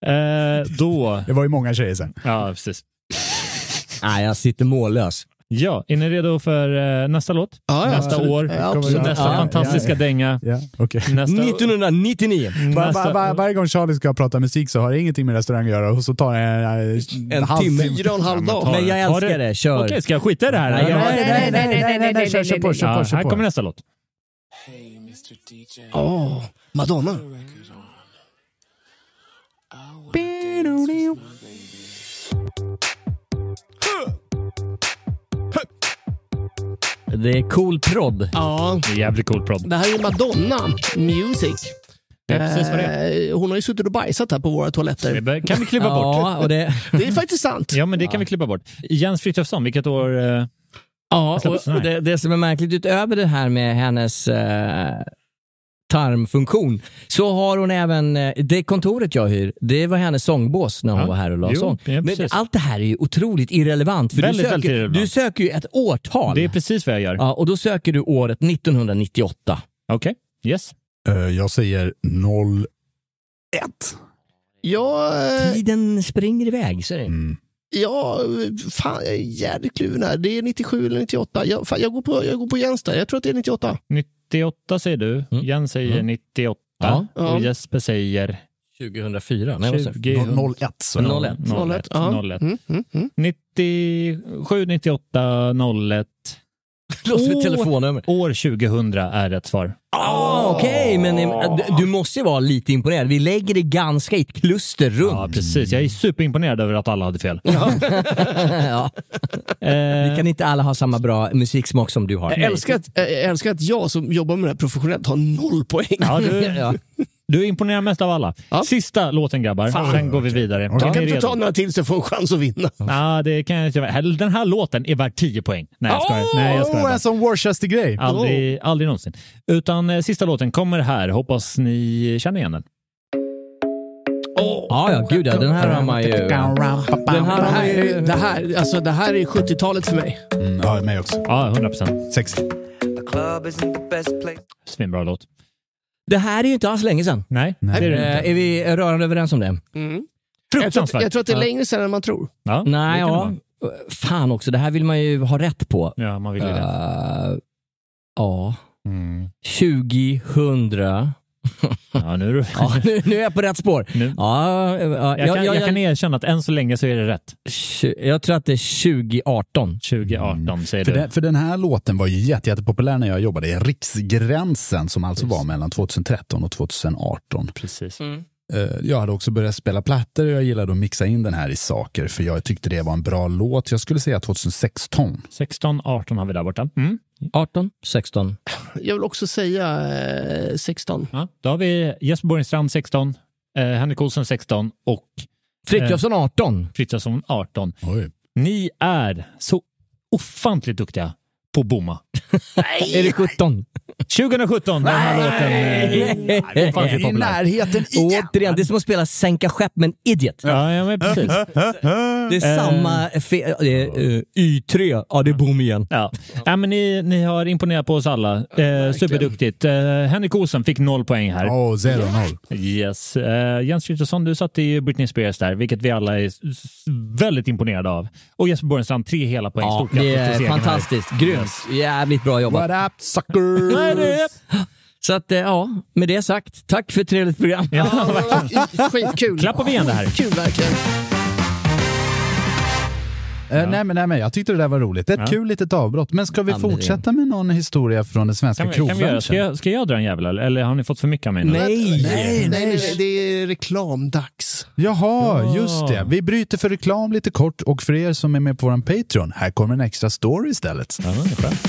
Speaker 3: eh, då,
Speaker 1: Det var ju många tjejer sen.
Speaker 3: ja precis.
Speaker 2: Nej, jag sitter mållös.
Speaker 3: Ja, är ni redo för eh, nästa låt?
Speaker 4: Ja, ja,
Speaker 3: nästa
Speaker 4: absolut.
Speaker 3: år,
Speaker 4: Ja, absolut.
Speaker 3: nästa
Speaker 2: Ja, ja,
Speaker 3: fantastiska dänga.
Speaker 1: Ja, okej.
Speaker 3: Nästa,
Speaker 2: 1999.
Speaker 1: Va-
Speaker 3: nästa,
Speaker 1: va- va- varje gång Charlie ska prata musik så har det ingenting med restaurang att göra och så tar eh, det en,
Speaker 2: En timme.
Speaker 4: Fyra och en halv dag.
Speaker 2: Men jag
Speaker 3: Har du-
Speaker 2: älskar det. Kör.
Speaker 3: Okej, ska jag skita i det här?
Speaker 2: Nej,
Speaker 3: eller?
Speaker 2: jag- Nej, nej, nej,
Speaker 1: nej, nej, nej, kör, kör på, kör
Speaker 3: Ja,
Speaker 1: på, kör
Speaker 3: här
Speaker 1: på.
Speaker 3: kommer nästa låt.
Speaker 4: Åh, Madonna.
Speaker 2: Det är cool prodd.
Speaker 4: Ja,
Speaker 3: Det är jävligt cool prod.
Speaker 4: det här är ju Madonna Music.
Speaker 3: Det är precis vad det är.
Speaker 4: Eh, Hon har ju suttit och bajsat här på våra
Speaker 3: Det
Speaker 4: toaletter.
Speaker 3: bör- kan vi klippa bort.
Speaker 2: Ja, och det...
Speaker 4: Det är faktiskt sant.
Speaker 3: Ja, men det kan vi klippa bort. Jens Frithiofsson, vilket år eh,
Speaker 2: Ja,
Speaker 3: släpptes
Speaker 2: och,
Speaker 3: den
Speaker 2: och
Speaker 3: här.
Speaker 2: det, det som är märkligt utöver det här med hennes eh, tarmfunktion, så har hon även, eh, det kontoret jag hyr, det var hennes sångbås när hon
Speaker 3: Ja.
Speaker 2: var här och la
Speaker 3: Jo,
Speaker 2: sång.
Speaker 3: ja,
Speaker 2: Men
Speaker 3: precis.
Speaker 2: allt det här är ju otroligt irrelevant, för
Speaker 3: Väldigt,
Speaker 2: du, söker,
Speaker 3: väldigt irrelevant.
Speaker 2: du söker ju ett årtal.
Speaker 3: Det är precis vad jag gör.
Speaker 2: Ja, och då söker du året 1998.
Speaker 3: Okej, yes.
Speaker 1: Eh, Jag säger 01.
Speaker 4: Jag, eh,
Speaker 2: Tiden springer iväg, så är det.
Speaker 1: Mm.
Speaker 4: Ja, fan, jag är jävligt kluven här. Det är 97 eller 98. Jag, fan, jag, går, på, jag går på Jens där. Jag tror att det är 98.
Speaker 3: 98 säger du,
Speaker 2: Mm.
Speaker 3: Jens säger
Speaker 2: Mm.
Speaker 3: 98
Speaker 2: Ja.
Speaker 4: Ja.
Speaker 3: och Jesper säger
Speaker 2: 2004? Nej, vad sa jag?
Speaker 3: 20...
Speaker 1: No- 01. Så.
Speaker 2: 01.
Speaker 3: 01.
Speaker 4: Ja.
Speaker 3: 01.
Speaker 4: Mm, mm, mm.
Speaker 3: 97, 98, 01.
Speaker 2: Låt mig
Speaker 3: Åh.
Speaker 2: telefonnummer.
Speaker 3: År 2000 är rätt svar.
Speaker 2: Ah, Okej, men
Speaker 3: Ah.
Speaker 2: eh, du- du måste ju vara lite imponerad. Vi lägger det ganska i ett
Speaker 3: Ja,
Speaker 2: kluster runt. Mm.
Speaker 3: precis. Jag är superimponerad över att alla hade fel. Eh.
Speaker 2: ja. Vi kan inte alla ha samma bra musiksmak som du har.
Speaker 4: Jag älskar, att, eh, jag älskar att jag som jobbar med det här professionellt har noll poäng.
Speaker 3: Ja, du,
Speaker 2: Ja.
Speaker 3: du imponerar mest av alla.
Speaker 4: Ja.
Speaker 3: Sista låten grabbar,
Speaker 4: Fan.
Speaker 3: sen går vi vidare.
Speaker 4: Jag
Speaker 3: Är
Speaker 4: kan
Speaker 3: ni
Speaker 4: inte
Speaker 3: redo?
Speaker 4: ta några till så jag får en chans att vinna.
Speaker 3: Ja, det kan jag inte göra. Hell, Den här låten är värd 10 poäng. Nej, jag skojar. Nej, jag skojar.
Speaker 1: Oh,
Speaker 3: bara.
Speaker 1: en sån Worcester-grej.
Speaker 3: Aldrig, aldrig någonsin. Utan eh, sista låten kommer här. Hoppas ni känner igen den.
Speaker 2: Ja, ja, gud ja. Den här har man ju... Den här
Speaker 4: Det
Speaker 2: har man
Speaker 4: här,
Speaker 2: ju...
Speaker 4: är- det här, alltså, det här är 70-talet för mig.
Speaker 1: Mm, ja, jag är med också.
Speaker 3: Ja, 100 procent.
Speaker 1: Sexy.
Speaker 3: Svinbra låt.
Speaker 2: Det här är ju inte alls länge sedan.
Speaker 3: Nej, det är det inte.
Speaker 2: Eh, Är vi rörande överens om det?
Speaker 4: Mm. Jag tror, att-
Speaker 3: Fruktansvärt.
Speaker 4: jag tror att det är längre sedan än man tror.
Speaker 3: Ja,
Speaker 2: Nej,
Speaker 3: det kan det
Speaker 2: ja.
Speaker 3: vara.
Speaker 2: Fan också, det här vill man ju ha rätt på.
Speaker 3: Ja, man vill ju det.
Speaker 2: Eh, Ja.
Speaker 3: Mm.
Speaker 2: 2000.
Speaker 3: Ja, nu är du...
Speaker 2: Ja, nu, nu är jag på rätt spår.
Speaker 3: Nu.
Speaker 2: Ja, eh, ja,
Speaker 3: Jag, kan,
Speaker 2: jag,
Speaker 3: jag,
Speaker 2: jag,
Speaker 3: kan erkänna att än så länge så är det rätt.
Speaker 2: tju- jag tror att det är 2018.
Speaker 3: 2018
Speaker 1: Mm. För,
Speaker 3: säger du.
Speaker 1: den, för den här låten var ju jätte, jättepopulär när jag jobbade i Riksgränsen som alltså var mellan 2013 och 2018.
Speaker 3: Precis.
Speaker 2: Mm.
Speaker 1: Eh, Jag hade också börjat spela plattor och jag gillade att mixa in den här i saker för jag tyckte det var en bra låt. Jag skulle säga 2016.
Speaker 3: 16, 18 har vi där borta. Mm.
Speaker 2: 18, 16.
Speaker 4: Jag vill också säga eh, 16.
Speaker 3: Ja, då har vi Jesper Borgenstrand 16, eh, Henrik Olsson 16 och eh,
Speaker 2: Frithiofsson 18.
Speaker 3: Frithiofsson 18.
Speaker 1: Oj.
Speaker 3: Ni är så ofantligt duktiga på att bomma.
Speaker 2: Är det 17?
Speaker 3: 2017, den här låten. eh,
Speaker 2: Nej.
Speaker 3: ofantligt
Speaker 1: I
Speaker 3: populär.
Speaker 1: närheten igen!
Speaker 2: Återigen, det är som att spela sänka skepp med en idiot.
Speaker 3: Ja, ja, men precis.
Speaker 2: Det är samma fe- eh, eh, Y3. Ja, det är bom igen.
Speaker 3: Ja. Ja, men ni, ni har imponerat på oss alla. Eh, superduktigt. Eh, Henrik Olsen fick noll poäng här.
Speaker 1: Åh, zero noll.
Speaker 3: Yes. Eh, Jens Frithiofsson, du satte ju Britney Spears där, vilket vi alla är s- s- väldigt imponerade av. Och Jesper Borgenstrand, tre hela poäng.
Speaker 2: Ja,
Speaker 3: Stort
Speaker 2: det
Speaker 3: grattis till
Speaker 2: är
Speaker 3: segern här.
Speaker 2: fantastiskt. Grymt. Jävligt bra jobbat.
Speaker 1: What up suckers?
Speaker 2: Så att, eh, ja, med det sagt, tack för ett trevligt program.
Speaker 3: Ja, verkligen.
Speaker 4: Skitkul.
Speaker 3: Klappar vi igen det här?
Speaker 4: Kul verkligen.
Speaker 1: Eh, nej, men, nej, men jag tyckte det där var roligt. Ett
Speaker 3: Ja.
Speaker 1: kul litet avbrott. Men ska vi
Speaker 2: Ja, men det-
Speaker 1: fortsätta med någon historia från den svenska
Speaker 3: Kan vi, kan vi göra? Ska,
Speaker 1: krogbranschen?
Speaker 3: jag, ska jag dra en jävel eller, eller har ni fått för mycket av mig nu?
Speaker 2: Nej.
Speaker 1: Nej,
Speaker 4: Nej,
Speaker 1: nej.
Speaker 4: nej, nej, det är reklamdags.
Speaker 1: Jaha,
Speaker 3: Ja.
Speaker 1: just det. Vi bryter för reklam lite kort och för er som är med på vår Patreon, här kommer en extra story istället.
Speaker 3: Ja, det är skönt.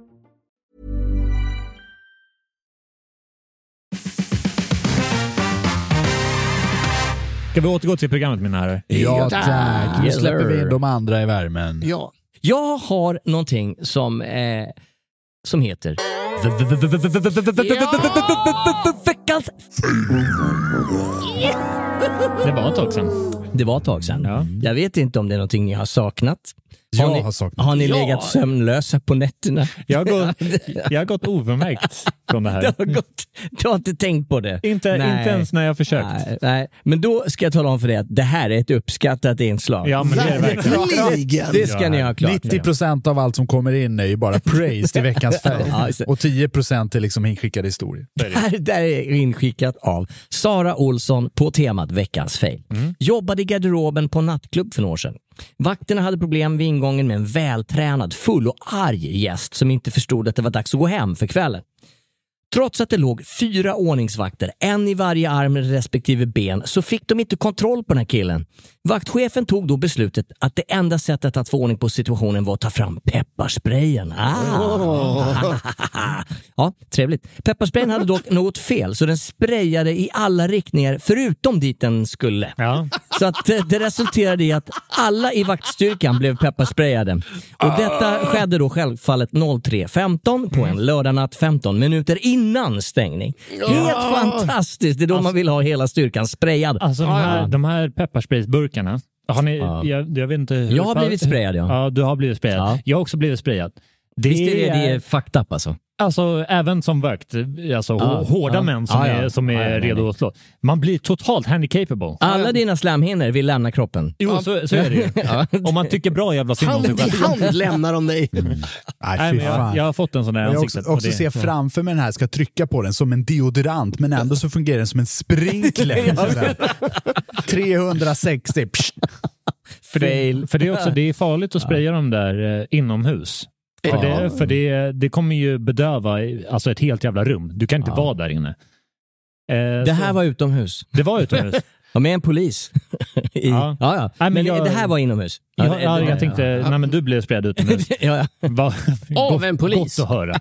Speaker 3: Ska vi återgå till programmet mina herrar?
Speaker 1: Ja tack! Nu
Speaker 2: Yes,
Speaker 1: släpper vi
Speaker 2: sir.
Speaker 1: in de andra i värmen.
Speaker 4: Ja.
Speaker 2: Jag har någonting som, eh, som heter... Veckans...
Speaker 3: Det var ett tag sedan.
Speaker 2: Det var ett tag sedan.
Speaker 3: Ja.
Speaker 2: Jag vet inte om det är någonting ni har saknat.
Speaker 1: Jag
Speaker 2: ni,
Speaker 1: har saknat.
Speaker 2: Har ni
Speaker 4: Ja.
Speaker 2: legat sömnlösa på nätterna?
Speaker 3: Jag har gått, jag har gått oförmärkt från det här.
Speaker 2: Det har gått, du har inte tänkt på det?
Speaker 3: Inte,
Speaker 2: Nej.
Speaker 3: inte ens när jag försökt.
Speaker 2: Nej, nej, men då ska jag tala om för dig att det här är ett uppskattat inslag.
Speaker 3: Ja, men det är det verkligen.
Speaker 4: Verkligen!
Speaker 2: Det ska
Speaker 3: Ja.
Speaker 2: ni ha klart.
Speaker 1: 90% av allt som kommer in är ju bara praise till veckans färg.
Speaker 2: Ja, just det.
Speaker 1: Och 10% är liksom inskickade historier.
Speaker 2: Det här, det här är inskickat av Sara Olsson på temat Veckans fail. Jobbade i garderoben på en nattklubb för några år sedan. Vakterna hade problem vid ingången med en vältränad, full och arg gäst som inte förstod att det var dags att gå hem för kvällen. Trots att det låg fyra ordningsvakter, en i varje arm respektive ben, så fick de inte kontroll på den här killen. Vaktchefen tog då beslutet att det enda sättet att få ordning på situationen var att ta fram pepparsprayen. Ah. ja, trevligt. Pepparsprayen hade dock något fel, så den sprayade i alla riktningar förutom dit den skulle.
Speaker 3: Ja.
Speaker 2: Så att eh, det resulterade i att alla i vaktstyrkan blev pepparsprayade. Och detta skedde då självfallet 03.15 på en lördagnatt 15 minuter innan stängning. Helt fantastiskt! Det är då man vill ha hela styrkan sprayad.
Speaker 3: Alltså de här, de här pepparspraysburkarna. Har ni,
Speaker 2: Ja.
Speaker 3: jag, jag vet inte hur
Speaker 2: Jag har blivit sprayad, ja.
Speaker 3: Ja, du har blivit sprayad.
Speaker 2: Ja.
Speaker 3: Jag har också blivit sprayad. Det
Speaker 2: Visst är det, det är fucked up alltså?
Speaker 3: Alltså även som vakt, alltså
Speaker 2: Ja,
Speaker 3: hårda
Speaker 2: ja.
Speaker 3: män som
Speaker 2: Ja, ja.
Speaker 3: är, som är
Speaker 2: Ja, ja, nej,
Speaker 3: redo
Speaker 2: nej.
Speaker 3: att slå. Man blir totalt handicapable.
Speaker 2: Alla dina slamhinnor vill lämna kroppen.
Speaker 3: Jo, så, så är det ju. Om man tycker bra jävla synd om sig
Speaker 4: Hand i
Speaker 3: själv.
Speaker 4: hand lämnar de dig.
Speaker 1: Nej,
Speaker 3: Nej,
Speaker 1: fy
Speaker 3: men
Speaker 1: fan.
Speaker 3: jag, jag har fått en sån där i
Speaker 1: Jag har
Speaker 3: ansiktet.
Speaker 1: också,
Speaker 3: och
Speaker 1: också
Speaker 3: det-
Speaker 1: ser framför mig den här, ska trycka på den som en deodorant, men ändå så fungerar den som en sprinkler. Sådär. 360. Psst.
Speaker 3: För det, för det är också det är farligt att spraya dem där eh, inomhus. För, det, för det, det kommer ju bedöva i- alltså ett helt jävla rum. Du kan inte vara där inne. Eh,
Speaker 2: Det
Speaker 3: så-
Speaker 2: här var utomhus.
Speaker 3: det var utomhus.
Speaker 2: Ja, med en polis. I, ja.
Speaker 3: Ja.
Speaker 2: Ja,
Speaker 3: Nej,
Speaker 2: Men,
Speaker 3: men jag-
Speaker 2: det här var inomhus.
Speaker 3: Ja,
Speaker 2: det-
Speaker 3: ja,
Speaker 2: det-
Speaker 3: jag tänkte, nej men du blev sprayad utomhus.
Speaker 2: Ja, ja.
Speaker 3: Va,
Speaker 4: Av
Speaker 3: gott-
Speaker 4: en polis.
Speaker 3: Gott att höra.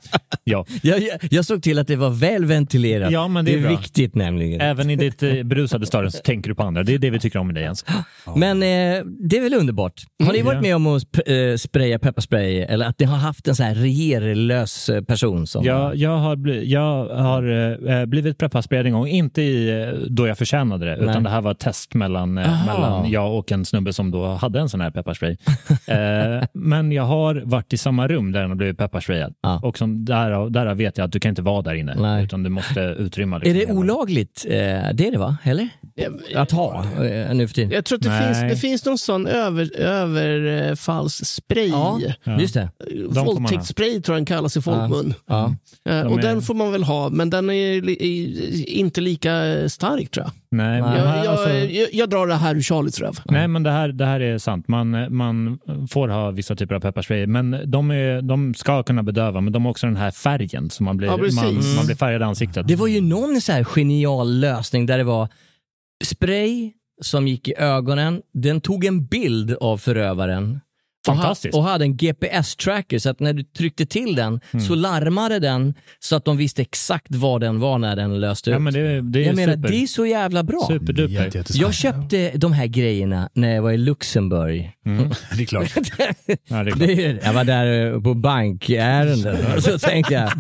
Speaker 3: Ja.
Speaker 2: Jag, jag, jag såg till att det var väl ventilerat.
Speaker 3: Ja, men det är bra.
Speaker 2: viktigt nämligen.
Speaker 3: Även i ditt eh, berusade stadium så tänker du på andra. Det är det vi tycker om med dig Jens.
Speaker 2: Men eh, det är väl underbart. Har ni varit med om att sp- eh, spraya pepparspray eller att ni har haft en sån här regerlös eh, person? Som,
Speaker 3: Jag, jag har, bli, jag har eh, blivit prepparsprayad en gång, inte i, eh, då jag förtjänade det,
Speaker 2: Nej.
Speaker 3: utan det här var ett test mellan, eh,
Speaker 2: Aha.
Speaker 3: mellan jag och en snubbe som då hade en sån här pepparspray. eh, men jag har varit i samma rum där den har blivit pepparsprayad.
Speaker 2: Ja.
Speaker 3: Och som, därav, därav vet jag att du kan inte vara där inne,
Speaker 2: Nej.
Speaker 3: utan du måste utrymma.
Speaker 2: Är
Speaker 3: liksom
Speaker 2: det
Speaker 3: hela-
Speaker 2: olagligt? Eh, det är det va? Eller? Att ha eh, nu för tiden?
Speaker 4: Jag tror att det,
Speaker 3: Nej.
Speaker 4: finns, det finns någon sån över, överfallsspray.
Speaker 2: Ja,
Speaker 3: Ja.
Speaker 2: just det.
Speaker 3: man ha.
Speaker 4: Våldtäktsspray tror jag den kallas i folkmun.
Speaker 2: Ja.
Speaker 4: Eh,
Speaker 3: De
Speaker 4: och
Speaker 3: är-
Speaker 4: den får man väl ha, men den är li- i- inte lika eh, stark tror jag.
Speaker 3: Nej, men
Speaker 2: Nej.
Speaker 3: det här,
Speaker 4: Jag, jag,
Speaker 3: alltså-
Speaker 4: jag, jag drar det här ur Charlies röv.
Speaker 3: Nej, men det här, det här är sant. Man, man får ha vissa typer av pepparspray, men de, är, de ska kunna bedöva, men de har också den här färgen, så man blir,
Speaker 4: Ja, precis.
Speaker 3: man, man blir färgad i ansiktet.
Speaker 2: Det var ju någon så här genial lösning där det var spray som gick i ögonen, den tog en bild av förövaren
Speaker 3: Fantastiskt.
Speaker 2: Och, ha, och hade en GPS-tracker så att när du tryckte till den
Speaker 3: Mm.
Speaker 2: så larmade den så att de visste exakt var den var när den löste
Speaker 3: Ja,
Speaker 2: ut.
Speaker 3: men det- det är
Speaker 2: jag menar,
Speaker 3: super.
Speaker 2: det är så jävla bra.
Speaker 3: Superduper. Jätte, jättesmart.
Speaker 2: jag köpte de här grejerna när jag var i Luxemburg.
Speaker 3: Mm.
Speaker 1: Det är klart.
Speaker 4: Mm.
Speaker 3: det är
Speaker 2: klart. jag var där eh, på bankärenden och så tänkte jag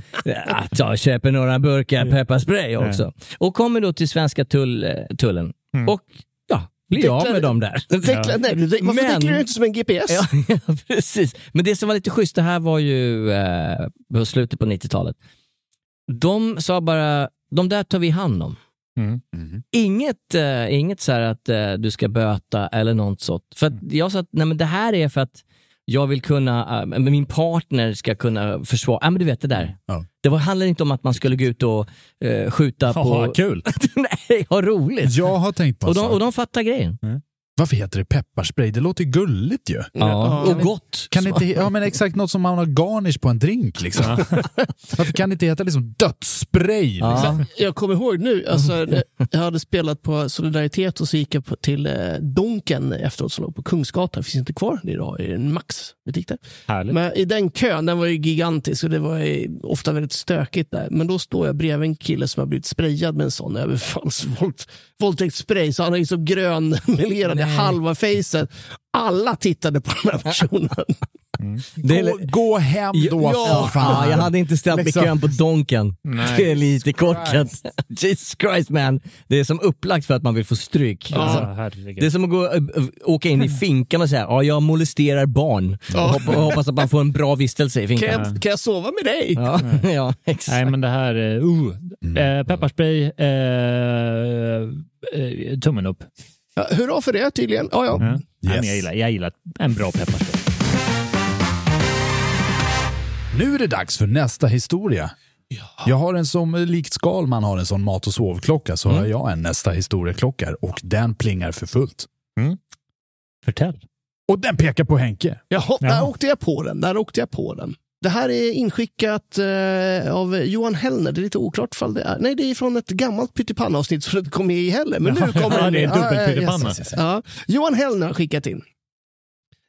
Speaker 2: att jag köper några burkar pepparspray också. Och kommer då till svenska tull, eh, tullen och ja, blir av
Speaker 4: Deklar-
Speaker 2: med dem där.
Speaker 4: Deklar- nej, du- varför deklarerar du inte som en GPS?
Speaker 2: Ja, ja, precis. Men det som var lite schysst, det här var ju eh, på slutet på 90-talet. De sa bara, de där tar vi hand om. Inget, eh, inget så här att eh, du ska böta eller något sånt. För att jag sa att nej, men det här är för att jag vill kunna, eh, men min partner ska kunna försvara, ja men du vet det där. Det var, handlade inte om att man skulle gå ut och eh, skjuta på...
Speaker 1: Haha, kul.
Speaker 2: Nej, ha roligt.
Speaker 1: Jag har tänkt på en
Speaker 2: och de,
Speaker 1: sak.
Speaker 2: och de fattar grejen.
Speaker 1: Varför heter det pepparspray? Det låter ju gulligt ju.
Speaker 2: Ja, och gott.
Speaker 1: Kan det inte, ja, men exakt något som man har garnish på en drink. Liksom. Varför kan det inte heta liksom dödsspray? Liksom?
Speaker 4: Jag kommer ihåg nu, alltså, när jag hade spelat på Solidaritet och så gick jag på, till eh, Donken efteråt som låg på Kungsgatan. finns inte kvar det är idag, i en Max-butik där.
Speaker 3: Härligt.
Speaker 4: Men i den kön, den var ju gigantisk och det var ju ofta väldigt stökigt där. Men då står jag bredvid en kille som har blivit sprayad med en sån överfallsvåld- våldtäktsspray. Så han är ju så grönmelerad i halva facet. Alla tittade på den här personen.
Speaker 1: Gå, gå hem då,
Speaker 2: ja,
Speaker 1: för fan.
Speaker 2: ja, jag hade inte ställt
Speaker 1: Liksom.
Speaker 2: mig i kön på Donken.
Speaker 1: Nej.
Speaker 2: Det är lite korkat. Jesus Christ man. Det är som upplagt för att man vill få stryk.
Speaker 3: Ja,
Speaker 2: Alltså,
Speaker 3: herregud.
Speaker 2: det är som att gå, ö- ö- åka in i finkan och säga ja, jag molesterar barn.
Speaker 4: Ja.
Speaker 2: Och hoppa- och hoppas att man får en bra vistelse i
Speaker 4: Kan
Speaker 2: finkan.
Speaker 4: jag, kan jag sova med dig?
Speaker 2: Ja, ja exakt.
Speaker 3: Nej, men det här... eh, Uh,
Speaker 2: Mm.
Speaker 3: eh, pepparspray, eh, eh, tummen upp.
Speaker 4: Ja, hurra för det tydligen. Ja, ja.
Speaker 3: Ja. Nej, men
Speaker 1: Yes.
Speaker 3: jag, gillar, jag gillar en bra pepparspray.
Speaker 1: Nu är det dags för nästa historia. Jag har en som, likt Skalman har en sån mat och sovklocka, så
Speaker 4: Mm.
Speaker 1: har jag en nästa historia-klocka här, och den plingar för fullt.
Speaker 4: Mm.
Speaker 3: Förtäll.
Speaker 1: Och den pekar på Henke.
Speaker 4: Jaha, där
Speaker 3: Jaha.
Speaker 4: åkte jag på den. Där åkte jag på den. Det här är inskickat eh, av Johan Hellner. Det är lite oklart fall det är. Nej, det är från ett gammalt pyttipanna-avsnitt som inte kom med i heller. Men nu kommer
Speaker 3: Ja,
Speaker 4: den
Speaker 3: det är
Speaker 4: in.
Speaker 3: en dubbel
Speaker 4: Ja, ja, ja,
Speaker 3: pyttipanna.
Speaker 4: yes, yes, yes. Ja. Johan Hellner har skickat in.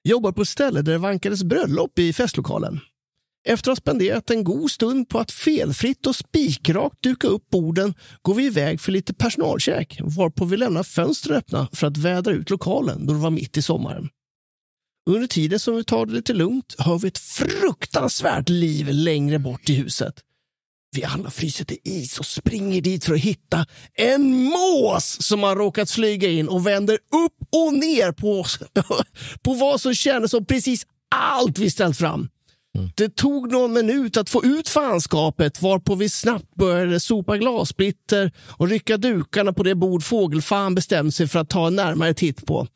Speaker 4: Jobbar på ett ställe där det vankades bröllop i festlokalen. Efter att ha spenderat en god stund på att felfritt och spikrakt duka upp borden går vi iväg för lite personalkäk varpå vi lämnar fönstren öppna för att vädra ut lokalen då det var mitt i sommaren. Under tiden som vi tar det lite lugnt hör vi ett fruktansvärt liv längre bort i huset. Vi alla fryser till is och springer dit för att hitta en mås som har råkat flyga in och vänder upp och ner på oss. på vad som kändes som precis allt vi ställt fram. Mm. Det tog någon minut att få ut fanskapet varpå vi snabbt började sopa glassplitter och rycka dukarna på det bord fågelfan bestämde sig för att ta en närmare titt på.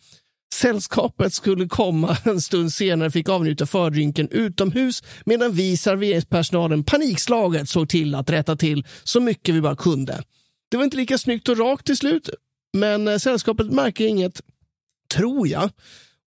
Speaker 4: Sällskapet skulle komma en stund senare fick avnjuta fördrinken utomhus medan vi serveringspersonalen panikslaget såg till att rätta till så mycket vi bara kunde. Det var inte lika snyggt och rakt till slut, men eh, sällskapet märker inget, tror jag.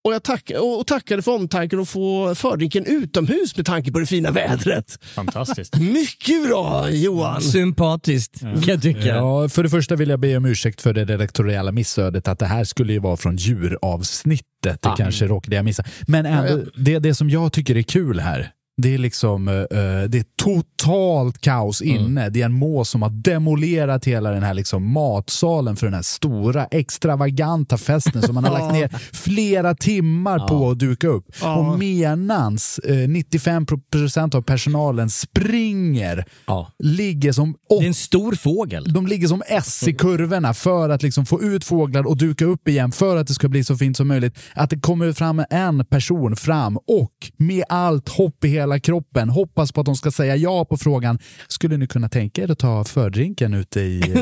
Speaker 4: Och jag tack, och och tackade för omtanken att få fördrinken utomhus med tanke på det fina vädret.
Speaker 3: Fantastiskt.
Speaker 4: Mycket bra Johan!
Speaker 2: Sympatiskt, kan jag tycka.
Speaker 1: Ja, för det första vill jag be om ursäkt för det redaktoriella missödet att det här skulle ju vara från djuravsnittet.
Speaker 2: Ah.
Speaker 1: Det kanske
Speaker 2: Mm.
Speaker 1: råkade jag missa. Men ändå, det, det som jag tycker är kul här, det är liksom eh, eh, det är totalt kaos
Speaker 2: Mm.
Speaker 1: inne. Det är en mås som har demolerat hela den här liksom matsalen för den här stora extravaganta festen som man har lagt ner flera timmar på att duka upp. Och menans eh, 95% av personalen springer,
Speaker 2: Ja.
Speaker 1: ligger som
Speaker 2: Det är en stor fågel.
Speaker 1: de ligger som S i kurvorna för att liksom få ut fåglar och duka upp igen för att det ska bli så fint som möjligt. Att det kommer fram en person fram och med allt hopp i hela kroppen hoppas på att de ska säga ja på frågan. Skulle ni kunna tänka er att ta fördrinken ute i,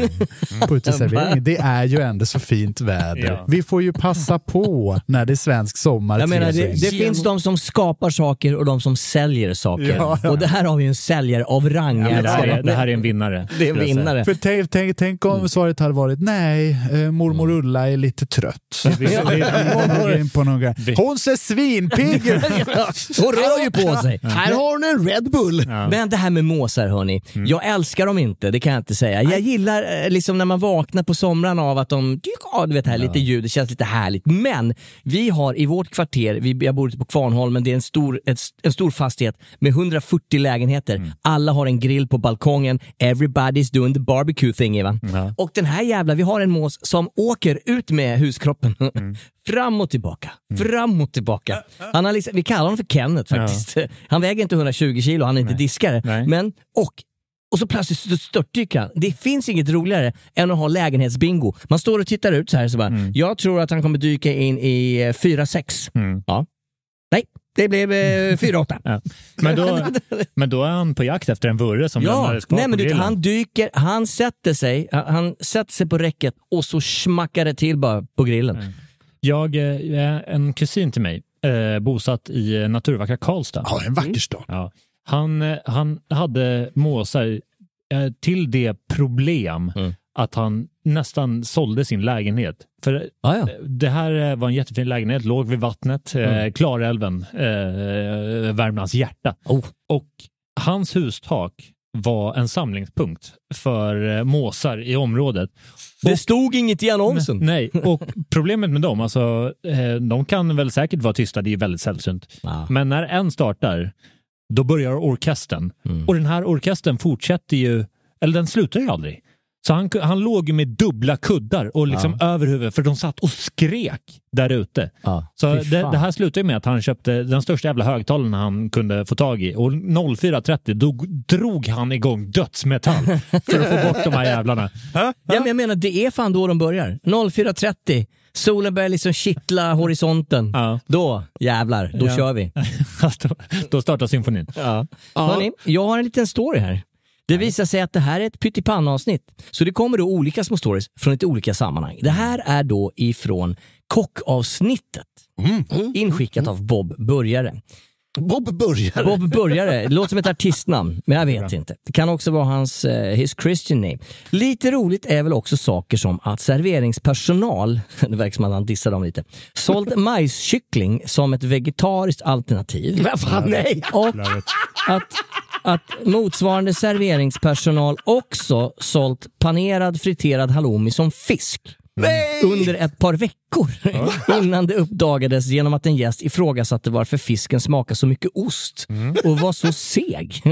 Speaker 1: eh, på uteserveringen? Det är ju ändå så fint väder.
Speaker 3: Ja.
Speaker 1: Vi får ju passa på när det är svensk sommar.
Speaker 2: Jag menar,
Speaker 1: till
Speaker 2: det,
Speaker 1: sig.
Speaker 2: det finns de som skapar saker och de som säljer saker.
Speaker 1: Ja, ja.
Speaker 2: Och det här har vi ju en säljare av rang.
Speaker 3: Ja, men det, här är, det
Speaker 2: Nej,
Speaker 3: här är en vinnare.
Speaker 2: det
Speaker 3: skulle
Speaker 2: är en
Speaker 3: jag säga.
Speaker 2: vinnare.
Speaker 1: För tänk, tänk, tänk
Speaker 2: Mm.
Speaker 1: om svaret hade varit nej, eh, mormor Ulla är lite trött.
Speaker 3: Vi- vi-
Speaker 1: Hon går in på någon grej. Hon ser svinpigg ut!
Speaker 2: Hon rör ju på sig.
Speaker 4: Här har hon en Red Bull.
Speaker 2: Men det här med måsar hörni, jag älskar dem inte, det kan jag inte säga. Jag gillar eh, liksom när man vaknar på somrarna av att de, ja, du vet här lite ljud, det känns lite härligt. Men vi har i vårt kvarter, vi, jag bor ute på Kvarnholmen, det är en stor, ett, en stor fastighet med 140 lägenheter. Alla har en grill på balkongen, everybody's doing the barbecue thing. Va? Och den här jävla, vi har en mås som åker ut med huskroppen.
Speaker 3: Mm.
Speaker 2: Fram och tillbaka, fram och tillbaka. Han har liksom, vi kallar honom för Kenneth faktiskt. Han väger inte 120 kilo, han är inte diskare. Men, och, och så plötsligt så störtdyker han. Det finns inget roligare än att ha lägenhetsbingo. Man står och tittar ut så här, så bara,
Speaker 3: Mm.
Speaker 2: jag tror att han kommer dyka in i eh, 4-6.
Speaker 3: Mm.
Speaker 2: Ja. Nej, det blev eh, 4-8.
Speaker 3: Men då, men då är han på jakt efter en vurre som lämnades kvar
Speaker 2: nej, men
Speaker 3: på
Speaker 2: du,
Speaker 3: grillen.
Speaker 2: han dyker, han sätter sig han- han sätter sig på räcket och så smackar det till bara på grillen.
Speaker 3: Jag, eh, en kusin till mig, eh, bosatt i eh, naturvackra Karlstad.
Speaker 1: Ja, en vacker stad.
Speaker 3: Ja. Han, eh, han hade måsar eh, till det problem
Speaker 2: Mm.
Speaker 3: att han nästan sålde sin lägenhet. För
Speaker 2: Ah, ja.
Speaker 3: eh, det här eh, var en jättefin lägenhet, låg vid vattnet, eh,
Speaker 2: Mm.
Speaker 3: Klarälven, eh, Värmlands hjärta.
Speaker 2: Oh.
Speaker 3: Och hans hustak var en samlingspunkt för eh, måsar i området.
Speaker 2: Det stod inget i annonsen.
Speaker 3: Nej, och problemet med dem, alltså, eh, de kan väl säkert vara tysta, det är väldigt sällsynt.
Speaker 2: Ja.
Speaker 3: Men när en startar, då börjar orkestern.
Speaker 2: Mm.
Speaker 3: Och den här orkestern fortsätter ju, eller den slutar ju aldrig. Så han, han låg ju med dubbla kuddar och liksom över huvudet, för de satt och skrek där ute.
Speaker 2: Ja,
Speaker 3: Så
Speaker 2: fy
Speaker 3: det,
Speaker 2: fan.
Speaker 3: det här slutade ju med att han köpte den största jävla högtalaren han kunde få tag i. Och 04.30 dog, drog han igång dödsmetall för att få bort de här jävlarna.
Speaker 2: Ja, men jag menar, det är fan då de börjar. 04.30, solen börjar liksom kittla horisonten.
Speaker 3: Ja.
Speaker 2: Då jävlar, då
Speaker 3: Ja.
Speaker 2: kör vi.
Speaker 3: då, då startar symfonin.
Speaker 2: Ja. Hörrni, jag har en liten story här. Det visar sig att det här är ett pyttipanna-avsnitt. Så det kommer då olika små stories från lite olika sammanhang. Det här är då ifrån kockavsnittet. Mm. Inskickat av Bob Börjare.
Speaker 4: Mm. Bob börjar.
Speaker 2: Bob Börjare, det låter som ett artistnamn, men jag vet inte. Det kan också vara hans eh, his Christian name. Lite roligt är väl också saker som att serveringspersonal, det verkar som att han dissar dem lite, sålt majskyckling som ett vegetariskt alternativ.
Speaker 4: Men fan, nej.
Speaker 2: Och att, att motsvarande serveringspersonal också sålt panerad friterad halloumi som fisk. Under ett par veckor innan det uppdagades genom att en gäst ifrågasatte varför fisken smakar så mycket ost
Speaker 3: Mm.
Speaker 2: och var så seg.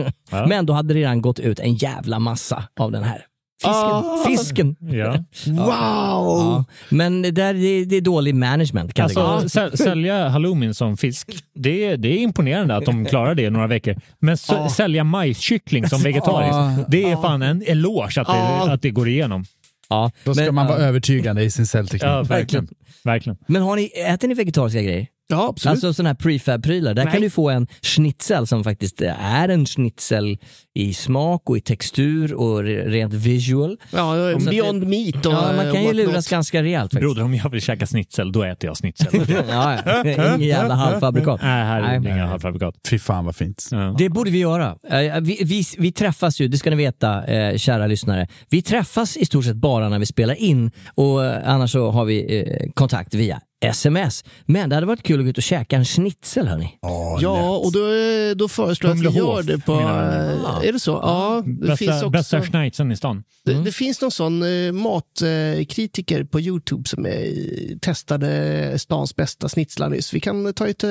Speaker 2: Men då hade det redan gått ut en jävla massa av den här. Fisken. fisken.
Speaker 3: Ah! Ja.
Speaker 4: Wow!
Speaker 2: Ja. Men det, där, det, det är dålig management. Kan jag
Speaker 3: Alltså,
Speaker 2: tycka.
Speaker 3: säl- sälja halloumin som fisk, det är, det är imponerande att de klarar det i några veckor. Men s- sälja majskyckling som vegetariskt, det är fan en eloge att det, att det går igenom.
Speaker 2: ja.
Speaker 1: Då ska
Speaker 2: Men-
Speaker 1: man vara övertygande i sin cellteknik.
Speaker 3: Ja, verkligen. verkligen.
Speaker 2: Men har ni, äter ni vegetariska grejer?
Speaker 4: Ja, absolut.
Speaker 2: Alltså sådana här prefab-prylar. Där kan du få en schnitzel som faktiskt är en schnitzel i smak och i textur och re- rent visual.
Speaker 4: ja, ja,
Speaker 2: Så att
Speaker 4: beyond
Speaker 2: det-
Speaker 4: meat och
Speaker 2: Ja, man
Speaker 4: eh,
Speaker 2: kan ju
Speaker 4: whatnot.
Speaker 2: luras ganska rejält faktiskt.
Speaker 3: Broder, om jag vill käka snitsel, då äter jag snitsel. Nej,
Speaker 2: Ja, ja. Ingen jävla halvfabrikat.
Speaker 3: här är det
Speaker 2: Nej.
Speaker 3: inga halvfabrikat.
Speaker 1: Fy fan vad fint.
Speaker 3: Ja.
Speaker 2: Det borde vi göra. Eh, Vi, vi, vi träffas ju, det ska ni veta eh, kära lyssnare. Vi träffas i stort sett bara när vi spelar in och eh, annars så har vi eh, kontakt via sms. Men det hade varit kul att gå ut och käka en schnitzel hörni.
Speaker 4: Ja, och då, eh, då föreslår jag att vi gör
Speaker 3: Humlehof,
Speaker 4: det på...
Speaker 3: menar du?
Speaker 4: eh, Är det så? Ja, det finns
Speaker 3: Bästa,
Speaker 4: också...
Speaker 3: bästa schnitzeln i stan.
Speaker 4: Det,
Speaker 1: Mm.
Speaker 4: det finns någon sån eh, matkritiker på Youtube som eh, testade stans bästa snitslar nyss. Vi kan ta ett eh,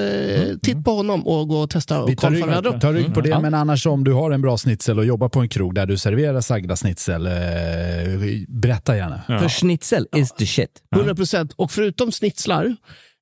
Speaker 4: titt på honom och gå och testa
Speaker 1: Mm. Vi
Speaker 4: och
Speaker 1: tar
Speaker 4: kolla
Speaker 1: rygg,
Speaker 4: varandra.
Speaker 1: tar rygg på
Speaker 2: Mm.
Speaker 1: det, men annars om du har en bra snitsel och jobbar på en krog där du serverar sagda snitsel, eh, berätta gärna.
Speaker 2: För schnitzel is the shit.
Speaker 4: 100 procent. Och förutom snitslar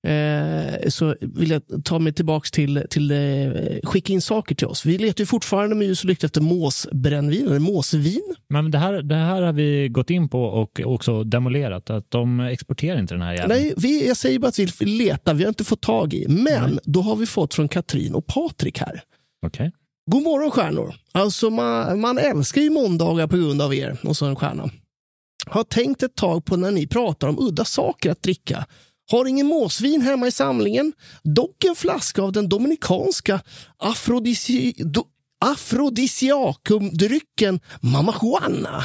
Speaker 4: eh, så vill jag ta mig tillbaka till, till eh, skicka in saker till oss. Vi letar ju fortfarande med ljus och lykta efter måsbrännvin, eller måsvin.
Speaker 3: Men det här, det här har vi gått in på och också demolerat. Att de exporterar inte den här jäveln.
Speaker 4: Nej, vi, jag säger bara att vi letar, vi har inte fått tag i. Men då har vi fått från Katrin och Patrik här.
Speaker 3: Okej.
Speaker 4: God morgon stjärnor! Alltså man, man älskar ju måndagar på grund av er. Och så en stjärna. Har tänkt ett tag på när ni pratar om udda saker att dricka. Har ingen måsvin hemma i samlingen. Dock en flaska av den dominikanska afrodisi, do, afrodisiakumdrycken Mama Juana.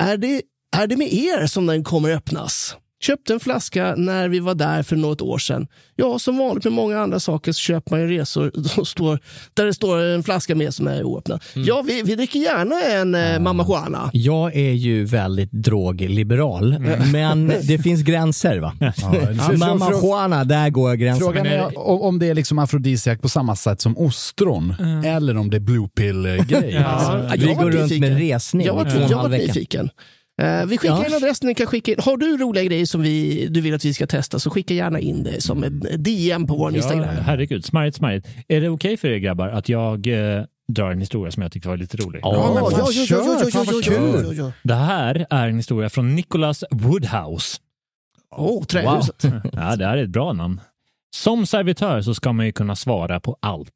Speaker 4: Är, det, är det med er som den kommer öppnas? Köpte en flaska när vi var där för något år sedan. Ja, som vanligt med många andra saker så köper man ju resor som står, där det står en flaska med som är oöppnad. Ja, vi, vi dricker gärna en eh, Mamma Juana.
Speaker 2: Jag är ju väldigt drogliberal,
Speaker 4: Mm.
Speaker 2: men det finns gränser va?
Speaker 1: för-
Speaker 2: Mamma
Speaker 1: för-
Speaker 2: Juana, där går jag gränsen.
Speaker 1: Frågan är om om det är liksom afrodisiak på samma sätt som ostron eller om det är blue pill-grej. Alltså,
Speaker 2: Ja. Ja, Vi jag var går runt nyfiken. med resning
Speaker 4: Jag var,
Speaker 2: i två och en
Speaker 4: jag
Speaker 2: halv
Speaker 4: var
Speaker 2: vecka.
Speaker 4: nyfiken. Eh, vi skickar
Speaker 2: Ja.
Speaker 4: in adressen, ni kan skicka in. Har du roliga grejer som vi, du vill att vi ska testa så skicka gärna in det som en
Speaker 3: Mm.
Speaker 4: DM på vår Instagram.
Speaker 3: herregud. Smarrigt, smarrigt. Är det okej för er grabbar att jag eh, drar en historia som jag tyckte var lite rolig?
Speaker 4: Ja, men fan, Ja, ja, kör. ja, ja, Fan, vad ja, ja, kul. ja, ja.
Speaker 3: Det här är en historia från Nicholas Woodhouse.
Speaker 4: Åh, trähuset.
Speaker 3: ja, det här är ett bra namn. Som servitör så ska man ju kunna svara på allt.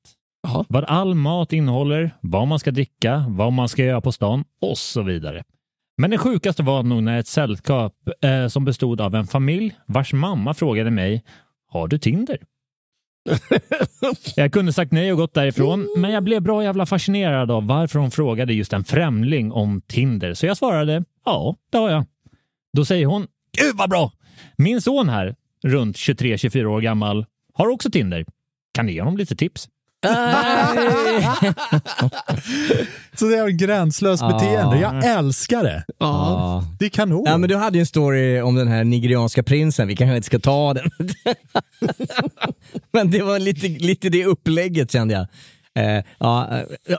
Speaker 3: Vad all mat innehåller, vad man ska dricka, vad man ska göra på stan och så vidare. Men det sjukaste var nog när ett sällskap eh, som bestod av en familj vars mamma frågade mig, har du Tinder? Jag kunde sagt nej och gått därifrån,
Speaker 4: Mm.
Speaker 3: men jag blev bra jävla fascinerad av varför hon frågade just en främling om Tinder, så jag svarade ja, det har jag. Då säger hon, gud vad bra! Min son här, runt 23-24 år gammal, har också Tinder. Kan ni ge honom lite tips?
Speaker 1: Så det är en gränslös
Speaker 2: Ja.
Speaker 1: beteende. Jag älskar det. Det är kanon.
Speaker 2: Ja, men du hade ju en story om den här nigerianska prinsen, vi kanske inte ska ta den. men det var lite, lite det upplägget kände jag. Eh, ja, eh,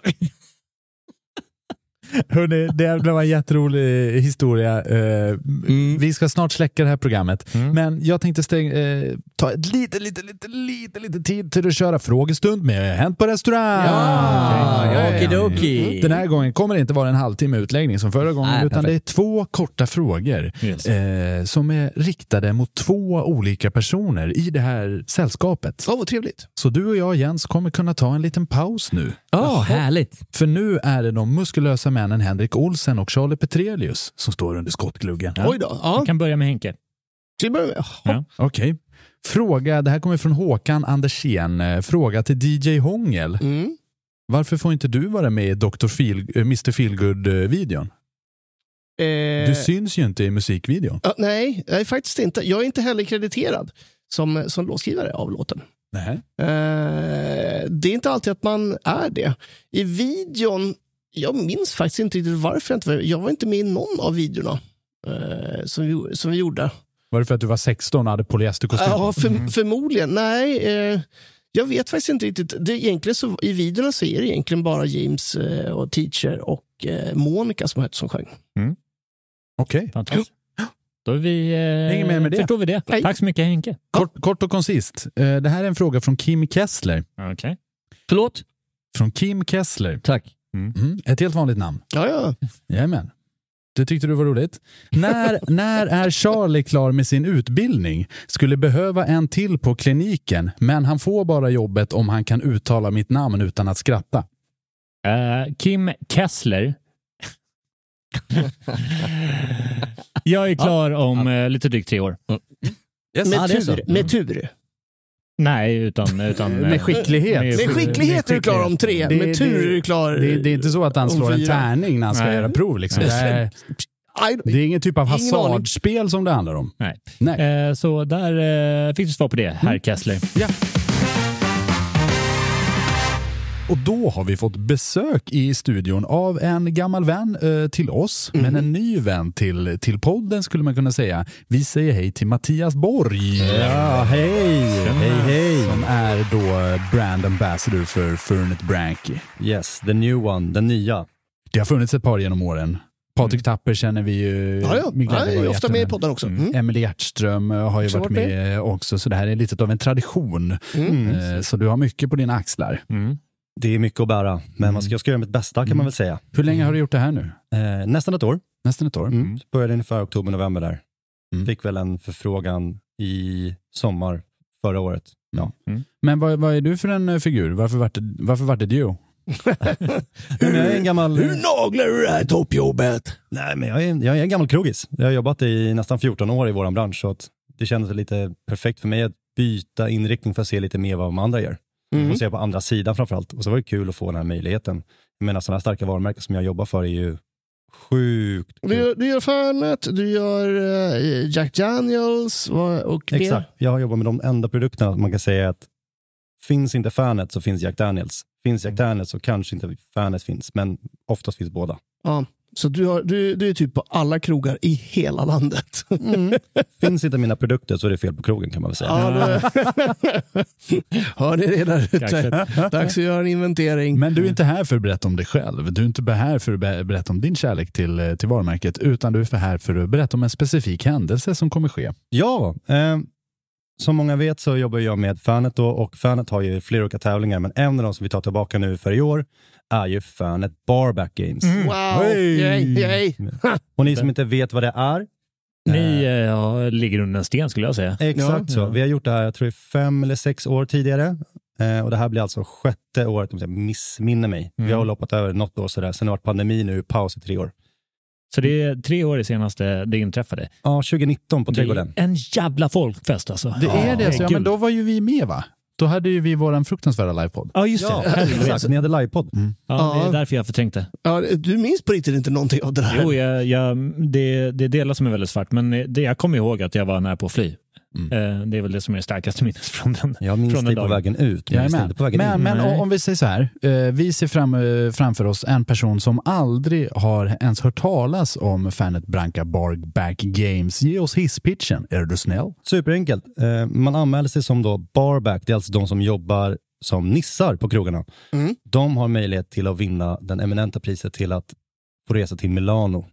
Speaker 1: Hörrni, det blev en jätterolig historia. Eh,
Speaker 2: Mm.
Speaker 1: Vi ska snart släcka det här programmet. Men jag tänkte stäng, eh, ta ett lite, lite, lite, lite, lite tid till att köra frågestund med Hänt på restaurang.
Speaker 2: Ja, okidoki.
Speaker 1: Mm. Den här gången kommer det inte vara en halvtimme utläggning som förra gången,
Speaker 2: Nej,
Speaker 1: utan
Speaker 2: perfekt.
Speaker 1: det är två korta frågor eh, som är riktade mot två olika personer i det här sällskapet.
Speaker 4: Ja, vad trevligt.
Speaker 1: Så du och jag, Jens, kommer kunna ta en liten paus nu.
Speaker 2: Ja, härligt.
Speaker 1: För nu är det de muskulösa männen Henrik Olsen och Charlie Petrelius som står under skottgluggen.
Speaker 4: Oj då. Ja.
Speaker 3: kan börja med Henke.
Speaker 4: Till att börja med.
Speaker 3: Ja.
Speaker 1: Okej. Fråga, det här kommer från Håkan Andersén. Eh, Fråga till DJ Hångel.
Speaker 4: Mm.
Speaker 1: Varför får inte du vara med i Dr. Feel, eh, Mr. Feelgood-videon?
Speaker 4: Eh,
Speaker 1: Du syns ju inte i musikvideon.
Speaker 4: ja, nej, jag är faktiskt inte. Jag är inte heller krediterad som, som låtskrivare av låten.
Speaker 1: Nej.
Speaker 4: Eh, det är inte alltid att man är det. I videon, jag minns faktiskt inte riktigt varför jag inte var Jag var inte med i någon av videorna eh, som, vi, gjorde- som vi gjorde.
Speaker 1: Var det för att du var 16 och hade polyesterkostym?
Speaker 4: Ja, för,
Speaker 2: Mm.
Speaker 4: förmodligen. Nej, eh, jag vet faktiskt inte riktigt. Det, är egentligen så, I videorna så är det egentligen bara James eh, och Teacher och eh, Monica som, som sjöng.
Speaker 1: Okej.
Speaker 3: Fantastiskt. Då är vi, eh,
Speaker 1: Inget mer med det.
Speaker 3: förstår vi det.
Speaker 4: Nej.
Speaker 3: Tack så mycket Henke.
Speaker 1: Kort, kort och koncist. Eh, Det här är en fråga från Kim Kessler.
Speaker 3: Okej.
Speaker 2: förlåt?
Speaker 1: Från Kim Kessler.
Speaker 2: Tack.
Speaker 1: Mm, ett helt vanligt namn.
Speaker 4: Ja, ja.
Speaker 1: Jajamän. Det tyckte du var roligt. När, när är Charlie klar med sin utbildning? Skulle behöva en till på kliniken, men han får bara jobbet om han kan uttala mitt namn utan att skratta.
Speaker 3: Eh, Kim Kessler. jag är klar om eh, lite drygt tre år.
Speaker 4: Med,
Speaker 2: Mm. Ja, det är så. Mm.
Speaker 4: tur, med tur.
Speaker 3: Nej, utan... utan eh,
Speaker 1: Med skicklighet.
Speaker 3: med-
Speaker 4: Med skicklighet är du klar om tre, med tur är du klar
Speaker 1: Det, det är inte så att han
Speaker 4: om
Speaker 1: slår en
Speaker 4: fyra.
Speaker 1: tärning när han ska
Speaker 3: Nej.
Speaker 1: göra prov. Liksom. Det, är,
Speaker 4: Aj,
Speaker 1: det är ingen typ av
Speaker 4: Ingen aning.
Speaker 1: hasardspel som det handlar om.
Speaker 3: Nej.
Speaker 1: Nej. Mm.
Speaker 3: Eh, så där eh, fick du svar på det, herr Kessler.
Speaker 1: Ja. Och då har vi fått besök i studion av en gammal vän eh, till oss,
Speaker 2: Mhm.
Speaker 1: men en ny vän till, till podden skulle man kunna säga. Vi säger hej till Mattias Borg. Ja, hej! Hej, hej! Som är då eh, brand ambassador för Furnet Branky.
Speaker 2: Yes, the new one, den nya. Mm.
Speaker 1: Det har funnits ett par genom åren. Patrik Tapper känner vi ju.
Speaker 4: Ja, ja.
Speaker 1: med glädje
Speaker 4: Han är ju
Speaker 1: var
Speaker 4: ofta med i
Speaker 1: jättemen.
Speaker 4: podden också. Mm.
Speaker 1: Emelie Hjertström eh, har ju
Speaker 4: Också
Speaker 1: varit
Speaker 4: varit Mm.
Speaker 1: med också, så det här är lite av en tradition. Eh, Så du har mycket på dina axlar.
Speaker 3: Mm.
Speaker 2: Det är mycket att bära, men man ska, jag ska göra mitt bästa kan man väl säga.
Speaker 1: Mm. Hur länge har du gjort det här nu?
Speaker 2: Eh, nästan ett år.
Speaker 1: Nästan ett år?
Speaker 2: Började ungefär oktober, november där.
Speaker 1: Mm.
Speaker 2: Fick väl en förfrågan i sommar förra året. Ja.
Speaker 1: Mm. Men vad, vad är du för en eh, figur? Varför vart det, varför vart det du?
Speaker 2: Nej, men jag är en gammal...
Speaker 4: Hur naglar du det här toppjobbet?
Speaker 2: Nej, men jag är, jag är en gammal krogis. Jag har jobbat i nästan 14 år i vår bransch, så att det kändes lite perfekt för mig att byta inriktning för att se lite mer vad de andra gör. Och se på andra sidan framförallt. Och så var det kul att få den här möjligheten. Jag menar, sådana här starka varumärken som jag jobbar för är ju
Speaker 7: Sjukt.
Speaker 4: Och Du, gör- du gör Fernet, du gör eh, Jack Daniels vad- och det.
Speaker 7: Exakt. Jag har jobbat med de enda produkterna man kan säga att finns inte Fanet så finns Jack Daniels. Finns Jack Daniels så kanske inte Fanet finns, men oftast finns båda.
Speaker 4: Ja, så du, har, du, du är typ på alla krogar i hela landet.
Speaker 1: Mm.
Speaker 7: Finns inte mina produkter så är det fel på krogen kan man väl säga.
Speaker 4: Mm. Ja, du... Hör ni det där ute?
Speaker 1: Kaxigt.
Speaker 4: Dags att göra en inventering.
Speaker 1: Men du är inte här för att berätta om dig själv. Du är inte här för att be- berätta om din kärlek till, eh, till varumärket, utan du är för här för att berätta om en specifik händelse som kommer ske.
Speaker 7: Ja, eh, som många vet så jobbar jag med Fanet då och Fanet har ju flera olika tävlingar men en av de som vi tar tillbaka nu för i år är ju Fanet Barback Games.
Speaker 1: Mm.
Speaker 4: Wow! Yay, yay.
Speaker 7: Och ni som inte vet vad det är?
Speaker 3: Ni eh, ja, ligger under en sten skulle jag säga.
Speaker 7: Exakt
Speaker 3: Ja.
Speaker 7: så. Vi har gjort det här, jag tror det är fem eller sex år tidigare. Eh, och det här blir alltså sjätte året, om jag missminner mig. Vi har
Speaker 3: Mm.
Speaker 7: väl hoppat över något år sådär. Sen har det varit pandemi nu, paus i tre år.
Speaker 3: Så det är tre år i senaste det inträffade.
Speaker 7: Ja, 2019 på
Speaker 3: Det är
Speaker 7: Trädgården.
Speaker 3: En jävla folkfest alltså.
Speaker 1: Det är det, så, ja, men
Speaker 3: herregud.
Speaker 1: då var ju vi med va? Då hade ju vi vår fruktansvärda livepodd. Mm.
Speaker 3: Ja, just det. Helvete.
Speaker 7: exakt. Ni hade livepodd.
Speaker 3: Ja, det
Speaker 4: Ja.
Speaker 3: är därför jag förträngte.
Speaker 4: Ja, du minns på riktigt inte någonting av det här?
Speaker 3: Jo, jag, jag, det, det är delar som är väldigt svart, men det, jag kommer ihåg att jag var nära på att fly. Eh, Det är väl det som är det starkaste minnet från den
Speaker 7: Mm. Jag minns
Speaker 3: från
Speaker 7: dig
Speaker 3: den
Speaker 7: på
Speaker 3: dagen.
Speaker 7: vägen ut, men jag minns dig
Speaker 1: Jajamän.
Speaker 7: inte på vägen
Speaker 1: Men,
Speaker 7: in.
Speaker 1: men o- om vi säger så här, eh, vi ser fram, eh, framför oss en person som aldrig har ens hört talas om Fanet Branca Barback Games. Ge oss hisspitchen, är du snäll?
Speaker 7: Superenkelt. Eh, Man anmäler sig som då barback, det är alltså de som jobbar som nissar på krogarna.
Speaker 4: Mm.
Speaker 7: De har möjlighet till att vinna den eminenta priset till att få resa till Milano.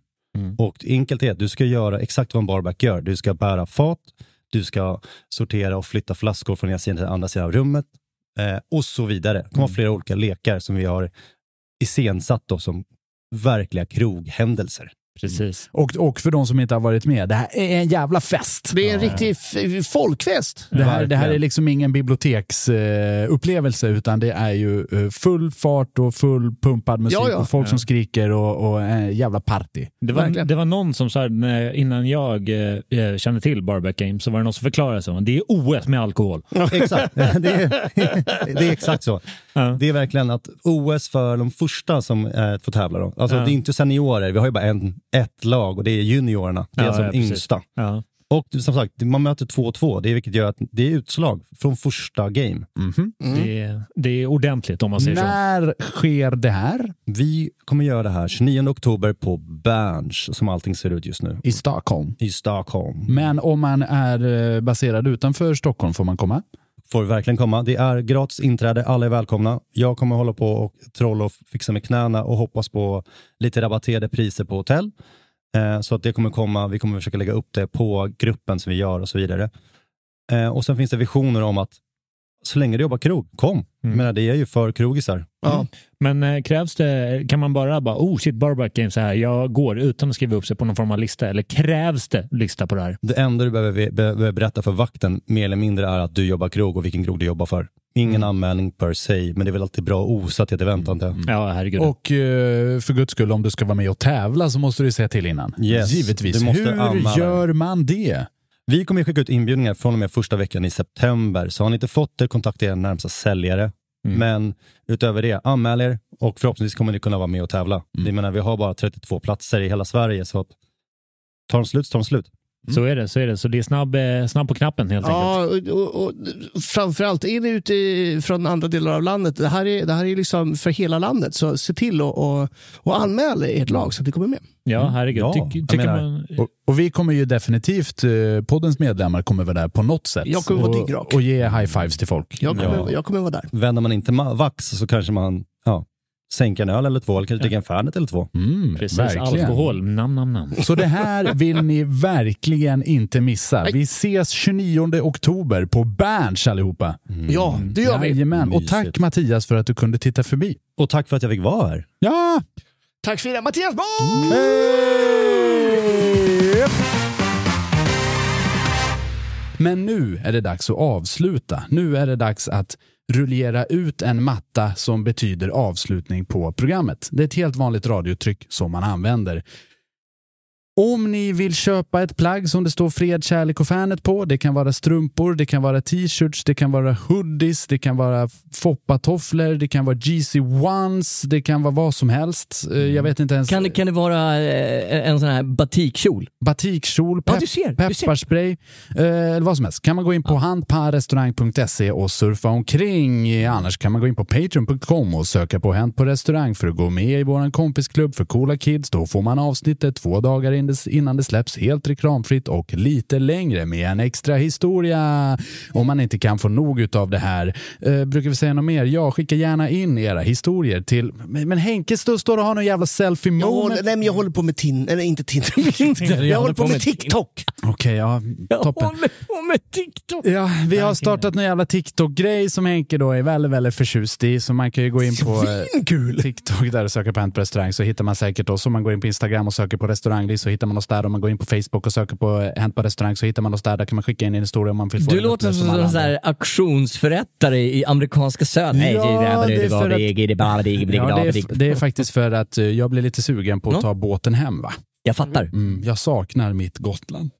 Speaker 7: Och enkelt är att du ska göra exakt vad en barback gör. Du ska bära fat, du ska sortera och flytta flaskor från ena sidan till andra sidan av rummet eh, och så vidare. Det kommer vara flera olika lekar som vi har iscensatt då som verkliga kroghändelser.
Speaker 3: Precis.
Speaker 1: Och, och för de som inte har varit med, det här är en jävla fest.
Speaker 4: Det är en riktig f- folkfest.
Speaker 1: Det här, det här är
Speaker 7: Verkligen.
Speaker 1: liksom ingen biblioteksupplevelse, eh, upplevelse, utan det är ju eh, full fart och full pumpad musik
Speaker 4: Ja, ja.
Speaker 1: och folk
Speaker 3: Ja.
Speaker 1: som skriker och, och eh, jävla party.
Speaker 3: Det var,
Speaker 4: Verkligen.
Speaker 3: det var någon som sa, när jag- innan jag eh, eh, kände till Barback Games, så var det någon som förklarade så. Det är OS med alkohol.
Speaker 7: Mm. Exakt, det är, det är exakt så.
Speaker 3: Ja.
Speaker 7: Det är verkligen att OS för de första som eh, får tävla. Då. Alltså,
Speaker 3: Ja.
Speaker 7: Det är inte seniorer, vi har ju bara en, ett lag och det är juniorerna. Det är
Speaker 3: Ja,
Speaker 7: alltså
Speaker 3: ja,
Speaker 7: de
Speaker 3: precis.
Speaker 7: yngsta.
Speaker 3: Ja.
Speaker 7: Och som sagt, man möter 2-2, det är, vilket gör att det är utslag från första game.
Speaker 3: Det, är, det är ordentligt om man säger så.
Speaker 1: När sker det här?
Speaker 7: Vi kommer göra det här 29 oktober på Berns, som allting ser ut just nu,
Speaker 1: I Stockholm.
Speaker 7: i Stockholm.
Speaker 1: Men om man är eh, baserad utanför Stockholm får man komma?
Speaker 7: Får verkligen komma. Det är gratis inträde, alla är välkomna. Jag kommer hålla på och trolla och fixa med knäna och hoppas på lite rabatterade priser på hotell. Eh, så att det kommer komma, vi kommer försöka lägga upp det på gruppen som vi gör och så vidare. Eh, och sen finns det visioner om att så länge du jobbar krog, kom.
Speaker 3: Mm.
Speaker 7: Men det är ju för krogisar.
Speaker 4: Ja.
Speaker 3: Men eh, krävs det, kan man bara bara, oh shit, Barback Games är här, jag går utan att skriva upp sig på någon form av lista, eller krävs det lista på det här?
Speaker 7: Det enda du behöver, behöver berätta för vakten mer eller mindre är att du jobbar krog och vilken krog du jobbar för. Ingen
Speaker 3: Mm.
Speaker 7: anmälning per se, men det är väl alltid bra att osa till ett event antar jag.
Speaker 3: Ja, herregud.
Speaker 1: Och eh, för guds skull, om du ska vara med och tävla så måste du säga till innan.
Speaker 7: Yes,
Speaker 1: Givetvis.
Speaker 7: du måste anmäla
Speaker 1: Hur gör man det?
Speaker 7: Vi kommer ju skicka ut inbjudningar från och med första veckan i september, så har ni inte fått det, kontakta er närmsta säljare.
Speaker 3: Mm.
Speaker 7: Men utöver det, anmäl er och förhoppningsvis kommer ni kunna vara med och tävla.
Speaker 3: Mm.
Speaker 7: Jag menar, vi har bara 32 platser i hela Sverige, så att tar de slut så tar de slut.
Speaker 3: Så är det, så är det. Så det är snabb, eh, snabb på knappen helt enkelt.
Speaker 4: Mm. Ja, och, och, och framförallt, är ni ute i- från andra delar av landet, det här är, det här är liksom för hela landet, så se till att och, och anmäla ert lag så att ni kommer med.
Speaker 3: Ja, herregud.
Speaker 7: Mm. Ja,
Speaker 3: Tyck-
Speaker 7: jag
Speaker 3: tycker
Speaker 7: menar-
Speaker 3: man,
Speaker 1: Och, och vi kommer ju definitivt, eh, poddens medlemmar kommer vara där på något sätt.
Speaker 4: Jag kommer vara
Speaker 1: och,
Speaker 4: dyngrak.
Speaker 1: och ge high-fives till folk.
Speaker 4: Jag kommer,
Speaker 7: Ja.
Speaker 4: jag kommer vara där.
Speaker 7: Vänder man inte ma- vax så kanske man ja, sänker en öl eller två, eller kanske dricker en Fernet eller två.
Speaker 1: Mm,
Speaker 3: precis,
Speaker 1: verkligen.
Speaker 3: alkohol, nam, nam, nam.
Speaker 1: Så det här vill ni verkligen inte missa. Vi ses 29 oktober på Berns allihopa.
Speaker 4: Ja, det gör vi.
Speaker 1: Jajamän. Och
Speaker 7: Mysigt.
Speaker 1: tack Mattias för att du kunde titta förbi.
Speaker 7: Och tack för att jag fick vara här.
Speaker 1: Ja!
Speaker 4: Tack för det, Mattias Borg!
Speaker 1: Men nu är det dags att avsluta. Nu är det dags att rullera ut en matta som betyder avslutning på programmet. Det är ett helt vanligt radiotryck som man använder. Om ni vill köpa ett plagg som det står fred, kärlek och fanet på, det kan vara strumpor, det kan vara t-shirts, det kan vara hoodies, det kan vara foppatofflor, det kan vara GC ones, det kan vara vad som helst. Eh, Jag vet inte ens.
Speaker 2: Kan, det- kan det vara eh, en sån här batikkjol?
Speaker 1: Batikkjol,
Speaker 2: Ja,
Speaker 1: pep-
Speaker 2: du ser, du ser.
Speaker 1: pepparspray, eh, eller vad som helst. Kan man gå in på handparrestaurang.se och surfa omkring. Annars kan man gå in på patreon.com och söka på Hänt på restaurang för att gå med i vår kompisklubb för coola kids. Då får man avsnittet två dagar in det- innan det släpps helt reklamfritt och lite längre med en extra historia. Om man inte kan få nog av det här. Eh, brukar vi säga något mer? Ja, skicka gärna in era historier till... Men, men Henke står står och har någon jävla selfie
Speaker 4: Jag
Speaker 1: moment.
Speaker 4: håller, nej, men jag håller på med Tinder, eller inte Tinder. jag håller på med TikTok.
Speaker 1: Okej, ja. Toppen.
Speaker 2: på med TikTok.
Speaker 1: Ja, vi har startat en jävla TikTok-grej som Henke då är väldigt, väldigt förtjust i. Så man kan ju gå in på eh, TikTok där och söka på Hänt på restaurang så hittar man säkert oss. Om man går in på Instagram och söker på restaurangliv så hittar man oss där. Om man går in på Facebook och söker på eh, Hänt på restaurang så hittar man oss där. Där kan man skicka in en historia om man vill få
Speaker 2: Du
Speaker 1: den
Speaker 2: låter
Speaker 1: uppläst
Speaker 2: som
Speaker 1: alla
Speaker 2: en sån
Speaker 1: andra.
Speaker 2: här auktionsförrättare i amerikanska södern. Nej,
Speaker 1: Ja, det är för att- Ja, det, är, det är faktiskt för att eh, jag blir lite sugen på att
Speaker 2: Ja.
Speaker 1: ta båten hem. va?
Speaker 2: Jag fattar.
Speaker 1: Mm, jag saknar mitt Gotland.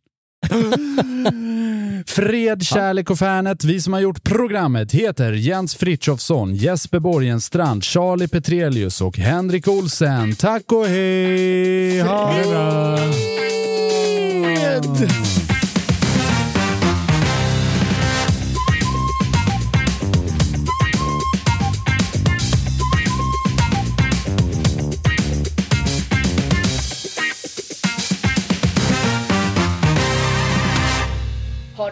Speaker 1: Fred, kärlek och fanet. Vi som har gjort programmet heter Jens Fritjofsson, Jesper Borgenstrand, Charlie Petrelius och Henrik Olsen. Tack och hej! Ha det bra!
Speaker 8: Ha